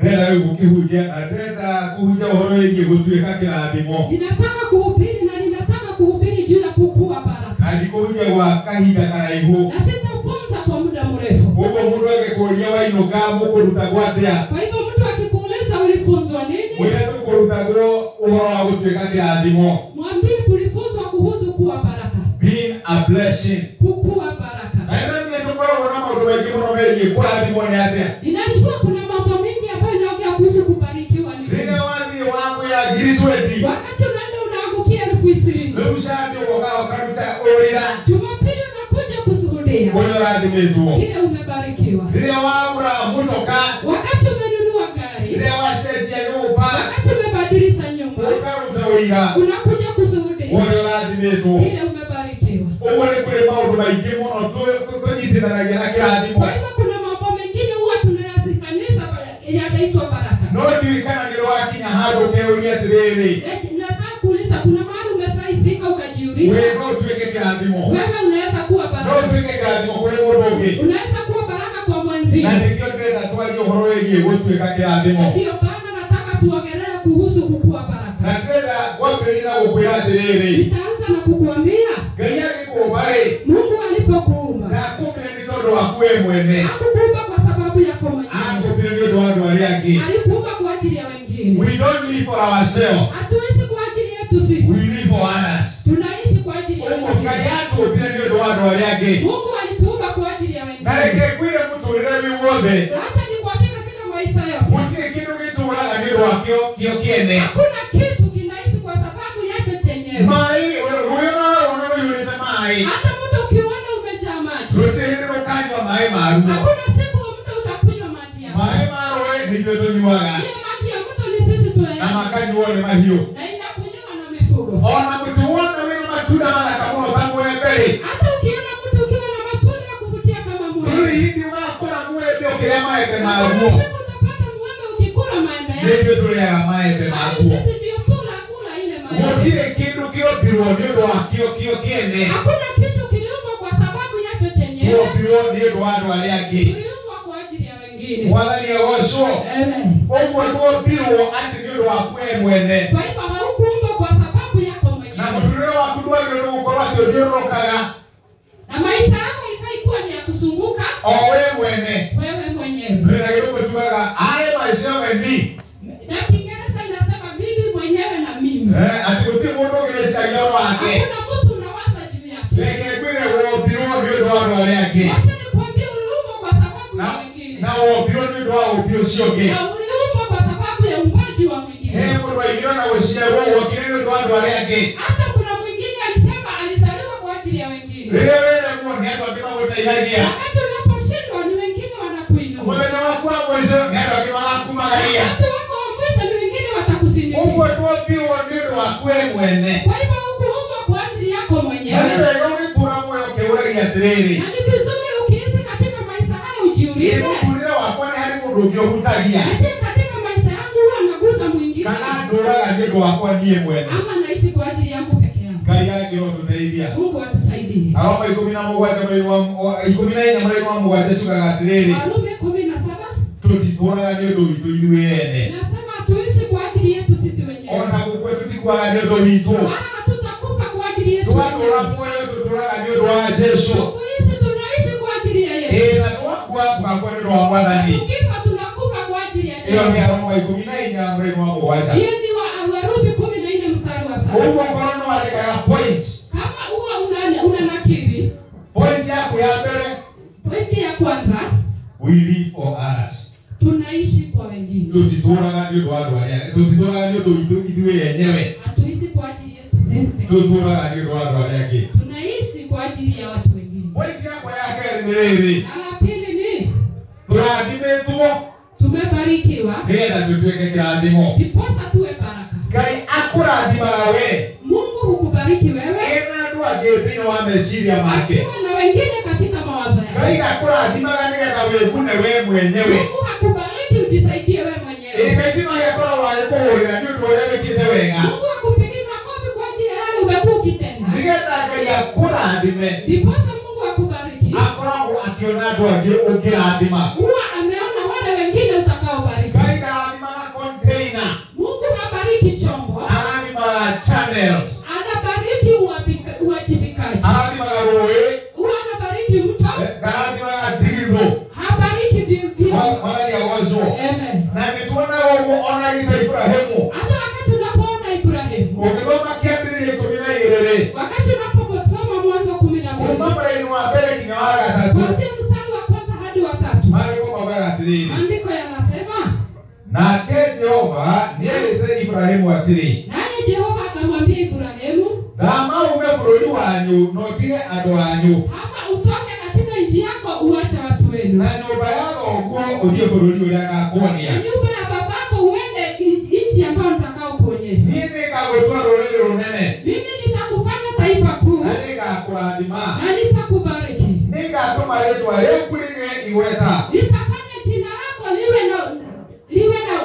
Speaker 5: ndĩrenda rĩu gũkĩhunjia na ndĩrenda kũhunjia ũhoro wĩgiĩ gũtuĩka kĩrathimo
Speaker 3: Ninataka kuhubiri na ninataka kuhubiri juu ya kukua baraka,
Speaker 5: angikuja gwa kahinda karaihu
Speaker 3: na sitafunza kwa muda mrefu.
Speaker 5: ũguo mũndũ angĩkũria wainũka mũkũrutagwo atĩa
Speaker 3: Kwa hivyo mtu akikuuliza ulifunzwa nini,
Speaker 5: mwĩre tũkũrutagwo ũhoro wa gũtuĩka kĩrathimo
Speaker 3: mwambie tulifunzwa kuhusu kuwa baraka,
Speaker 5: being a blessing
Speaker 3: kukua
Speaker 5: na
Speaker 3: baraka.
Speaker 5: ĩno nĩ tũkoragwo na maũndũ maingĩ mũno megiĩ kũrathimwo nĩ atĩa
Speaker 3: Ninajua kuna mambo mengi ambayo inaongea kuhusu kubarikiwa ni nini.
Speaker 5: rĩrĩa wathiĩ wagwĩra ngiri twendi
Speaker 3: Wakati unaenda unaangukia elfu ishirini,
Speaker 5: rĩu cathi ũgoka ũkaruta ũrĩra
Speaker 3: Jumapili unakuja kushuhudia
Speaker 5: ũrĩa ũrathimĩtwo
Speaker 3: vile umebarikiwa.
Speaker 5: rĩrĩa wagũra mũnoka
Speaker 3: Wakati umenunua gari,
Speaker 5: rĩrĩa wacenjia nyũmba
Speaker 3: wakati umebadilisha nyumba,
Speaker 5: ũkaruta ũira
Speaker 3: unakuja kushuhudia
Speaker 5: ũrĩa ũrathimĩtwo
Speaker 3: vile umebarikiwa.
Speaker 5: ũguo nĩ kũrĩ maũndũ maingĩ mũno tũ- tũ- tũnyitithanagia na kĩrathimo
Speaker 3: Kwa hivyo kuna mambo mengine huwa tunayasikanisha ba- yataitwa baraka.
Speaker 5: no ndiũĩ kana nĩ rwakinya handũ ũkeũria atĩrĩrĩ
Speaker 3: Eti, Nataka kuuliza, kuna mahali umeshaifika
Speaker 5: we
Speaker 3: ukajiuliza
Speaker 5: no ũtuĩke kĩrathimo
Speaker 3: wewe unaweza kuwa
Speaker 5: no
Speaker 3: baraka,
Speaker 5: ũtuĩke kĩrathimo kũrĩ mũndũ ũngĩ
Speaker 3: unaweza kuwa baraka kwa mwenzio.
Speaker 5: na nĩkĩo ndĩrenda twarie ũhoro wĩgiĩ gũtuĩka kĩrathimo
Speaker 3: Ndiyo maana nataka tuongelee kuhusu kukua
Speaker 5: na
Speaker 3: baraka.
Speaker 5: ndĩrenda kwambĩrĩria na gũkwĩra atĩrĩrĩ
Speaker 3: Nitaanza na kukuambia
Speaker 5: ngai agĩkũũmbarĩ
Speaker 3: Mungu alipokuumba
Speaker 5: na akũmbire nĩ tondũ waku we mwene
Speaker 3: hakukuumba kwa sababu yako mwenyewe,
Speaker 5: akũmbire nĩ ũndũ wa andũ arĩa angĩ
Speaker 3: alikuumba kwa ajili ya
Speaker 5: we
Speaker 3: wengine.
Speaker 5: don't live for ourselves
Speaker 3: Hatuishi kwa ajili yetu
Speaker 5: we Oh
Speaker 3: sisi,
Speaker 5: live for others
Speaker 3: tunaishi kwa ajili ya
Speaker 5: ũguo ngai
Speaker 3: wengine.
Speaker 5: atũmbire nĩ ũndũ wa andũ arĩa angĩ
Speaker 3: Mungu alituumba kwa ajili ya
Speaker 5: na
Speaker 3: wengine.
Speaker 5: reke ngwĩre mũtũrĩre wĩ wothe
Speaker 3: Acha nikwambie katika maisha yote,
Speaker 5: gũtirĩ kĩndũ gĩtũũraga nĩ ũndũ wa kĩo kĩo kĩene
Speaker 3: hakuna kitu kinaishi kwa sababu yacho chenyewe.
Speaker 5: maĩ rũĩ ona rũona rũiyũrĩte maĩ
Speaker 3: Hata mtu ukiuona umejaa maji,
Speaker 5: rũtirĩ hĩndĩ rũkanyua maĩ maruo
Speaker 3: hakuna siku mtu utakunywa maji yako.
Speaker 5: maĩ ma rũĩ nĩ ithuĩ tũnyuaga
Speaker 3: Ile maji ya mtu ni sisi
Speaker 5: na
Speaker 3: tuyanywa
Speaker 5: makanyuo nĩ mahiũ
Speaker 3: na inakunywa na mifugo.
Speaker 5: ona mũtiwona wĩna matunda mathaka mũno ta mwemberĩ
Speaker 3: Hata ukiona mtu ukiwa na matunda ya kuvutia kama
Speaker 5: rũrĩ
Speaker 3: mwembe,
Speaker 5: hindi ũgakũra mwembe ũkĩrĩa maembe maguo
Speaker 3: hakuna siku utapata mwembe ukikula maembe
Speaker 5: nĩ
Speaker 3: yako.
Speaker 5: ithuĩ tũrĩaga maembe
Speaker 3: Bali
Speaker 5: maguo
Speaker 3: sisi ndio tunakula ile maembe.
Speaker 5: gũtirĩ kĩndũ kĩombirwo nĩ ũndũ wa kĩo kĩo kĩene
Speaker 3: Hakuna kitu kiliumbwa kwa sababu yacho chenyewe,
Speaker 5: kĩombirwo nĩ ũndũ wa andũ arĩa angĩ
Speaker 3: kiliumbwa kwa ajili ya wengine.
Speaker 5: mwathani agocwo
Speaker 3: Amen.
Speaker 5: ũguo ndwombirwo atĩ nĩ ũndũ waku we mwene
Speaker 3: kwa hivyo haukuumbwa kwa sababu yako mwenyewe
Speaker 5: na mũtũrĩre waku ndwagĩrĩirwo gũkorwo atĩ ũthiũrũrũkaga
Speaker 3: na maisha yako ikaikuwa ni ya kuzunguka
Speaker 5: o we mwene
Speaker 3: wewe mwenyewe
Speaker 5: ndĩna gĩrũgũ tugaga arĩ maica we mi
Speaker 3: na kiingereza inasema mimi mwenyewe na mimi
Speaker 5: Eh, atĩ gũtirĩ mũndũ ũgĩrĩcagia wake
Speaker 3: hakuna mtu unawaza juu yake
Speaker 5: reke ngwĩre wombirwo nĩ ũndũ wa andũ arĩa angĩ
Speaker 3: wacha nikwambie uliumbwa kwa sababu ya
Speaker 5: Na-
Speaker 3: wengine
Speaker 5: na wombirwo nĩ ũndũ wa ũmbi ũcio ũngĩ
Speaker 3: na uliumbwa kwa sababu ya umbaji wa
Speaker 5: he
Speaker 3: mwingine
Speaker 5: mũndũ waingĩra na gũciarwo wokire nĩ ũndũ wa andũ arĩa angĩ
Speaker 3: hata kuna mwingine alisema alizaliwa kwa ajili ya wengine
Speaker 5: rĩrĩa wĩremwo nĩ andũ angĩ magũteithagia
Speaker 3: wakati unaposhindwa ni wengine wanakuinua
Speaker 5: mũthenya waku wa mũico nĩ andũ angĩ magakumagaria
Speaker 3: wakati wako wa mwisho ni wengine watakusindikiza
Speaker 5: ũguo twombirwo nĩ ũndũ waku we mwene
Speaker 3: kwa hivyo hukuumbwa kwa ajili yako
Speaker 5: na nĩ
Speaker 3: mwenyewe
Speaker 5: wega ũgĩkũra muoyo ũkĩũragia atĩrĩrĩ
Speaker 3: na ni vizuri ukiishi katika maisha haya ujiulize
Speaker 5: mũtũrĩre wakwa nĩ harĩ mũndũ ũngĩ ũhutagia
Speaker 3: aje katika maisha yangu huwa naguza mwingine
Speaker 5: kana ndũraga nĩ ũndũ wakwa niĩ mwene
Speaker 3: ama naishi kwa ajili yangu peke yangu
Speaker 5: ngai angĩrotũteithia
Speaker 3: mungu atusaidie
Speaker 5: aroma ikũmi na mũgwanja mweri wa mũ- wa- ikũmi na inya mweri wa mũgwanja cugaga atĩrĩrĩ
Speaker 3: warumi kumi na saba
Speaker 5: tũtitũraga nĩ ũndũ witũ ithuĩ ene
Speaker 3: inasema tuishi kwa ajili yetu sisi wenyewe
Speaker 5: ona gũkue tũtikuaga nĩ ũndũ witũ
Speaker 3: wala hatutakufa kwa ajili yetu
Speaker 5: twatũra
Speaker 3: wenyewe.
Speaker 5: muoyo tũtũraga nĩ ũndũ wa jesu
Speaker 3: tuishi tunaishi kwa ajili ya yesu
Speaker 5: ĩĩ na twakua tũgakua nĩ ũndũ wa mwathani
Speaker 3: tukifa tunakufa kwa ajili ya
Speaker 5: ĩyo nĩ
Speaker 3: yesu
Speaker 5: aroma ikũmi na inya mweri wa mũgwanja
Speaker 3: hiyo ni wa- warumi kumi na nne mstari wa saba
Speaker 5: ũguo korwo nĩ wandĩkaga point
Speaker 3: kama huwa una- una nakiri
Speaker 5: point yaku ya mbere
Speaker 3: pointi ya kwanza
Speaker 5: we live for others
Speaker 3: tunaishi kwa wengine
Speaker 5: tũtitũraga nĩ ũndũ wa andũ arĩa tũtitũraga nĩ ũndũ witũ ithuĩ enyewe
Speaker 3: hatuishi kwa ajili yetu sisi pekee.
Speaker 5: tũtũraga nĩ ũndũ wa andũ arĩa angĩ
Speaker 3: tunaishi kwa ajili ya watu wengine
Speaker 5: point yakwa ya kerĩ nĩ rĩrĩ
Speaker 3: na la pili ni
Speaker 5: tũrathimĩtwo
Speaker 3: tumebarikiwa
Speaker 5: nĩgetha tũtuĩke kĩrathimo
Speaker 3: ndiposa tuwe baraka
Speaker 5: ngai akũrathimaga we
Speaker 3: mungu hukubariki wewe
Speaker 5: ena andũ angĩ thĩinĩ wa meciria make
Speaker 3: akiwa na wengine katika mawazo
Speaker 5: ngai
Speaker 3: yako
Speaker 5: akũrathimaga nĩgetha wĩgune we mwenyewe
Speaker 3: mungu hakubariki ujisaidie wewe mwenyewe
Speaker 5: ĩgaitima gĩakoragwo arĩ kũhũrĩra nĩ ũndũ ũrĩa wĩkĩte wega
Speaker 3: mungu akupigi makofi kwa ajili ya yale umekuwa ukitenda
Speaker 5: nĩgetha ngai akũrathime
Speaker 3: ndiposa mungu akubariki
Speaker 5: akoragwo akĩona andũ angĩ ũngĩrathima
Speaker 3: huwa ameona wale wengine utakaobariki
Speaker 5: ngai ndarathimaga container
Speaker 3: mungu habariki chombo
Speaker 5: arathimaga channels
Speaker 3: anabariki uwabika- uwajibikaji
Speaker 5: arathimaga rũĩ
Speaker 3: huwa anabariki mto
Speaker 5: ndarathimaga ndigithũ
Speaker 3: habariki vi- vi-
Speaker 5: magaria gwacwo
Speaker 3: Amen.
Speaker 5: na nĩtuonaga ũguo ona gita iburahĩmu
Speaker 3: hata wakati unapoona ibrahimu
Speaker 5: ũngĩthoma kĩambĩrĩria ikũmi na igĩrĩ
Speaker 3: wakati unaposoma mwanzo kumi na mbili
Speaker 5: kuma mũraini wa mbere nginya wa gatatũ
Speaker 3: kwanzia mstari wa kwanza hadi wa tatu
Speaker 5: marĩko maugaga atĩrĩrĩ
Speaker 3: maandiko yanasema
Speaker 5: nake jehova nĩerĩte iburahĩmu atĩrĩ
Speaker 3: naye jehova akamwambia ibrahimu
Speaker 5: thama ume bũrũri wanyu na ũtige andũ wanyu
Speaker 3: kama utoke katika nchi yako uache watu wenu
Speaker 5: na nyũmba ya thoguo ũthiĩ bũrũri ũrĩa agakuonia
Speaker 3: na nyumba ya babako uende i- nchi ambayo nitakao kuonyesha
Speaker 5: niĩ nĩngagũtua rũrĩrĩ rũnene
Speaker 3: mimi nitakufanya taifa kuu
Speaker 5: na nĩngakũrathima
Speaker 3: na nitakubariki
Speaker 5: nĩngatũma rĩtwa rĩaku rĩgĩe igweta
Speaker 3: nitafanya jina lako liwe na liwe na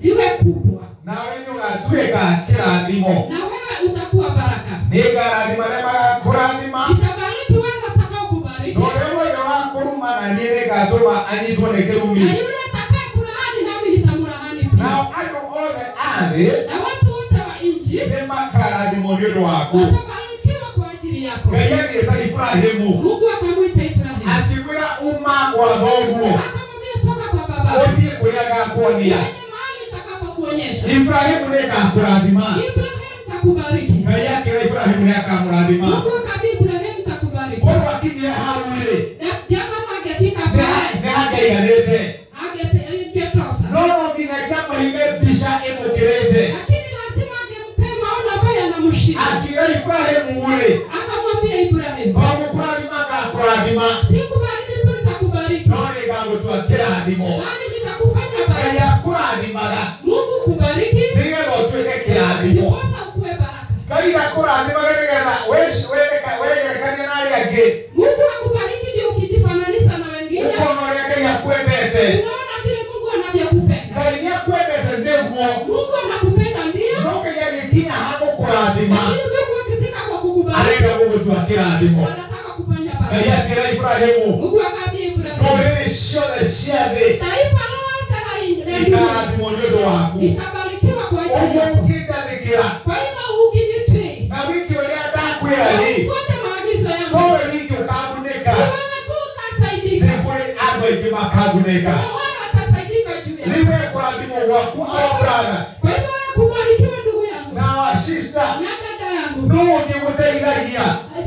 Speaker 3: liwe kubwa
Speaker 5: nawe nĩũgatuĩka kĩrathimo
Speaker 3: na wewe utakuwa baraka
Speaker 5: nĩngarathima arĩa magakũrathima
Speaker 3: nitabariki wale watakaokubariki
Speaker 5: na ũrĩa wothe wakũruma na niĩ nĩngatũma anyitwo nĩ kĩrumi
Speaker 3: na yule atakaye kulaani nami nitamlaani
Speaker 5: nao
Speaker 3: pia
Speaker 5: andũ othe a thĩ
Speaker 3: na watu wote wa nchi
Speaker 5: nĩmakarathimwo nĩ ũndũ waku
Speaker 3: watabarikiwa kwa ajili yako
Speaker 5: ngai agĩĩta iburahĩmu
Speaker 3: mungu akamwita ibrahimu
Speaker 5: akĩkwĩra uma gwa thoguo
Speaker 3: akamwambia toka kwa baba
Speaker 5: ũthiĩ kũrĩa ngakuonia
Speaker 3: ende mahali nitakapokuonyesha
Speaker 5: iburahĩmu nĩngakũrathima
Speaker 3: ibrahimu takubariki
Speaker 5: ngai akĩra iburahĩmu nĩakamũrathima
Speaker 3: mungu akambia ibrahimu takubariki
Speaker 5: mũndũ akinyire hau-rĩ
Speaker 3: na jama angefika
Speaker 5: nĩ-
Speaker 3: pale
Speaker 5: nĩ hakaiganĩte no
Speaker 3: angetosa
Speaker 5: no nginya kĩamũhime mbica ĩmũkĩrĩte
Speaker 3: lakini lazima angempee maono ambayo yanamshinda
Speaker 5: akĩra iburahĩmu-rĩ
Speaker 3: akamwambia ibrahimu
Speaker 5: to gũkũrathima ngakũrathima
Speaker 3: sikubariki tu nitakubariki
Speaker 5: no nĩngagũtua kĩrathimo
Speaker 3: bali nitakufanya
Speaker 5: ngai
Speaker 3: baraka
Speaker 5: akũrathimaga
Speaker 3: mungu kubariki
Speaker 5: nĩgetha ũtuĩke kĩrathimo
Speaker 3: ndiposa ukuwe baraka
Speaker 5: ngai akũrathimaga nĩgetha wĩci- wĩreka- wĩgerekanie na arĩa angĩ
Speaker 3: mungu akubariki ndio ukijifananisha na wengine
Speaker 5: ũkona ũrĩa ngai akwendete
Speaker 3: unaona vile mungu anavyokupenda
Speaker 5: ngai nĩ akwendete nĩguo
Speaker 3: mungu anakupenda ndio
Speaker 5: no ngai agĩkinya ha gũkũrathima
Speaker 3: lakini mungu akifika kwa
Speaker 5: arenda
Speaker 3: kukubariki
Speaker 5: gũgũtua kĩrathimo
Speaker 3: wanataka kufanya
Speaker 5: ngai
Speaker 3: baraka
Speaker 5: akĩra iburahĩmu
Speaker 3: mungu akaambia ibrahimu
Speaker 5: ndũrĩrĩ ciothe cia thĩ
Speaker 3: taifa lote la- la
Speaker 5: ikarathimwo nĩ ũndå waku
Speaker 3: ikabarikiwa kwa ajili
Speaker 5: ũguo
Speaker 3: yako.
Speaker 5: ũngĩtangĩkĩra
Speaker 3: Kwa hivyo ukinitii
Speaker 5: na wiki ũrĩa ndakwĩra
Speaker 3: na
Speaker 5: nĩ
Speaker 3: ufuate maagizo yangu,
Speaker 5: nowe wiki ũkagunĩka
Speaker 3: iwewe tu
Speaker 5: nĩ
Speaker 3: utasaidika,
Speaker 5: kũrĩ andũ aingĩ makagunĩka
Speaker 3: na wale watasaidika juu yako.
Speaker 5: niwe kũrathimwo gwaku o brother
Speaker 3: Kwa hivyo kubarikiwa ndugu yangu
Speaker 5: na wa sister
Speaker 3: na dada yangu,
Speaker 5: nũũ ũngĩgũteithagia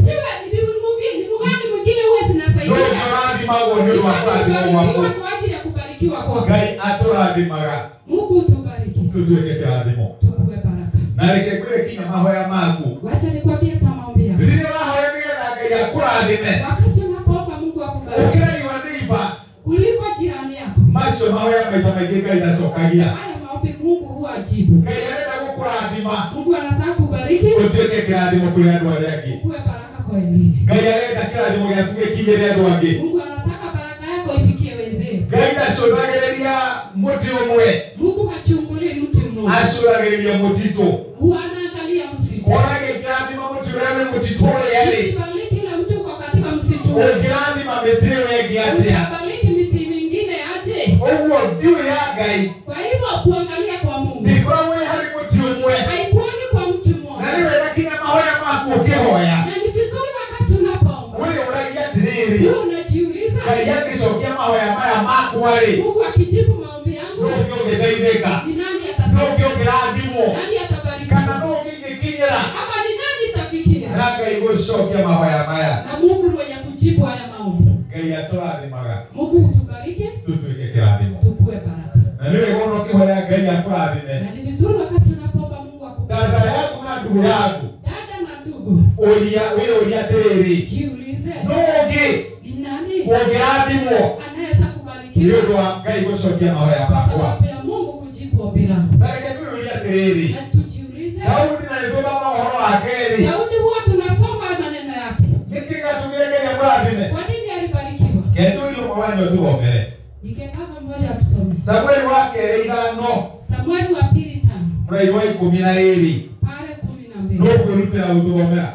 Speaker 3: siwe ni mungu- ni mugani mwingine huwa
Speaker 5: nũũ
Speaker 3: zinasaidia
Speaker 5: ũrathimagwo nĩ ũndũ wa kũrathimwo gwaku
Speaker 3: kubarikiwa kwa ajili ya kubarikiwa kwako.
Speaker 5: ngai atũrathimaga
Speaker 3: Mungu utubariki,
Speaker 5: tũtuĩke kĩrathimo
Speaker 3: tukuwe baraka.
Speaker 5: na reke kwĩre kinya mahoya maku
Speaker 3: Wacha nikwambie hata maombi yangu,
Speaker 5: rĩrĩa wahoya nĩgetha ngai akũrathime
Speaker 3: wakati unapoomba Mungu akubariki
Speaker 5: ũkĩra iwa nĩiba
Speaker 3: kuliko jirani yako.
Speaker 5: macio mahoya maita maingĩ ngai ndacokagia
Speaker 3: Haya maombi Mungu huwa ajibu.
Speaker 5: ngai arenda gũkũrathima
Speaker 3: Mungu anataka kubariki,
Speaker 5: ũtuĩke kĩrathimo kũrĩ andũ arĩa angĩ
Speaker 3: ukuwe baraka kwa wengine.
Speaker 5: ngai arenda kĩrathimo gĩaku gĩkinyĩre andũ angĩ
Speaker 3: Mungu anataka baraka yako ifikie wenzenu.
Speaker 5: ngai ndacũthagĩrĩria mũtĩ ũmwe
Speaker 3: Mungu hachungulii mti mmoja,
Speaker 5: acũthagĩrĩria mũtitũ
Speaker 3: huwa anaangalia msitu.
Speaker 5: ũrage kĩrathima mũtĩ ũrĩa wĩ mũtitũ ũrĩa rĩ
Speaker 3: Ukibariki na mti uko katika msitu,
Speaker 5: ũngĩrathima mĩtĩ ĩyo ĩngĩ atĩa
Speaker 3: utabariki miti mingine aje.
Speaker 5: ũguo thiũ ya ngai
Speaker 3: Kwa hivyo kuangalia kwa Mungu
Speaker 5: ndĩkoragwo ĩ harĩ mũtĩ ũmwe
Speaker 3: haikuangi kwa mtu
Speaker 5: na
Speaker 3: mmoja,
Speaker 5: nĩ wega kinya mahoya maku ũkĩhoya
Speaker 3: na ni vizuri wakati unapoomba
Speaker 5: ũyũ ũragia atĩrĩrĩ
Speaker 3: wewe unajiuliza,
Speaker 5: ngai angĩcokia mahoya maya makwa-rĩ
Speaker 3: Mungu akijibu maombi yangu
Speaker 5: nũũ ũngĩ ũngĩteithĩka
Speaker 3: ni nani
Speaker 5: nũũ
Speaker 3: atasaidia?
Speaker 5: ũngĩ ũngĩrathimwo
Speaker 3: Nani atabariki?
Speaker 5: kana nũũ ũngĩ ingĩkinyĩra
Speaker 3: Hapa ni nani itafikia?
Speaker 5: na ngai gũcokia mahoya maya
Speaker 3: Na Mungu mwenye kujibu haya maombi,
Speaker 5: ngai atũrathimaga
Speaker 3: Mungu utubariki,
Speaker 5: tũtuĩke kĩrathimo
Speaker 3: tukue baraka.
Speaker 5: na nĩ wega ona ũkĩhoya ngai akũrathime
Speaker 3: na ni vizuri wakati unapoomba Mungu
Speaker 5: dada
Speaker 3: akubariki.
Speaker 5: yaku na ndugu yaku
Speaker 3: Dada na ndugu,
Speaker 5: ũria wĩyũria atĩrĩrĩ
Speaker 3: jiulize
Speaker 5: nũũ ũngĩ
Speaker 3: ni nani
Speaker 5: ũngĩrathimwo
Speaker 3: anaweza
Speaker 5: nĩ
Speaker 3: kubarikiwa
Speaker 5: ũndũ wa ngai gũcokia mahoya
Speaker 3: kwa
Speaker 5: makwa
Speaker 3: sababu ya Mungu kujibu ombi langu.
Speaker 5: na reke twĩyũria atĩrĩrĩ
Speaker 3: Na tujiulize,
Speaker 5: daudi na nĩtũthoma ũhoro wa kerĩ
Speaker 3: Daudi huwa tunasoma maneno yake,
Speaker 5: nĩkĩ gatũmire ngai akũrathime
Speaker 3: kwa nini alibarikiwa?
Speaker 5: ketũrio mwanyo tũgomere
Speaker 3: Ningetaka mmoja tusome
Speaker 5: Samueli wa kerĩ ithano
Speaker 3: Samueli wa pili tano
Speaker 5: mũraini wa ikũmi na ĩrĩ
Speaker 3: pale kumi na mbili
Speaker 5: nũkwĩrutĩra gũtũgomera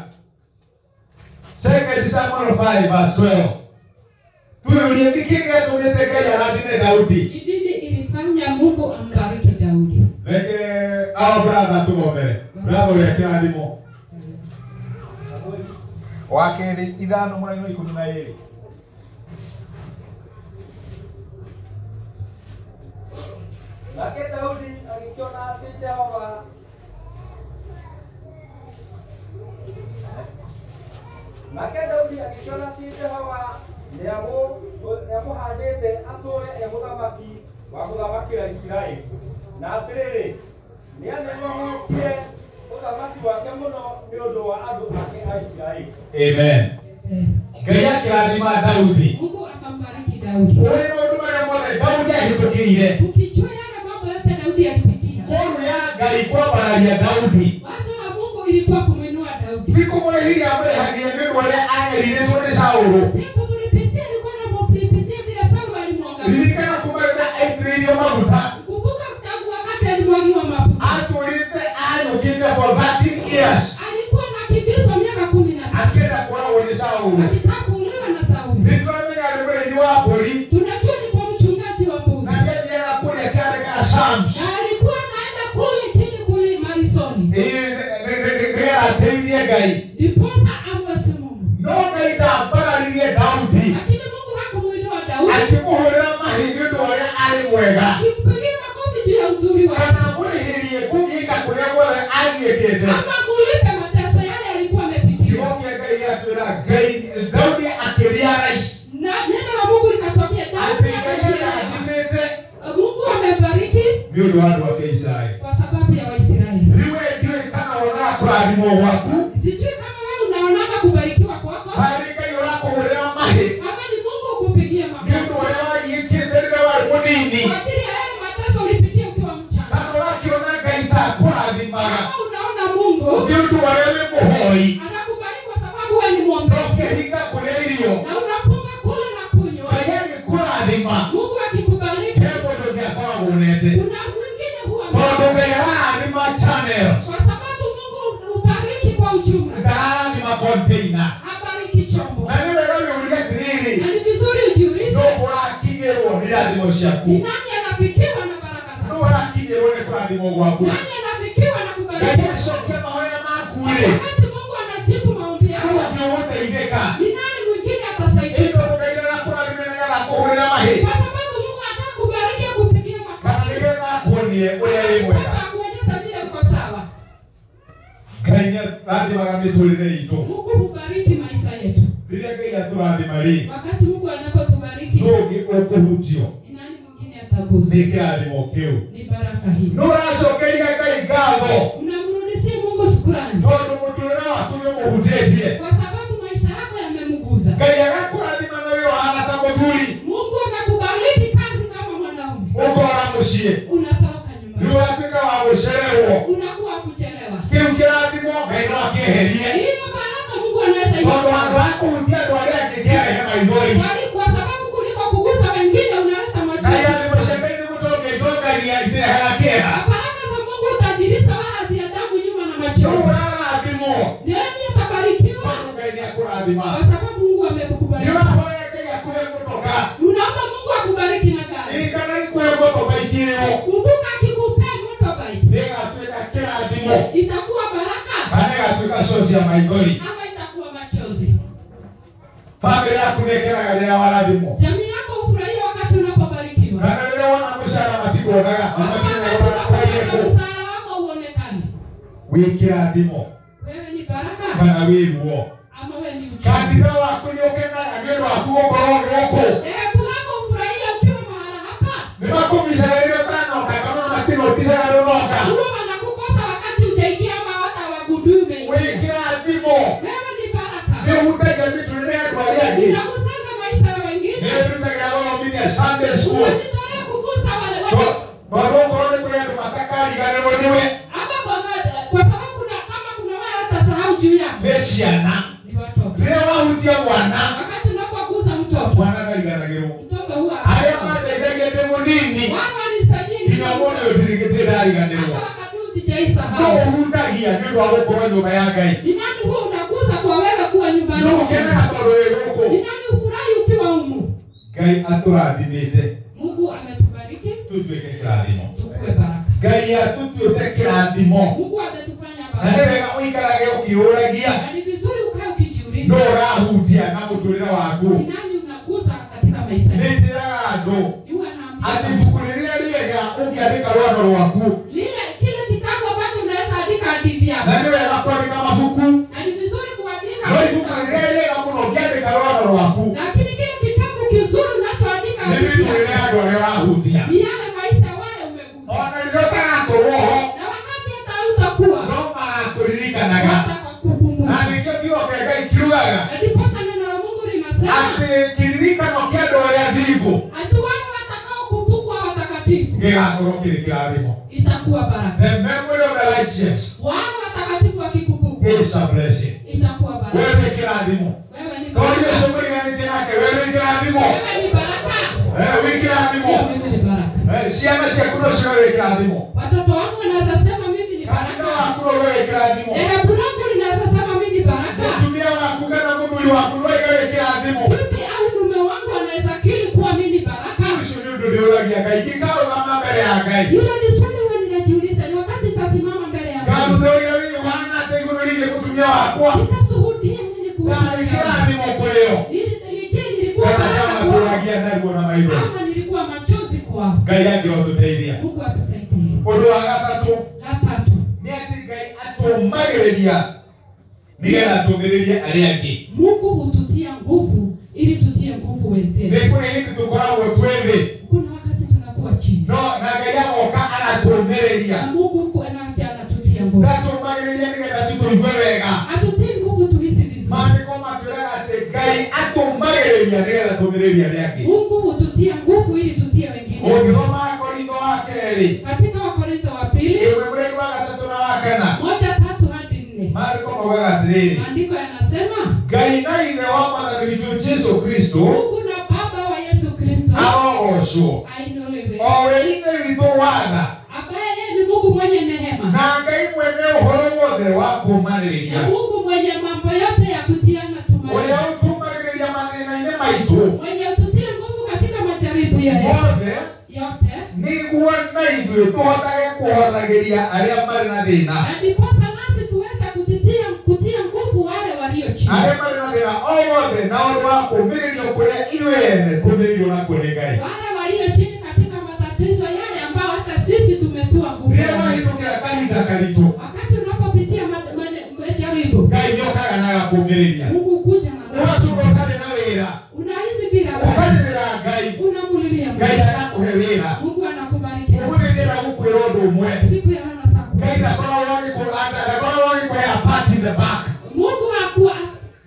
Speaker 5: Second Samuel 5 verse 12 twĩyũrie nĩkĩ gĩatũmĩte Ngai arathime Daudi
Speaker 3: ni nini ilifanya Mungu ambariki Daudi?
Speaker 5: reke ao brother tũgomere brother ũrĩa kĩrathimo wa kerĩ ithano mũraini wa ikũmi na ĩrĩ
Speaker 2: nake daudi agĩkĩona atĩ jehova nake daudi agĩkĩona atĩ jehova nĩamũ- nĩamũhaandĩte atũũre e mũthamaki wa gũthamakĩra isiraeli na atĩrĩrĩ nĩanĩmohotie ũthamaki wake mũno nĩ ũndũ wa andũ ake a isiraeli
Speaker 5: amen
Speaker 3: Eh,
Speaker 5: Ngai akĩrathima Daudi
Speaker 3: Mungu akambariki Daudi.
Speaker 5: ũrĩ maũndũ marĩa mothe Daudi ahĩtũkĩire
Speaker 3: Ukijua yale mambo yote Daudi alipitia,
Speaker 5: ngũrũ ya Ngai kwambararia Daudi
Speaker 3: wazo la Mungu ilikuwa kumwinua Daudi,
Speaker 5: ndikumurehithia amũrehagire nĩ ũndũ ũrĩa agerirĩtwo nĩ Saũlũ
Speaker 3: si kumlipisia, alikuwa anamlipisia vile Saulu alimwangalia.
Speaker 5: ririkana kuma rĩrĩa aitĩrĩirio maguta
Speaker 3: Kumbuka tangu wakati alimwagiwa mafuta,
Speaker 5: atũrĩte anyũkĩte for 13 years
Speaker 3: alikuwa anakimbizwa miaka kumi na tatu
Speaker 5: akĩenda kũragwo nĩ Saũlũ
Speaker 3: akitaka kuuliwa na Sauli.
Speaker 5: nĩtũramenya nĩ mũrĩithi wa mbũri
Speaker 3: Tunajua ni kwa mchungaji wa mbuzi,
Speaker 5: na nĩathiaga kũrĩa kĩarĩ ga Shams
Speaker 3: na alikuwa anaenda kule chini kule Marisoni,
Speaker 5: Ĩĩ, nĩ- nĩ- nĩ- nĩ- nĩgetha ateithie Ngai
Speaker 3: ndiposa amwesi Mungu,
Speaker 5: no Ngai ndambagaririe Daudi
Speaker 3: lakini Mungu hakumwinua Daudi,
Speaker 5: akĩmũhũrĩra mahi nĩ ũndũ ũrĩa arĩ mwega
Speaker 3: akimpigia makofi juu ya uzuri wake
Speaker 5: kana amũrĩhĩrie kũgiĩka kũrĩa guothe agiĩkĩte
Speaker 3: ama kulipe mateso yale alikuwa amepitia.
Speaker 5: kiugo kĩa Ngai atwĩra Ngai Daudi akĩria raici
Speaker 3: na neno la Mungu likatwambia Daudi
Speaker 5: atĩ Ngai
Speaker 3: amechelewa.
Speaker 5: arathimĩte
Speaker 3: Mungu amebariki
Speaker 5: nĩ ũndũ wa andũ ake Isiraeli
Speaker 3: kwa sababu ya Waisraeli.
Speaker 5: rĩu we ndiũĩ kana wonaga kũrathimwo gwaku
Speaker 3: Sijui kama wewe unaonaga kubarikiwa kwako
Speaker 5: harĩ Ngai ũrakũhũrĩra mahĩ
Speaker 3: kama ni Mungu ukupigia
Speaker 5: nĩ ũndũ
Speaker 3: makofi
Speaker 5: ũrĩa wagiĩkĩte rĩrĩa warĩ mũnini
Speaker 3: kwa ajili ya yale mateso ulipitia ukiwa mchanga.
Speaker 5: kana ũrakĩona Ngai ta akũrathimaga
Speaker 3: Kama unaona Mungu
Speaker 5: nĩ ũndũ ũrĩa wĩ mũhoi
Speaker 3: anakubariki kwa sababu wewe ni mwombevu
Speaker 5: ndũngĩhinga kũrĩa irio
Speaker 3: na unafunga kula na kunywa,
Speaker 5: Ngai agĩkũrathima
Speaker 3: Mungu akikubariki,
Speaker 5: he mũndũ ũngĩ akoragwo ũnete
Speaker 3: kuna mwingine huwa
Speaker 5: tondũ
Speaker 3: kwa
Speaker 5: Ngai arathima channels
Speaker 3: sababu Mungu ubariki kwa ujumla,
Speaker 5: ndarathima container
Speaker 3: habariki chombo.
Speaker 5: na nĩ wega wĩũrie atĩrĩrĩ
Speaker 3: Na ni vizuri
Speaker 5: no
Speaker 3: ujiulize
Speaker 5: ũrakinyĩrwo nĩ irathimo ciaku
Speaker 3: ni nani anafikiwa na baraka
Speaker 5: akinye uone kurathimwo gwaku
Speaker 3: nani anafikiwa na
Speaker 5: ngai
Speaker 3: kubarikiwa
Speaker 5: acokia mahoya maku rĩ
Speaker 3: wakati mungu anajibu maombi
Speaker 5: kau
Speaker 3: yako
Speaker 5: nĩũgũteithĩka
Speaker 3: ni nani mwingine atasaidia
Speaker 5: ĩto mũndaire arakũrathime nĩgetha akũhũrĩra mahĩ
Speaker 3: kwa sababu mungu atakubariki akupigie
Speaker 5: kana
Speaker 3: makofi
Speaker 5: nĩgetha akuonie ũrĩa wĩ mwega
Speaker 3: Sasa akuonyesha vile uko sawa
Speaker 5: ngai nĩarathimaga mĩtũrĩre itũ
Speaker 3: mungu hubariki maisha yetu
Speaker 5: rĩrĩa ngai atũrathima rĩ
Speaker 3: wakati mungu anapotubariki
Speaker 5: ndũngĩ ũkũhutio
Speaker 3: ni nani mwingine ataguswa
Speaker 5: nĩ kĩrathimo kĩu
Speaker 3: ni baraka hii
Speaker 5: nũracokeria ngai ngatho
Speaker 3: unamrudishia mungu shukurani
Speaker 5: tondũ mũtũrĩre waku nĩũmũhutĩtie
Speaker 3: kwa sababu maisha yako yamemguza
Speaker 5: ngai agakũrathima na wĩ wahana ta mũthuri
Speaker 3: mungu amekubariki kazi kama mwanaume
Speaker 5: ũkora mũciĩ
Speaker 3: unatoroka
Speaker 5: nĩ
Speaker 3: nyumbani
Speaker 5: ũratuĩka wa gũcererwo
Speaker 3: unakuwa kuchelewa
Speaker 5: kĩu kĩrathimo ngai no akĩeherie
Speaker 3: hiyo baraka mungu anaweza
Speaker 5: tondũ
Speaker 3: ikupa.
Speaker 5: handũ wa kũhutia andũ arĩa angĩ kĩarehe maithori
Speaker 3: Bali kwa sababu kuliko kugusa wengine unaleta
Speaker 5: ngai
Speaker 3: machozi
Speaker 5: athimacembeire gũtongetongagia itĩrehaga kĩeha
Speaker 3: baraka za mungu utajirisha wala ziadamu nyuma na
Speaker 5: rĩu
Speaker 3: machozi
Speaker 5: ũrarathimwo
Speaker 3: nani atabarikiwa
Speaker 5: tondũ ngai nĩ akũrathima
Speaker 3: kwa sababu mungu
Speaker 5: nĩ
Speaker 3: amekukubariki
Speaker 5: ũrahoya ngai akũhe mũtoka
Speaker 3: unaomba mungu akubariki na gari
Speaker 5: ririkana gĩkũhe mũtoka ikĩrĩo
Speaker 3: kumbuka akikupea motobai
Speaker 5: nĩ ĩgatuĩka kĩrathimo
Speaker 3: itakuwa baraka
Speaker 5: kana ĩgatuĩka cocia maithori
Speaker 3: ama itakuwa machozi
Speaker 5: bamĩrĩ yaku nĩ ĩkenaga rĩrĩa warathimwo
Speaker 3: jamii yako hufurahia wakati unapobarikiwa
Speaker 5: kana rĩrĩa wona mũcara matikuonaga na matinegora
Speaker 3: aaaaa
Speaker 5: kwairĩkũ
Speaker 3: msara wako uonekane
Speaker 5: wĩ kĩrathimo
Speaker 3: wewe ni baraka
Speaker 5: kana wĩ ruo
Speaker 3: ama we ni uchumi
Speaker 5: kanitha waku nĩ ũkenaga nĩ ũndũ waku gũkorwo gũkũ
Speaker 3: dhehebu lako hufurahia ukiwa mahala hapa
Speaker 5: nĩ makũmicaga rĩrĩa ũtanoka kana ona matinoticaga rũnoka
Speaker 3: huwa wanakukosa wakati ujaingia ama hata wagundui
Speaker 5: wĩ
Speaker 3: umeingia
Speaker 5: kĩrathimo
Speaker 3: wewe ni
Speaker 5: nĩ
Speaker 3: baraka
Speaker 5: ũhutagia mĩtũrĩre ya andũ arĩa angĩ
Speaker 3: unagusanga maisha ya
Speaker 5: nĩ
Speaker 3: wengine
Speaker 5: ĩrutagĩra gũthomithia Sunday school
Speaker 3: unajitolea kufunza wale watu
Speaker 5: To- tondũ okorwo nĩ kũrĩ andũ matakariganĩrwo nĩwe
Speaker 3: ama kwa kwa sababu kuna kama kuna wale watasahau juu yako
Speaker 5: nĩ ciana
Speaker 3: ni watoto
Speaker 5: rĩrĩa wahutia mwana
Speaker 3: wakati unapogusa mtoto
Speaker 5: mwana ndariganagĩrwo
Speaker 3: mtoto huwa
Speaker 5: arĩa mateithagia ndĩ mũnini
Speaker 3: wao walisaidia ni
Speaker 5: nginya mũndũ ũyũ ndirigĩtie ndariganĩrwo
Speaker 3: hata wakati
Speaker 5: no
Speaker 3: usijaisahau
Speaker 5: ũhutagia nĩ ũndũ wa gũkorwo nyũmba ya ngai
Speaker 3: ni nani huwa unagusa kwa wewe kuwa nyumbani
Speaker 5: no ũkenaga tondũ wĩ gũkũ
Speaker 3: ni nani ufurahi ukiwa umu
Speaker 5: ngai atũrathimĩte
Speaker 3: mungu ametubariki
Speaker 5: tũtuĩke kĩrathimo
Speaker 3: tukue baraka
Speaker 5: ngai atũtuĩte kĩrathimo
Speaker 3: mungu ametufanya
Speaker 5: na nĩ wega
Speaker 3: baraka
Speaker 5: ũikarage ũkĩũragia
Speaker 3: na ni vizuri ukae
Speaker 5: no
Speaker 3: ukijiuliza
Speaker 5: ũrahutia na mũtũrĩre waku
Speaker 3: ni nani unagusa katika maisha
Speaker 5: nĩ
Speaker 3: yako
Speaker 5: njĩraga andũ
Speaker 3: huwa
Speaker 5: atĩ
Speaker 3: naambia
Speaker 5: ibuku rĩrĩa rĩega ũngĩandĩka rwano rwaku
Speaker 3: lile kile kitabu ambacho unaweza andika hadithi
Speaker 5: na
Speaker 3: yako
Speaker 5: nĩ wega kwandĩka mabuku
Speaker 3: na ni vizuri kuandika
Speaker 5: no ibuku
Speaker 3: hadithi
Speaker 5: rĩrĩa rĩega mũno ũngĩandĩka rwano rwaku
Speaker 3: lakini kile kitabu kizuri unachoandika
Speaker 5: nĩ
Speaker 3: hadithi
Speaker 5: mĩtũrĩre ya
Speaker 3: yako
Speaker 5: andũ arĩa ũrahutia
Speaker 3: ni yale maisha wale umegusa
Speaker 5: ona rĩrĩa ũtagakorwo ho
Speaker 3: na wakati hata utakuwa
Speaker 5: no magakũririkanaga
Speaker 3: hata kwa
Speaker 5: na
Speaker 3: kukumbuka
Speaker 5: nĩkĩo kiugo kĩa ngai kiugaga
Speaker 3: na ndiposa neno la Mungu linasema
Speaker 5: atĩ kĩririkano kĩa andũ arĩa thingu
Speaker 3: hatu wale watakaokumbukwa watakatifu
Speaker 5: gĩgakorwo kĩrĩ kĩrathimo
Speaker 3: itakuwa baraka
Speaker 5: the memory of the righteous
Speaker 3: wale watakatifu wakikumbukwa
Speaker 5: is a blessing
Speaker 3: itakuwa baraka
Speaker 5: wewe nĩ kĩrathimo
Speaker 3: wewe ni
Speaker 5: no
Speaker 3: baraka
Speaker 5: Jesũ mũriganĩtie nake wewe nĩ kĩrathimo
Speaker 3: wewe ni baraka
Speaker 5: Eh, wĩ
Speaker 3: Ndio,
Speaker 5: kĩrathimo
Speaker 3: mimi ni baraka
Speaker 5: Eh, ciana ciaku no ciwe wĩ kĩrathimo
Speaker 3: watoto wangu wanaweza sema mimi ni
Speaker 5: kanitha
Speaker 3: baraka
Speaker 5: waku no we wĩ kĩrathimo
Speaker 3: dhehebu langu linaweza sema mimi ni baraka
Speaker 5: mũtumia waku kana mũthuri waku no iwe wĩ kĩrathimo
Speaker 3: bibi au mume wangu anaweza kiri kuwa mimi ni baraka
Speaker 5: ũcio nĩ ũndũ nĩ ũragia ngai ngĩkaũgama mbere ya ngai
Speaker 3: hilo ni swali huwa ninajiuliza ni wakati nitasimama mbele ya Mungu
Speaker 5: ngatuthe ũrĩa wĩ ũhana atĩ igũrũ rĩgiĩ mũtumia wakwa
Speaker 3: nitashuhudia nini
Speaker 5: na nĩ
Speaker 3: kuhusu
Speaker 5: kĩrathimo kũrĩ o
Speaker 3: Ili- je nilikuwa
Speaker 5: kana
Speaker 3: baraka
Speaker 5: kama
Speaker 3: kwao
Speaker 5: kũragia naguo na maithori
Speaker 3: ama nilikuwa machozi kwao
Speaker 5: ngai angĩrotũteithia
Speaker 3: mungu atusaidie
Speaker 5: ũndũ wa gatatũ
Speaker 3: la tatu
Speaker 5: nĩ atĩ ngai atũmagĩrĩria nĩgetha tũmĩrĩrie arĩa angĩ
Speaker 3: mungu hututia nguvu ili tutie nguvu
Speaker 5: nĩ
Speaker 3: wenzetu
Speaker 5: kũrĩ hĩndĩ tũkoragwo twĩthĩ
Speaker 3: kuna wakati tunakuwa chini
Speaker 5: no na ngai agoka agatũmĩrĩria
Speaker 3: na mungu kuenaja anatutia nguvu
Speaker 5: ndatũmagĩrĩria nĩgetha tũtũigue wega
Speaker 3: atutie nguvu tuhisi vizuri
Speaker 5: maandĩko matwĩraga atĩ ngai atũmagĩrĩria nĩgetha tũmĩrĩrie arĩa angĩ
Speaker 3: mungu hututia nguvu ili tutie wengine
Speaker 5: ũngĩthoma korintho wa kerĩ
Speaker 3: katika wakorintho wa pili
Speaker 5: ĩmwe mweri wa gatatũ na wa kana
Speaker 3: moja tatu hadi nne
Speaker 5: maandĩko maugaga atĩrĩrĩ
Speaker 3: maandiko yanasema
Speaker 5: ngai na ithe wa mwathani witũ jesu kristo
Speaker 3: mungu na baba wa yesu kristo
Speaker 5: arogocwo
Speaker 3: ainolewe
Speaker 5: o we ithe witũ watha
Speaker 3: ambaye yeye ni mungu mwenye nehema
Speaker 5: na ngai mwene ũhoro wothe wa kũũmanĩrĩria
Speaker 3: na mungu mwenye mambo yote ya kutiana
Speaker 5: ũrĩa
Speaker 3: tumaini
Speaker 5: ũtũmagĩrĩria mathĩna-inĩ maitũ
Speaker 3: mwenye kutia nguvu katika majaribu yale
Speaker 5: mothe
Speaker 3: yote
Speaker 5: nĩguo na ithuĩ tũhotage kuhoragiria aria mari na thina
Speaker 3: na ndiposa nasi tuweze kujitia kutia nguvu wale walio chini
Speaker 5: aria mari na thina o wothe na undu wa kumiririo kuria ithuĩ ene tumiririo na kuri ngai
Speaker 3: wale walio chini katika matatizo yale ambao hata sisi tumetua nguvu
Speaker 5: rĩrĩa mahĩtũkĩra kahinda karitũ
Speaker 3: wakati unapopitia ma- mane- majaribu
Speaker 5: ngai nĩokaga na agakũũmĩrĩria
Speaker 3: mungu kuja na
Speaker 5: ũgaturwo ũtarĩ na wĩra
Speaker 3: unahisi bila wewe.
Speaker 5: ũkarĩrĩra ngai
Speaker 3: unamulilia
Speaker 5: ngai
Speaker 3: mungu
Speaker 5: agakũhe wĩra
Speaker 3: mungu anakubariki
Speaker 5: ũgũthĩrĩra gũkwĩra ũndũ ũmwe
Speaker 3: siku ya leo nataku
Speaker 5: ngai ndakoragwo agĩkũganda ndakoragwo agĩkwea apart in the back
Speaker 3: mungu akuwa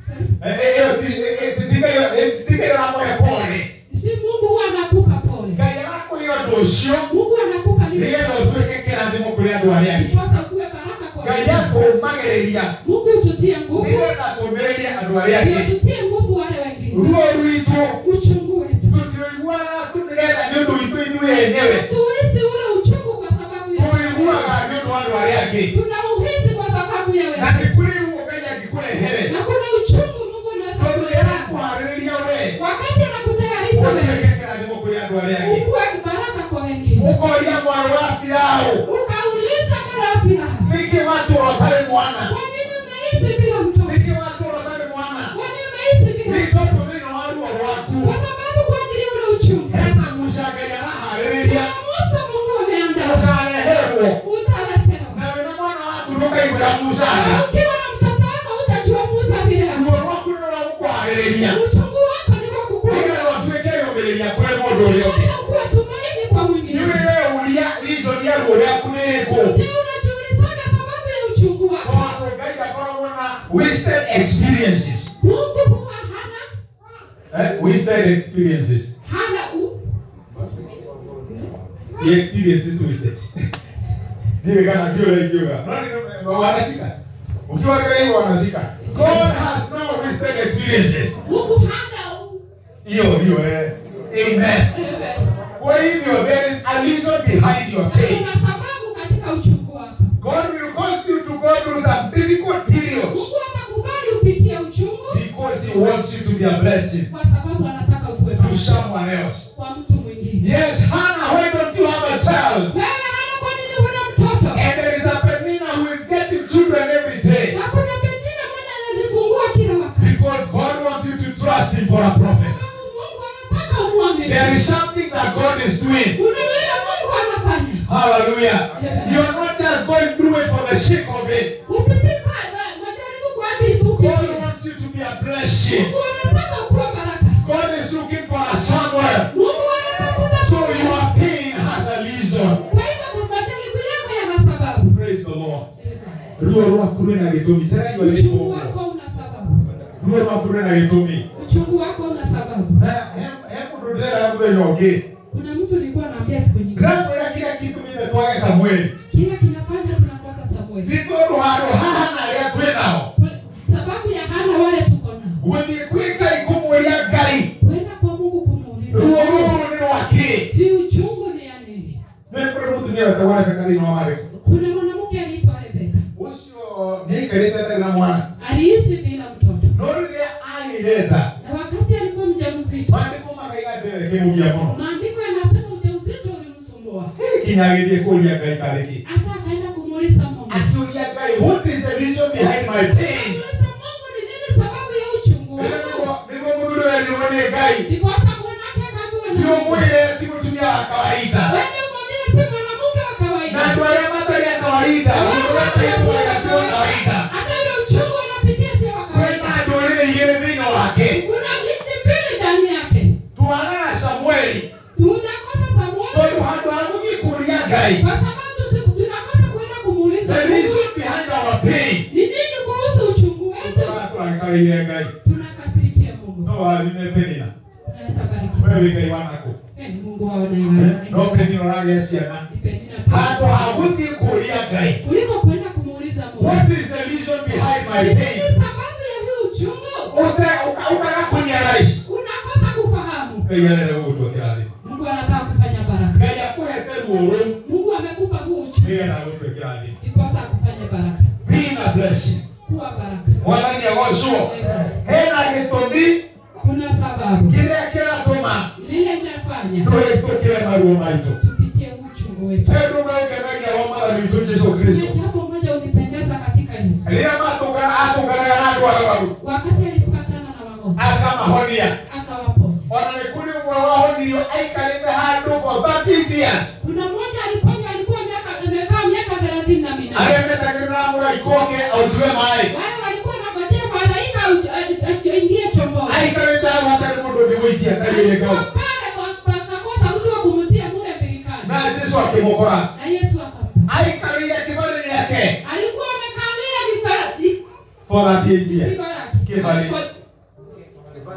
Speaker 3: sorry.
Speaker 5: Eh, eh, ĩyo ti- eh, eh, ti- ndingĩiga- eh, ndingĩiga ũrakũhe pole
Speaker 3: si mungu huwa anakupa pole
Speaker 5: ngai agakũhe ũndũ ũcio
Speaker 3: mungu anakupa lile
Speaker 5: nĩgetha ũtuĩke kĩrathimo kũrĩ andũ arĩa angĩ
Speaker 3: ndiposa ukuwe baraka kwa
Speaker 5: ngai
Speaker 3: wengine.
Speaker 5: akũũmagĩrĩria
Speaker 3: mungu ututie nguvu
Speaker 5: nĩgetha akũũmĩrĩrie andũ arĩa
Speaker 3: ndio
Speaker 5: angĩ
Speaker 3: tutie nguvu wale wengine
Speaker 5: ruo rwitũ
Speaker 3: uchungu wetu
Speaker 5: tũtiraiguaga tu nĩgetha nĩ ũndũ witũ ithuĩ enyewe
Speaker 3: tuisi ule uchungu kwa sababu ya
Speaker 5: tũiguaga nĩ ũndũ wa andũ arĩa angĩ
Speaker 3: tunauhisi kwa sababu ya
Speaker 5: na
Speaker 3: wewe
Speaker 5: nĩ kũrĩ ruo ngai angĩkũrehere
Speaker 3: na kuna uchungu mungu anaweza
Speaker 5: tondũ nĩ
Speaker 3: kuleta
Speaker 5: arakũharĩrĩria we
Speaker 3: wakati anakutayarisha wewe
Speaker 5: ũtuĩke kĩrathimo kũrĩ andũ arĩa angĩ
Speaker 3: ukuwe baraka kwa wengine
Speaker 5: ũkoria mwarĩ wa biraũ
Speaker 3: ukauliza kala firaha
Speaker 5: nĩkĩ watũra ũtarĩ mwana
Speaker 3: kwa nini unahisi bila mtoto
Speaker 5: nĩkĩ watũra ũtarĩ mwana
Speaker 3: kwa nini unahisi
Speaker 5: nĩ
Speaker 3: bila
Speaker 5: tondũ thĩinĩ wa ruo rwaku
Speaker 3: kwa sababu kwa ajili ya ule uchungu
Speaker 5: hena musa ngai araharĩrĩria
Speaker 3: na Musa Mungu ameandaa
Speaker 5: ũkareherwo
Speaker 3: utaletewa
Speaker 5: na wĩna mwana waku ndũkaiguĩra musa tha
Speaker 3: na ukiwa na mtoto wako utajua Musa bila
Speaker 5: ruo rwaku nĩ rwagũkũharĩrĩria
Speaker 3: uchungu wako ni wa kukuwa
Speaker 5: nĩgetha ũtuĩke yũmĩrĩria kũrĩ mũndũ ũrĩa ũngĩ
Speaker 3: kuwa tumaini kwa mwingine.
Speaker 5: nĩwe weuria reason ya ruo rwaku nĩ ĩkũ
Speaker 3: Je, unajiulizaga sababu ya uchungu wako?
Speaker 5: tondũ ngai ndakoragwo na wasted experiences
Speaker 3: Mungu huwa hana
Speaker 5: eh? wasted experiences
Speaker 3: hana u
Speaker 5: the experience is wasted ndiwe kana ndio unaikiuka wanashika ukiwa kile hivyo wanashika god has no wasted experiences
Speaker 3: Mungu hana u
Speaker 5: hiyo hiyo eh amen kwa hivyo there is a reason behind your
Speaker 3: Na
Speaker 5: pain
Speaker 3: kuna sababu katika uchungu wako.
Speaker 5: god will cause you to go through some difficult periods
Speaker 3: Mungu atakubali upitie uchungu
Speaker 5: because he wants you to be a blessing
Speaker 3: kwa sababu anataka ukuwe
Speaker 5: to
Speaker 3: baraka
Speaker 5: someone else
Speaker 3: kwa mtu mwingine.
Speaker 5: yes hannah why don't you have a child
Speaker 3: Wewe hana kwa nini huna mtoto?
Speaker 5: and there is a penina who is getting children every day
Speaker 3: Na kuna pengine mwana anajifungua kila wakati.
Speaker 5: Because God wants you to trust Him for a prophet.
Speaker 3: Sababu Mungu anataka umwamini.
Speaker 5: There is something that God is doing.
Speaker 3: Unaelewa Mungu anafanya.
Speaker 5: Hallelujah. You are not just going through it for the sake of it.
Speaker 3: Upitie ma- ma- majaribu kwa ajili tu
Speaker 5: God
Speaker 3: upitie.
Speaker 5: wants you to be a blessing.
Speaker 3: Mungu anataka ukuwe baraka.
Speaker 5: God is looking for a somewhere.
Speaker 3: Mungu anatafuta
Speaker 5: So
Speaker 3: suluhu.
Speaker 5: your pain has a reason.
Speaker 3: Kwa hivyo majaribu yako yana sababu.
Speaker 5: Praise the Lord. Ruo rwaku rwĩna gĩtũmi tena iwe
Speaker 3: Uchungu
Speaker 5: nĩkũguo
Speaker 3: wako una sababu.
Speaker 5: ruo rwaku rwĩna gĩtũmi
Speaker 3: Uchungu wako una sababu.
Speaker 5: na he mũndũ ndĩrera mũthenya ũngĩ
Speaker 3: Kuna mtu alikuwa anaambia siku nyingine.
Speaker 5: ndĩramwĩra kira kĩndũ gĩtetwage samweli
Speaker 3: Kila kinafanya tunakosa Samueli.
Speaker 5: nĩ tondũ handũ haha na arĩa twĩ nao
Speaker 3: Kwa- Sababu ya hana wale tuko nao.
Speaker 5: gũthiĩ kwĩ ngai kũmũria ngai
Speaker 3: Kwenda kwa Mungu kumuuliza.
Speaker 5: ruo rũrũ nĩ rwakĩ
Speaker 3: Hii uchungu ni ya nini?
Speaker 5: nĩ kũrĩ mũtumia wetagwo rebeka thĩinĩ wa marĩku
Speaker 3: Kuna mwanamke aliitwa Rebeka.
Speaker 5: ũcio nĩ aikarĩte atarĩ na mwana
Speaker 3: Aliishi bila mtoto.
Speaker 5: no rĩrĩa agĩire nda
Speaker 3: Na wakati alikuwa mjamzito,
Speaker 5: mandĩko makaiga ndĩwe kĩmũgia mũno
Speaker 3: maandiko yanasema ujauzito ulimsumbua.
Speaker 5: Hĩ, nginya agĩthiĩ kũria ngai karĩ kĩ
Speaker 3: Hata akaenda kumuuliza Mungu.
Speaker 5: akĩũria ngai what is the reason behind my pain
Speaker 3: Muulize Mungu ni nini sababu ya uchungu
Speaker 5: Nĩguo-
Speaker 3: wako?
Speaker 5: nĩguo mũthuri werirwo nĩ ngai
Speaker 3: Ndiposa mwanamke akaambiwa na Mungu.
Speaker 5: ndiũmwĩre ti mũtumia wa kawaida
Speaker 3: Wewe umwambie si mwanamke wa
Speaker 5: na
Speaker 3: kawaida.
Speaker 5: andũ arĩa matarĩ a kawaida mũndũ ũrĩa atarĩ wa kawaida
Speaker 3: Hata ile uchungu unapitia si wa
Speaker 5: kwĩna
Speaker 3: kawaida.
Speaker 5: ndũrĩrĩ igĩrĩ thĩinĩ wake
Speaker 3: Kuna nchi mbili ndani yake.
Speaker 5: twanana samweli
Speaker 3: Tunakosa
Speaker 5: tondũ
Speaker 3: Samueli
Speaker 5: handũ ha gũgĩkũria ngai
Speaker 3: kwa sababu si- tunakosa kwenda kumuuliza
Speaker 5: the
Speaker 3: Mungu.
Speaker 5: reason behind our pain
Speaker 3: Ni nini kuhusu uchungu wetu?
Speaker 5: tũrakarĩire ngai
Speaker 3: Tunakasirikia Mungu.
Speaker 5: no warime penina
Speaker 3: Tunaweza bariki.
Speaker 5: we wĩ ngai wanakũ
Speaker 3: Peni Mungu waona yeye.
Speaker 5: Eh, no penina ũragĩa ciana
Speaker 3: Ni peni na
Speaker 5: handũ
Speaker 3: peni.
Speaker 5: ha gũthiĩ kũria ngai
Speaker 3: Kuliko kwenda kumuuliza Mungu.
Speaker 5: what is the reason behind my pain
Speaker 3: Lakini sababu ya hii uchungu
Speaker 5: Ũte- ũka- ũkaga kũniaraici
Speaker 3: unakosa kufahamu.
Speaker 5: ngai arere gũgũtwekĩra thĩ
Speaker 3: Mungu anataka kufanya baraka.
Speaker 5: ngai akũhete ruo rũu
Speaker 3: Mungu amekupa huu uchungu
Speaker 5: nĩgetha agũtwekĩra thĩ
Speaker 3: ndiposa akufanye baraka.
Speaker 5: being a blessing
Speaker 3: Kuwa baraka.
Speaker 5: mwathani agocwo hena gĩtũmi
Speaker 3: Kuna sababu
Speaker 5: kĩrĩa kĩratũma
Speaker 3: lile linafanya
Speaker 5: tũhĩtũkĩre maruo maitũ
Speaker 3: tupitie huu uchungu wetu.
Speaker 5: tondũ maũngenagia wa witu Yesu Kristo.
Speaker 3: Jambo moja unipendeza katika Yesu.
Speaker 5: Linamatuka atukana watu wao.
Speaker 3: Wakati alipatana na wagonjwa,
Speaker 5: Akamahonia.
Speaker 3: akawaponya.
Speaker 5: Ona ni kule kwa wao ndio aikaleta hadu kwa 30 years.
Speaker 3: Kuna mmoja aliponywa alikuwa miaka amekaa miaka 38.
Speaker 5: Aliyemetakana mura ikoke aujue mai.
Speaker 3: Wale walikuwa wanangojea malaika au- a- a- aingie chomboni.
Speaker 5: Aikaleta hata ni mtu kimuikia kali
Speaker 3: Alikuwa
Speaker 5: yekao.
Speaker 3: pale kwa- pakakosa mtu wa kumtia mule birikani.
Speaker 5: Na Yesu akimokora.
Speaker 3: Na Yesu akapata.
Speaker 5: Aikalia kibali yake
Speaker 3: Alikuwa amekalia vika- vi-
Speaker 5: for 30 years.
Speaker 3: vigo yake.
Speaker 5: Kibali.
Speaker 3: Alikuwa-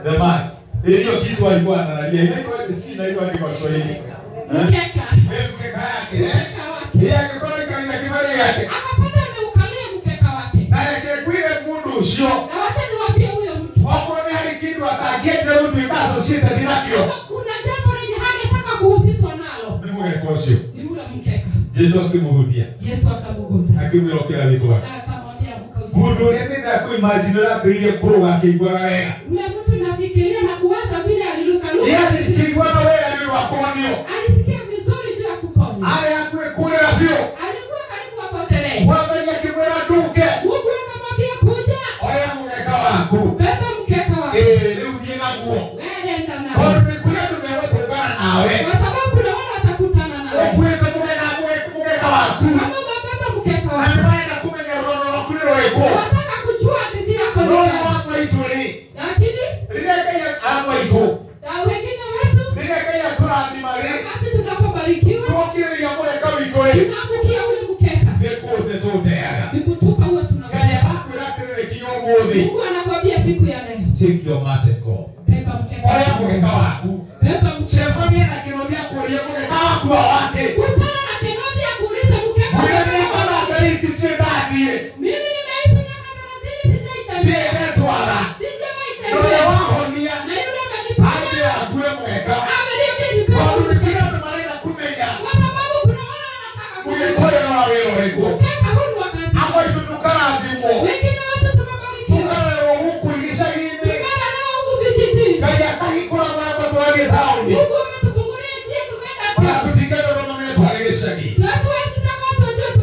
Speaker 5: The match. Hiyo kitu alikuwa analalia. Inaitwa sisi inaitwa ni kwa Kiswahili. Eh?
Speaker 3: mkeka.
Speaker 5: Wewe mkeka yake eh?
Speaker 3: Mkeka wake.
Speaker 5: Yeye akikora ikalinda kibali yake.
Speaker 3: Akapata ameukalia mkeka wake.
Speaker 5: narekekwire mundu ucio
Speaker 3: Na wacha niwaambie huyo mtu.
Speaker 5: okorwo nä harä kä ndå atangiendire gå tuä kaacocite ndinakä
Speaker 3: kuna jambo lenye hangetaka kuhusishwa nalo
Speaker 5: nä må geka å cio
Speaker 3: ni ule mkeka
Speaker 5: jesu akä må hutia
Speaker 3: yesu akamugusa
Speaker 5: akä mwä ra å kä ra rä twa
Speaker 3: Na akamwambia amka
Speaker 5: mundu å
Speaker 3: uje
Speaker 5: rä a nä ndakå imajini å rä a akä irie kå rå ga akä iguaga wega
Speaker 3: ule mtu nafikiria na kuwaza vile
Speaker 5: nä
Speaker 3: alilukaluka
Speaker 5: athi kä iguaga Yaani wega nä rwakonio
Speaker 3: alisikia vizuri juu ya kuponywa
Speaker 5: arä hakuä kå rä ra biå
Speaker 3: alikuwa karibu apotelee
Speaker 5: mwamenya akä mwä ra nduke
Speaker 3: mungu akamwambia kuja
Speaker 5: oya må neka waku
Speaker 3: beba mkeka wako
Speaker 5: ä rä u thiä naguo
Speaker 3: weenda nao
Speaker 5: tondå nä kå rä andå megå tå ngana nawe
Speaker 3: kwa sababu kuna wale watakutana
Speaker 5: å
Speaker 3: nao
Speaker 5: kuä te må gena må geka waku
Speaker 3: kama umebeba mkeka
Speaker 5: na
Speaker 3: wako
Speaker 5: nä marenda kå menya rwono rwaku nä rwäkwo
Speaker 3: wataka kujua bidii yako ni
Speaker 5: Roho
Speaker 3: gani.
Speaker 5: wa mwitu ni
Speaker 3: lakini
Speaker 5: rĩrĩa Ngai amwĩtwo
Speaker 3: na wengine wetu
Speaker 5: rĩrĩa Ngai atũrathima rĩ
Speaker 3: wakati tunapobarikiwa
Speaker 5: twokĩrĩria mũreka witũ rĩ
Speaker 3: tunaangukia ule mkeka
Speaker 5: nĩ kũte tũteaga
Speaker 3: ni kutupa huwa tuna
Speaker 5: Ngai arakwĩra atĩrĩrĩ kinya ũmũthĩ
Speaker 3: mungu anakwambia siku ya leo
Speaker 5: take your mateko
Speaker 3: beba mkeka
Speaker 5: oya
Speaker 3: wako.
Speaker 5: mũreka waku
Speaker 3: beba mkeka
Speaker 5: cemania na kĩno gĩa kũũria mũreka waku wa wake
Speaker 3: kutana na kenodi ya kuuliza mkeka
Speaker 5: mwĩre
Speaker 3: wako.
Speaker 5: nĩkona Ngai tũtirĩ ndathiĩ
Speaker 3: mimi nimeishi miaka thelathini sijaitembea
Speaker 5: ndĩndetwara na ũrĩa
Speaker 3: sijawaitembea
Speaker 5: wahonia
Speaker 3: na yule
Speaker 5: anjĩra
Speaker 3: ameniponya
Speaker 5: ngue mũreka
Speaker 3: ameniambia nipe
Speaker 5: tondũ nĩ kũrĩ
Speaker 3: mkeka
Speaker 5: andũ marenda kũmenya
Speaker 3: kwa sababu kuna wale wanataka kujua
Speaker 5: mũgĩkũyũ no wĩra ũrĩkũ
Speaker 3: mkeka huu ni wa kazi
Speaker 5: amwĩtũ ndũkarathimwo
Speaker 3: wengine wetu tumebarikiwa
Speaker 5: tukarerwo gũkũ icagi-inĩ
Speaker 3: tumelelewa huku vijijini
Speaker 5: ngai akahingũra marango twathiĩ taũni
Speaker 3: mungu ametufungulia njia
Speaker 5: ona
Speaker 3: tumeenda tu
Speaker 5: tũtingatũrwo mamenye twarĩ gĩcagi tũgate mũgeka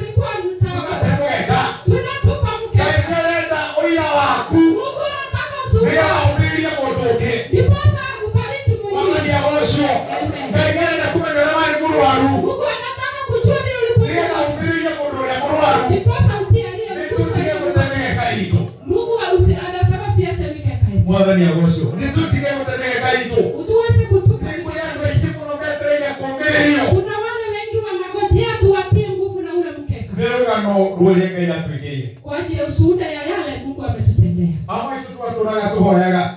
Speaker 5: ngai nĩarenda ũira waku rĩrĩa waũmĩirie mũndũ ũngĩ ona nĩagocwo ngai nĩarenda kũmenya ũrĩa warĩ mũrwaru rĩrĩa waũmĩirie mũndũ ũrĩa mũrwaru nĩtũtige gũte mĩgeka itũ mwathani agocwo nĩtũtige gũte mĩgeka itũ nĩ kũrĩ andũ aingĩ mũno metereire kũũmĩrĩrio nĩ rũgano rũrĩa ngai atwĩkĩire
Speaker 3: kwa ajili ya ushuhuda ya yale mungu ametutendea
Speaker 5: amwe itu twatũraga tũhoyaga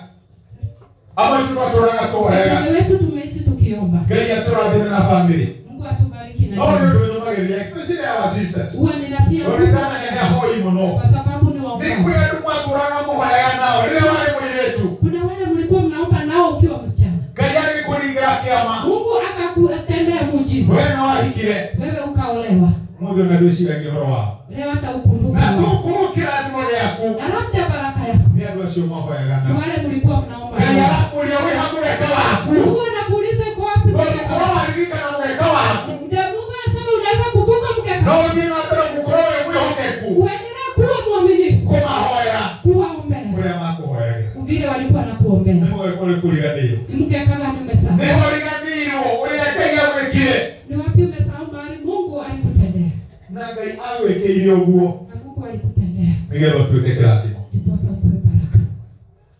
Speaker 5: amwe itu twatũraga tũhoyaga
Speaker 3: wengine wetu tumeishi tukiomba
Speaker 5: ngai atũrathime na bamĩrĩ
Speaker 3: mungu atubariki
Speaker 5: no nĩ
Speaker 3: na
Speaker 5: ũndũ nyũmagĩrĩria especially our sisters
Speaker 3: huwa ninatia
Speaker 5: tondũ ndamenya nĩ ahoi mũno
Speaker 3: kwa sababu ni
Speaker 5: nĩ
Speaker 3: waomba
Speaker 5: kwĩ andũ mwatũraga mũhoyaga nao rĩrĩa warĩ mũirĩtu
Speaker 3: kuna wale mlikuwa mnaomba nao ukiwa msichana
Speaker 5: ngai agĩkũringĩra kĩama
Speaker 3: mungu akakutendea muujiza
Speaker 5: we nĩ wahikire
Speaker 3: wewe ukaolewa
Speaker 5: mũthĩ ona ndwĩciragia ũhoro wao
Speaker 3: leo
Speaker 5: na
Speaker 3: ataukumbuka
Speaker 5: tũkũrũ kĩrathimo gĩaku
Speaker 3: na labda baraka yako
Speaker 5: nĩ andũ acio mahoyaga
Speaker 3: ni
Speaker 5: nao
Speaker 3: wale mlikuwa mnaomba
Speaker 5: ngai
Speaker 3: nao.
Speaker 5: arakũria wĩ hamũreka waku
Speaker 3: mungu anakuuliza iko wapi
Speaker 5: tondũ
Speaker 3: mkeka
Speaker 5: korwo
Speaker 3: wako?
Speaker 5: waririkana mũreka waku
Speaker 3: Ndio mungu anasema unaweza kumbuka
Speaker 5: no
Speaker 3: mkeka
Speaker 5: ũthiĩ na mbere gũkorwo wĩ mwĩhokeku
Speaker 3: uendelee kuwa mwaminifu
Speaker 5: kũmahoera
Speaker 3: kuwaombea
Speaker 5: kũrĩa makũhoyagĩra
Speaker 3: vile walikuwa nakuombea
Speaker 5: nĩmũĩ kũrĩ kũriganĩirwo
Speaker 3: ni mkeka gani umesahau
Speaker 5: nĩhũriganĩirwo ũrĩa ngai agwĩkire
Speaker 3: ni wapi umesahau mahali mungu alikutendea
Speaker 5: na ngai agwĩkĩire ũguo
Speaker 3: na mungu alikutendea
Speaker 5: nĩgetha tuĩke kĩrathimo
Speaker 3: ndiposa upewe baraka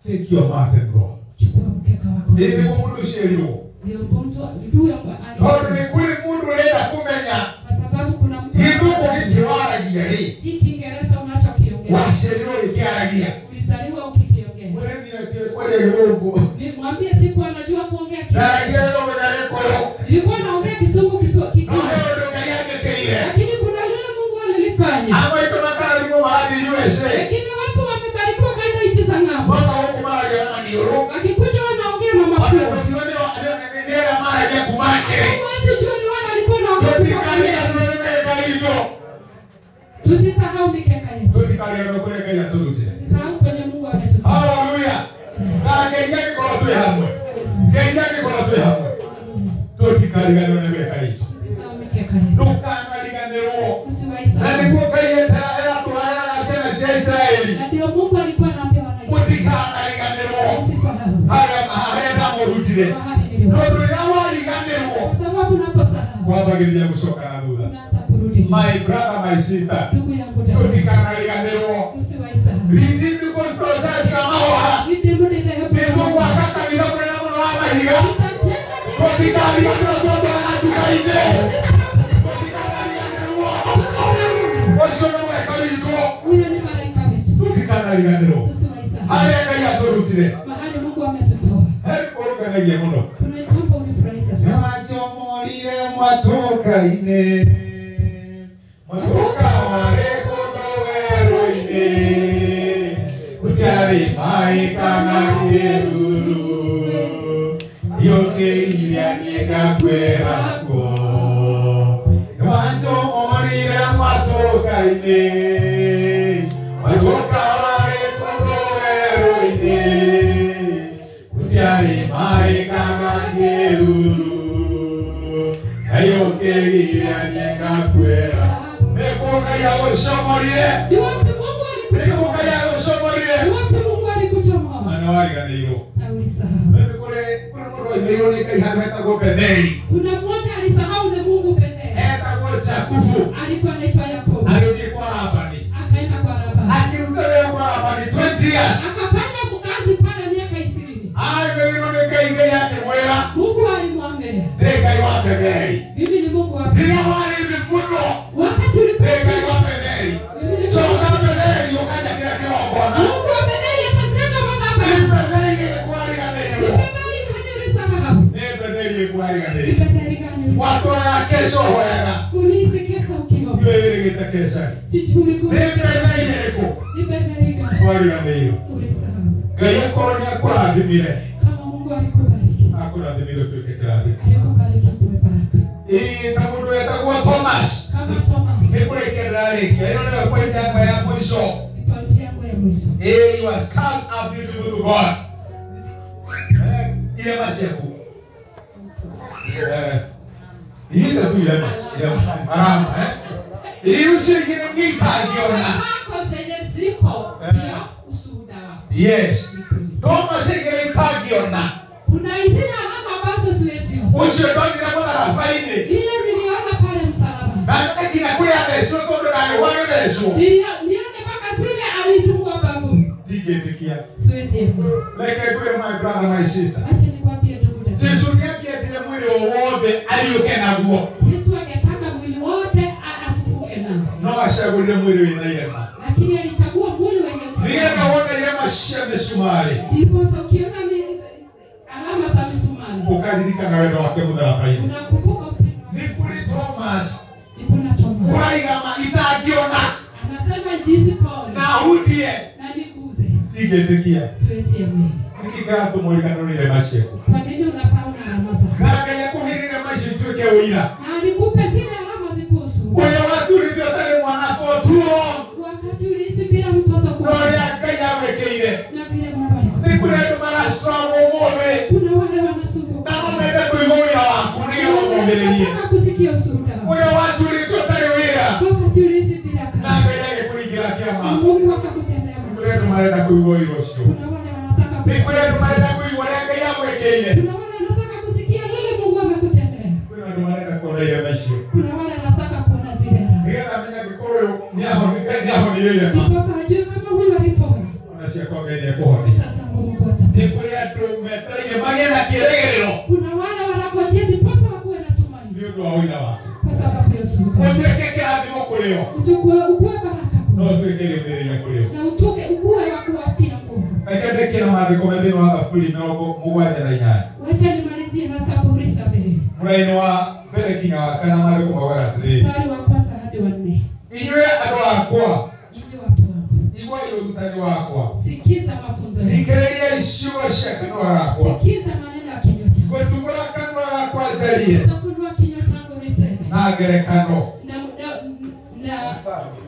Speaker 5: tĩkio matengo
Speaker 3: chukua mkeka wako
Speaker 5: ĩĩ nĩguo mũndũ ũciarirwo
Speaker 3: Ndio mtu ajue kwa-
Speaker 5: tondũ nĩ
Speaker 3: ali-
Speaker 5: kũrĩ mũndũ ũrenda kũmenya
Speaker 3: kwa sababu kuna mtu
Speaker 5: gĩthũngũ gĩkĩwaragia rĩ
Speaker 3: hii kiingereza unachokiongea
Speaker 5: waciarirwo gĩkĩaragia
Speaker 3: ulizaliwa ukikiongea
Speaker 5: kũrĩ gĩthũngũ
Speaker 3: nimwambie siku anajua kuongea ki
Speaker 5: ndaragia rũmenya rĩkũrũ
Speaker 3: nilikuwa naongea kisungu kiswa
Speaker 5: no he
Speaker 3: kikuu
Speaker 5: ũndũ ngai angĩkĩire
Speaker 3: lakini kuna lile mungu alilifanya
Speaker 5: amwaitũ makathimo marathiĩ USA
Speaker 3: wengine watu wamebarikiwa kanda nchi za ng'ambo
Speaker 5: mwaka gũkũ maragia na maniũrũ
Speaker 3: wakikuja wanaongea na makuu huwezi jua ni wale walikuwa naongea kutoka- tusisahau mikeka yetu tusisahau kwenye mungu
Speaker 5: Ah.
Speaker 3: ametupa tusisahau mikeka yetu kusiwa Isaka.
Speaker 5: na nikuo kaiyeta eratwarara ciana cia isiraeli
Speaker 3: na ndio Mungu alikuwa anaambia wana Isaka,
Speaker 5: mũtikariganĩrwo
Speaker 3: usisahau
Speaker 5: harĩa harĩa ndamũrutire
Speaker 3: mahali
Speaker 5: tondũ
Speaker 3: nilipo,
Speaker 5: rĩrĩa wariganĩrwo
Speaker 3: kwa sababu unaposahau
Speaker 5: kwambagĩrĩria gũcoka na thutha
Speaker 3: unaanza kurudi nyuma.
Speaker 5: my brother my sister
Speaker 3: Ndugu yangu dada,
Speaker 5: tũtikariganĩrwo
Speaker 3: usiwaisahau
Speaker 5: rĩngĩ nĩkũcitũrataciga mahũha
Speaker 3: nitembele hebu
Speaker 5: nĩkũgwaka kanitha kũrĩa mũno wa mahiga
Speaker 3: Tutajenga tena.
Speaker 5: tũtikariganĩrwo twatwaraga nduka-inĩ ũcio nĩ mweka witũ
Speaker 3: Huyo ni malaika wetu,
Speaker 5: tũtikariganĩrwo
Speaker 3: usiwaisahau
Speaker 5: harĩa ngai atũrutire
Speaker 3: mahali Mungu ametutoa.
Speaker 5: Heri ũrũnganagia mũno
Speaker 3: Kuna jambo unifurahisha sana.
Speaker 5: Nĩwajomorire mwatoka-inĩ Mwatoka warĩ kũndũ werũ-inĩ Gũtarĩ maĩ kana kĩruru Ndiokĩire niĩ ngakwĩra kuo Nĩwajomorire mwatoka-inĩ Mwatoka warĩ kũndũ werũ-inĩ Ujari mai kama kiruru Ayo kegira nienga kwera Mekuka ya gusomorire
Speaker 3: Iwapo Mungu alikuchomoa,
Speaker 5: Mekuka ya gusomorire
Speaker 3: iwapo Mungu alikuchomoa,
Speaker 5: Manawari ganiro
Speaker 3: alisahau.
Speaker 5: Mimi kule kule kule imeiona ikai hata hata go pembeni
Speaker 3: Kuna mmoja alisahau na Mungu pendeza,
Speaker 5: Eta go chakufu
Speaker 3: alikuwa anaitwa Yakobo,
Speaker 5: Arudi kwa Labani
Speaker 3: akaenda kwa Labani,
Speaker 5: Akimtolea kwa Labani 20 years
Speaker 3: akafanya kazi pale miaka ishirini.
Speaker 5: Ai imeiona ikai ngai yake mwera
Speaker 3: Mungu alimwambia
Speaker 5: Ngai wa pembeni
Speaker 3: mimi ni Mungu wako.
Speaker 5: Ndio wali mikundo
Speaker 3: Wakati ulipoishi
Speaker 5: Ngai wa pembeni
Speaker 3: mimi ni Mungu wako.
Speaker 5: Ndio
Speaker 3: Mungu wa Betheli atajenga madhabahu. Betheli kani ulisahau. Betheli kani ulisahau. Ulihisi kesa ukiwa. Sijui ulikuwa. Ni Betheli kani ulisahau. Kama Mungu alikubariki. Alikubariki kwa baraka. Kama Thomas. Nipandie yangu ya mwisho.
Speaker 5: Eh, Ile tu ile ile marama eh. Ile usingine ngitagiona.
Speaker 3: Zako zenye ziko pia ushuhuda wako.
Speaker 5: yes ndoma singirikagiona
Speaker 3: Kuna hizi alama ambazo siweziona.
Speaker 5: ucio ndonire mũtharabainĩ
Speaker 3: Ile niliona pale msalabani.
Speaker 5: na nginya kũrĩa thecwo tondũ ndarĩ warĩ thecwo
Speaker 3: Nilio- nione mpaka zile alidungwa bavuni.
Speaker 5: ndingĩtĩkia
Speaker 3: Siwezi elewa.
Speaker 5: reke ngwĩre my brother my sister
Speaker 3: Acha nikwambie ndugu dada.
Speaker 5: jesu nĩangĩendire mwĩrĩ o wothe ariũke naguo
Speaker 3: Yesu angetaka mwili wote a- afufuke nao.
Speaker 5: no acagũrire mwĩrĩ wĩna irema
Speaker 3: Lakini alichagua mwili wenye
Speaker 5: nĩgetha wona irema cia mĩcumarĩ
Speaker 3: Ndipo sasa ukiona mi- alama za misumari
Speaker 5: ũkaririkana wendo wake mũtharabainĩ
Speaker 3: unakumbuka upendo
Speaker 5: nĩ
Speaker 3: wake.
Speaker 5: kũrĩ thomas
Speaker 3: Ni kuna Thomas.
Speaker 5: ũraigama itangĩona
Speaker 3: Anasema jinsi Paul
Speaker 5: na hutie
Speaker 3: na niguze.
Speaker 5: ndingĩtĩkia
Speaker 3: Siwezi elewa.
Speaker 5: nĩkĩngaratũmũrikanũrire macieko
Speaker 3: Kwa nini unasahau alama zako?
Speaker 5: na ngai akuhĩrĩire maica ituĩke ũira
Speaker 3: Na alikupe zile alama zikuhusu.
Speaker 5: ũrĩa waturithio atarĩ mwanako tuo
Speaker 3: Wakati ulihisi bila mtoto
Speaker 5: na
Speaker 3: kuona
Speaker 5: ũrĩa ngai amwĩkĩire
Speaker 3: na vile Mungu alikupa.
Speaker 5: nĩ kũrĩ andũ maracitragwo mũthĩ
Speaker 3: kuna wale
Speaker 5: na
Speaker 3: wanasumbuka
Speaker 5: mamende kũigwa wĩra waku nĩgetha ũmũmĩrĩrie
Speaker 3: Wanataka kusikia ushuhuda wako.
Speaker 5: ũrĩa waturithio atarĩ wĩra
Speaker 3: wakati ulihisi bila
Speaker 5: na
Speaker 3: kazi
Speaker 5: ngai agĩkũringĩra kĩama
Speaker 3: na Mungu akakutendea
Speaker 5: nĩ kũrĩ andũ
Speaker 3: muujiza.
Speaker 5: marenda kũigwa wĩra ũcio
Speaker 3: Kuna wale wanataka
Speaker 5: nĩ kũrĩ andũ marenda
Speaker 3: kusikia-
Speaker 5: kũigwa ũrĩa ngai amwĩkĩire
Speaker 3: kuna wale wanataka kusikia lile Mungu amekutendea.
Speaker 5: kwĩna andũ marenda kuona irema icio
Speaker 3: Kuna wale wanataka kuona zile alama.
Speaker 5: nĩgetha menye angĩkorwo ũyũ nĩahoni- ngai nĩahonire irema
Speaker 3: Ndiposa hajui kama huyu alipona.
Speaker 5: ona ciakwa ngai nĩekũhonia
Speaker 3: Sasa ngumu kuota.
Speaker 5: nĩ kũrĩ andũ metereire magĩe na kĩĩrĩgĩrĩro
Speaker 3: Kuna wale wanakojea ndiposa wakuwe na tumaini
Speaker 5: nĩ ũndũ wa ũira waku
Speaker 3: kwa sababu ya ushuhuda.
Speaker 5: ũtuĩke kĩrathimo kũrĩ o
Speaker 3: Uchukue ukuwe baraka
Speaker 5: no
Speaker 3: kwao.
Speaker 5: ũtuĩke rĩũmĩrĩria kũrĩ o
Speaker 3: na utuke ukuwe wakuwa pia nguvu.
Speaker 5: reke ndĩkĩra maandĩko me thĩinĩ wa thaburi mĩrongo mũgwanja na inyanya
Speaker 3: Wacha nimalizie na Zaburi sabini.
Speaker 5: mũraini wa mbere nginya wa kana maandĩko maugaga atĩrĩrĩ
Speaker 3: mstari wa kwanza hadi wa nne.
Speaker 5: inyuĩ andũ akwa
Speaker 3: Nyinyi watu wangu,
Speaker 5: iguai ũrutani wakwa
Speaker 3: sikiza mafunzo yangu,
Speaker 5: thikĩrĩriai ciugo cia kanua gakwa
Speaker 3: sikiza maneno ya kinywa changu,
Speaker 5: ngũtungũra kanua gakwa njarie
Speaker 3: utafunua kinywa changu niseme
Speaker 5: na ngerekano
Speaker 3: na na na,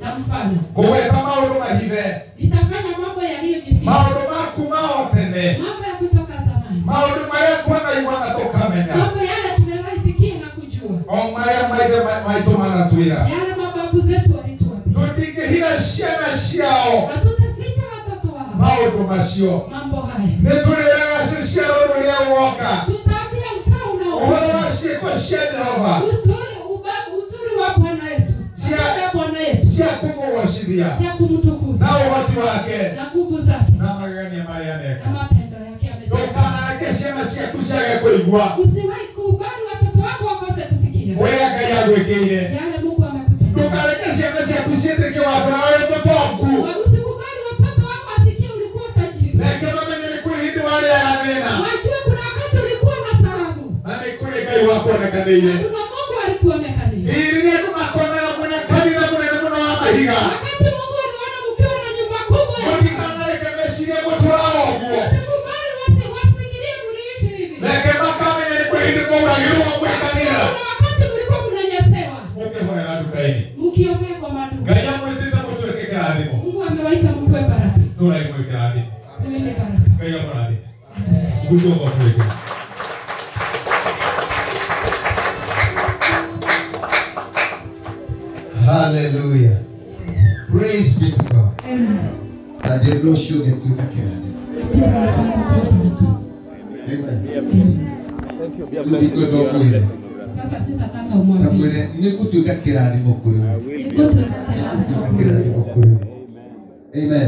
Speaker 3: na mfano
Speaker 5: ngũgweta maũndũ mahithe
Speaker 3: nitafanya mambo yaliyojificha,
Speaker 5: maũndũ maku ma o tene
Speaker 3: mambo ya kutoka zamani,
Speaker 5: maũndũ marĩa twanaigua na tũkamenya
Speaker 3: mambo yale tumewaisikia na kujua,
Speaker 5: o marĩa maithe ma- maitũ manatwĩra
Speaker 3: yale mababu zetu walituambia
Speaker 5: tutingĩhira ciana ciao
Speaker 3: hatutaficha watoto wao
Speaker 5: maũndũ macio
Speaker 3: mambo haya
Speaker 5: nĩ tũrĩraga ciĩciaro rũrĩa woka
Speaker 3: tutaambia usawa
Speaker 5: ũhoro
Speaker 3: unaoona
Speaker 5: wa ciĩko cia jehova
Speaker 3: uzuri uba- uzuri wa bwana yetu
Speaker 5: Sia-
Speaker 3: Katika bwana yetu
Speaker 5: cia kũmũgocithia
Speaker 3: ya kumtukuza
Speaker 5: na ũhoti wake
Speaker 3: na nguvu zake
Speaker 5: na magegania marĩa
Speaker 3: na
Speaker 5: aneka
Speaker 3: matendo yake amesema
Speaker 5: ndũkanareke ciana ciaku ciage kũigua
Speaker 3: usiwahi kubali watoto wako wakose kusikia
Speaker 5: ũrĩa ngai agwĩkĩire
Speaker 3: yale mungu amekutendea
Speaker 5: ndũkareke ciana ciaku ciĩtĩkie watho na wĩ mũtongu
Speaker 3: usikubali watoto wako wasikie ulikuwa tajiri
Speaker 5: reke mamenye nĩ kũrĩ hindi warĩa ya thĩna
Speaker 3: wajue kuna wakati ulikuwa na taabu
Speaker 5: na nĩ kũrĩ ngai wakuonekanĩire
Speaker 3: na kuna mungu alikuonekania
Speaker 5: irire kumakona mune kanitha munene muno wa mahiga
Speaker 3: wakati mungu aliona mkiwa na nyumba kubwa ya-
Speaker 5: mutikanareke mecirie gũtũra ũguo
Speaker 3: usikubali wasi- wasifikirie mliishi hivi
Speaker 5: reke makamenya nĩ kũrĩ hindi mwauragĩrwo mwĩ kanitha
Speaker 3: kuna wakati mlikuwa mnanyesewa
Speaker 5: mũkĩhoera nduka-inĩ
Speaker 3: mkiongea kwa maduka
Speaker 5: ngai amwĩtĩte mũtwĩkĩkĩra thimũ
Speaker 3: mungu amewaita mkue baraka
Speaker 5: ndũrai mwĩkĩra thimũ
Speaker 3: uende baraka
Speaker 5: ngai amũrathime gũtua gotwĩkĩra
Speaker 6: Hallelujah. Praise be to God.
Speaker 3: Amen.
Speaker 6: That the Lord showed them to take care of them.
Speaker 3: Biblia sana kwa baraka.
Speaker 6: Amen.
Speaker 4: Thank you. Be a
Speaker 6: Mungu iko dogo hivi.
Speaker 3: sasa sitataka
Speaker 6: Takwire,
Speaker 3: umwambie
Speaker 6: nikutuika kirathimo kuri we.
Speaker 3: Niko tunataka.
Speaker 6: Nikutuika kirathimo kuri we. Amen.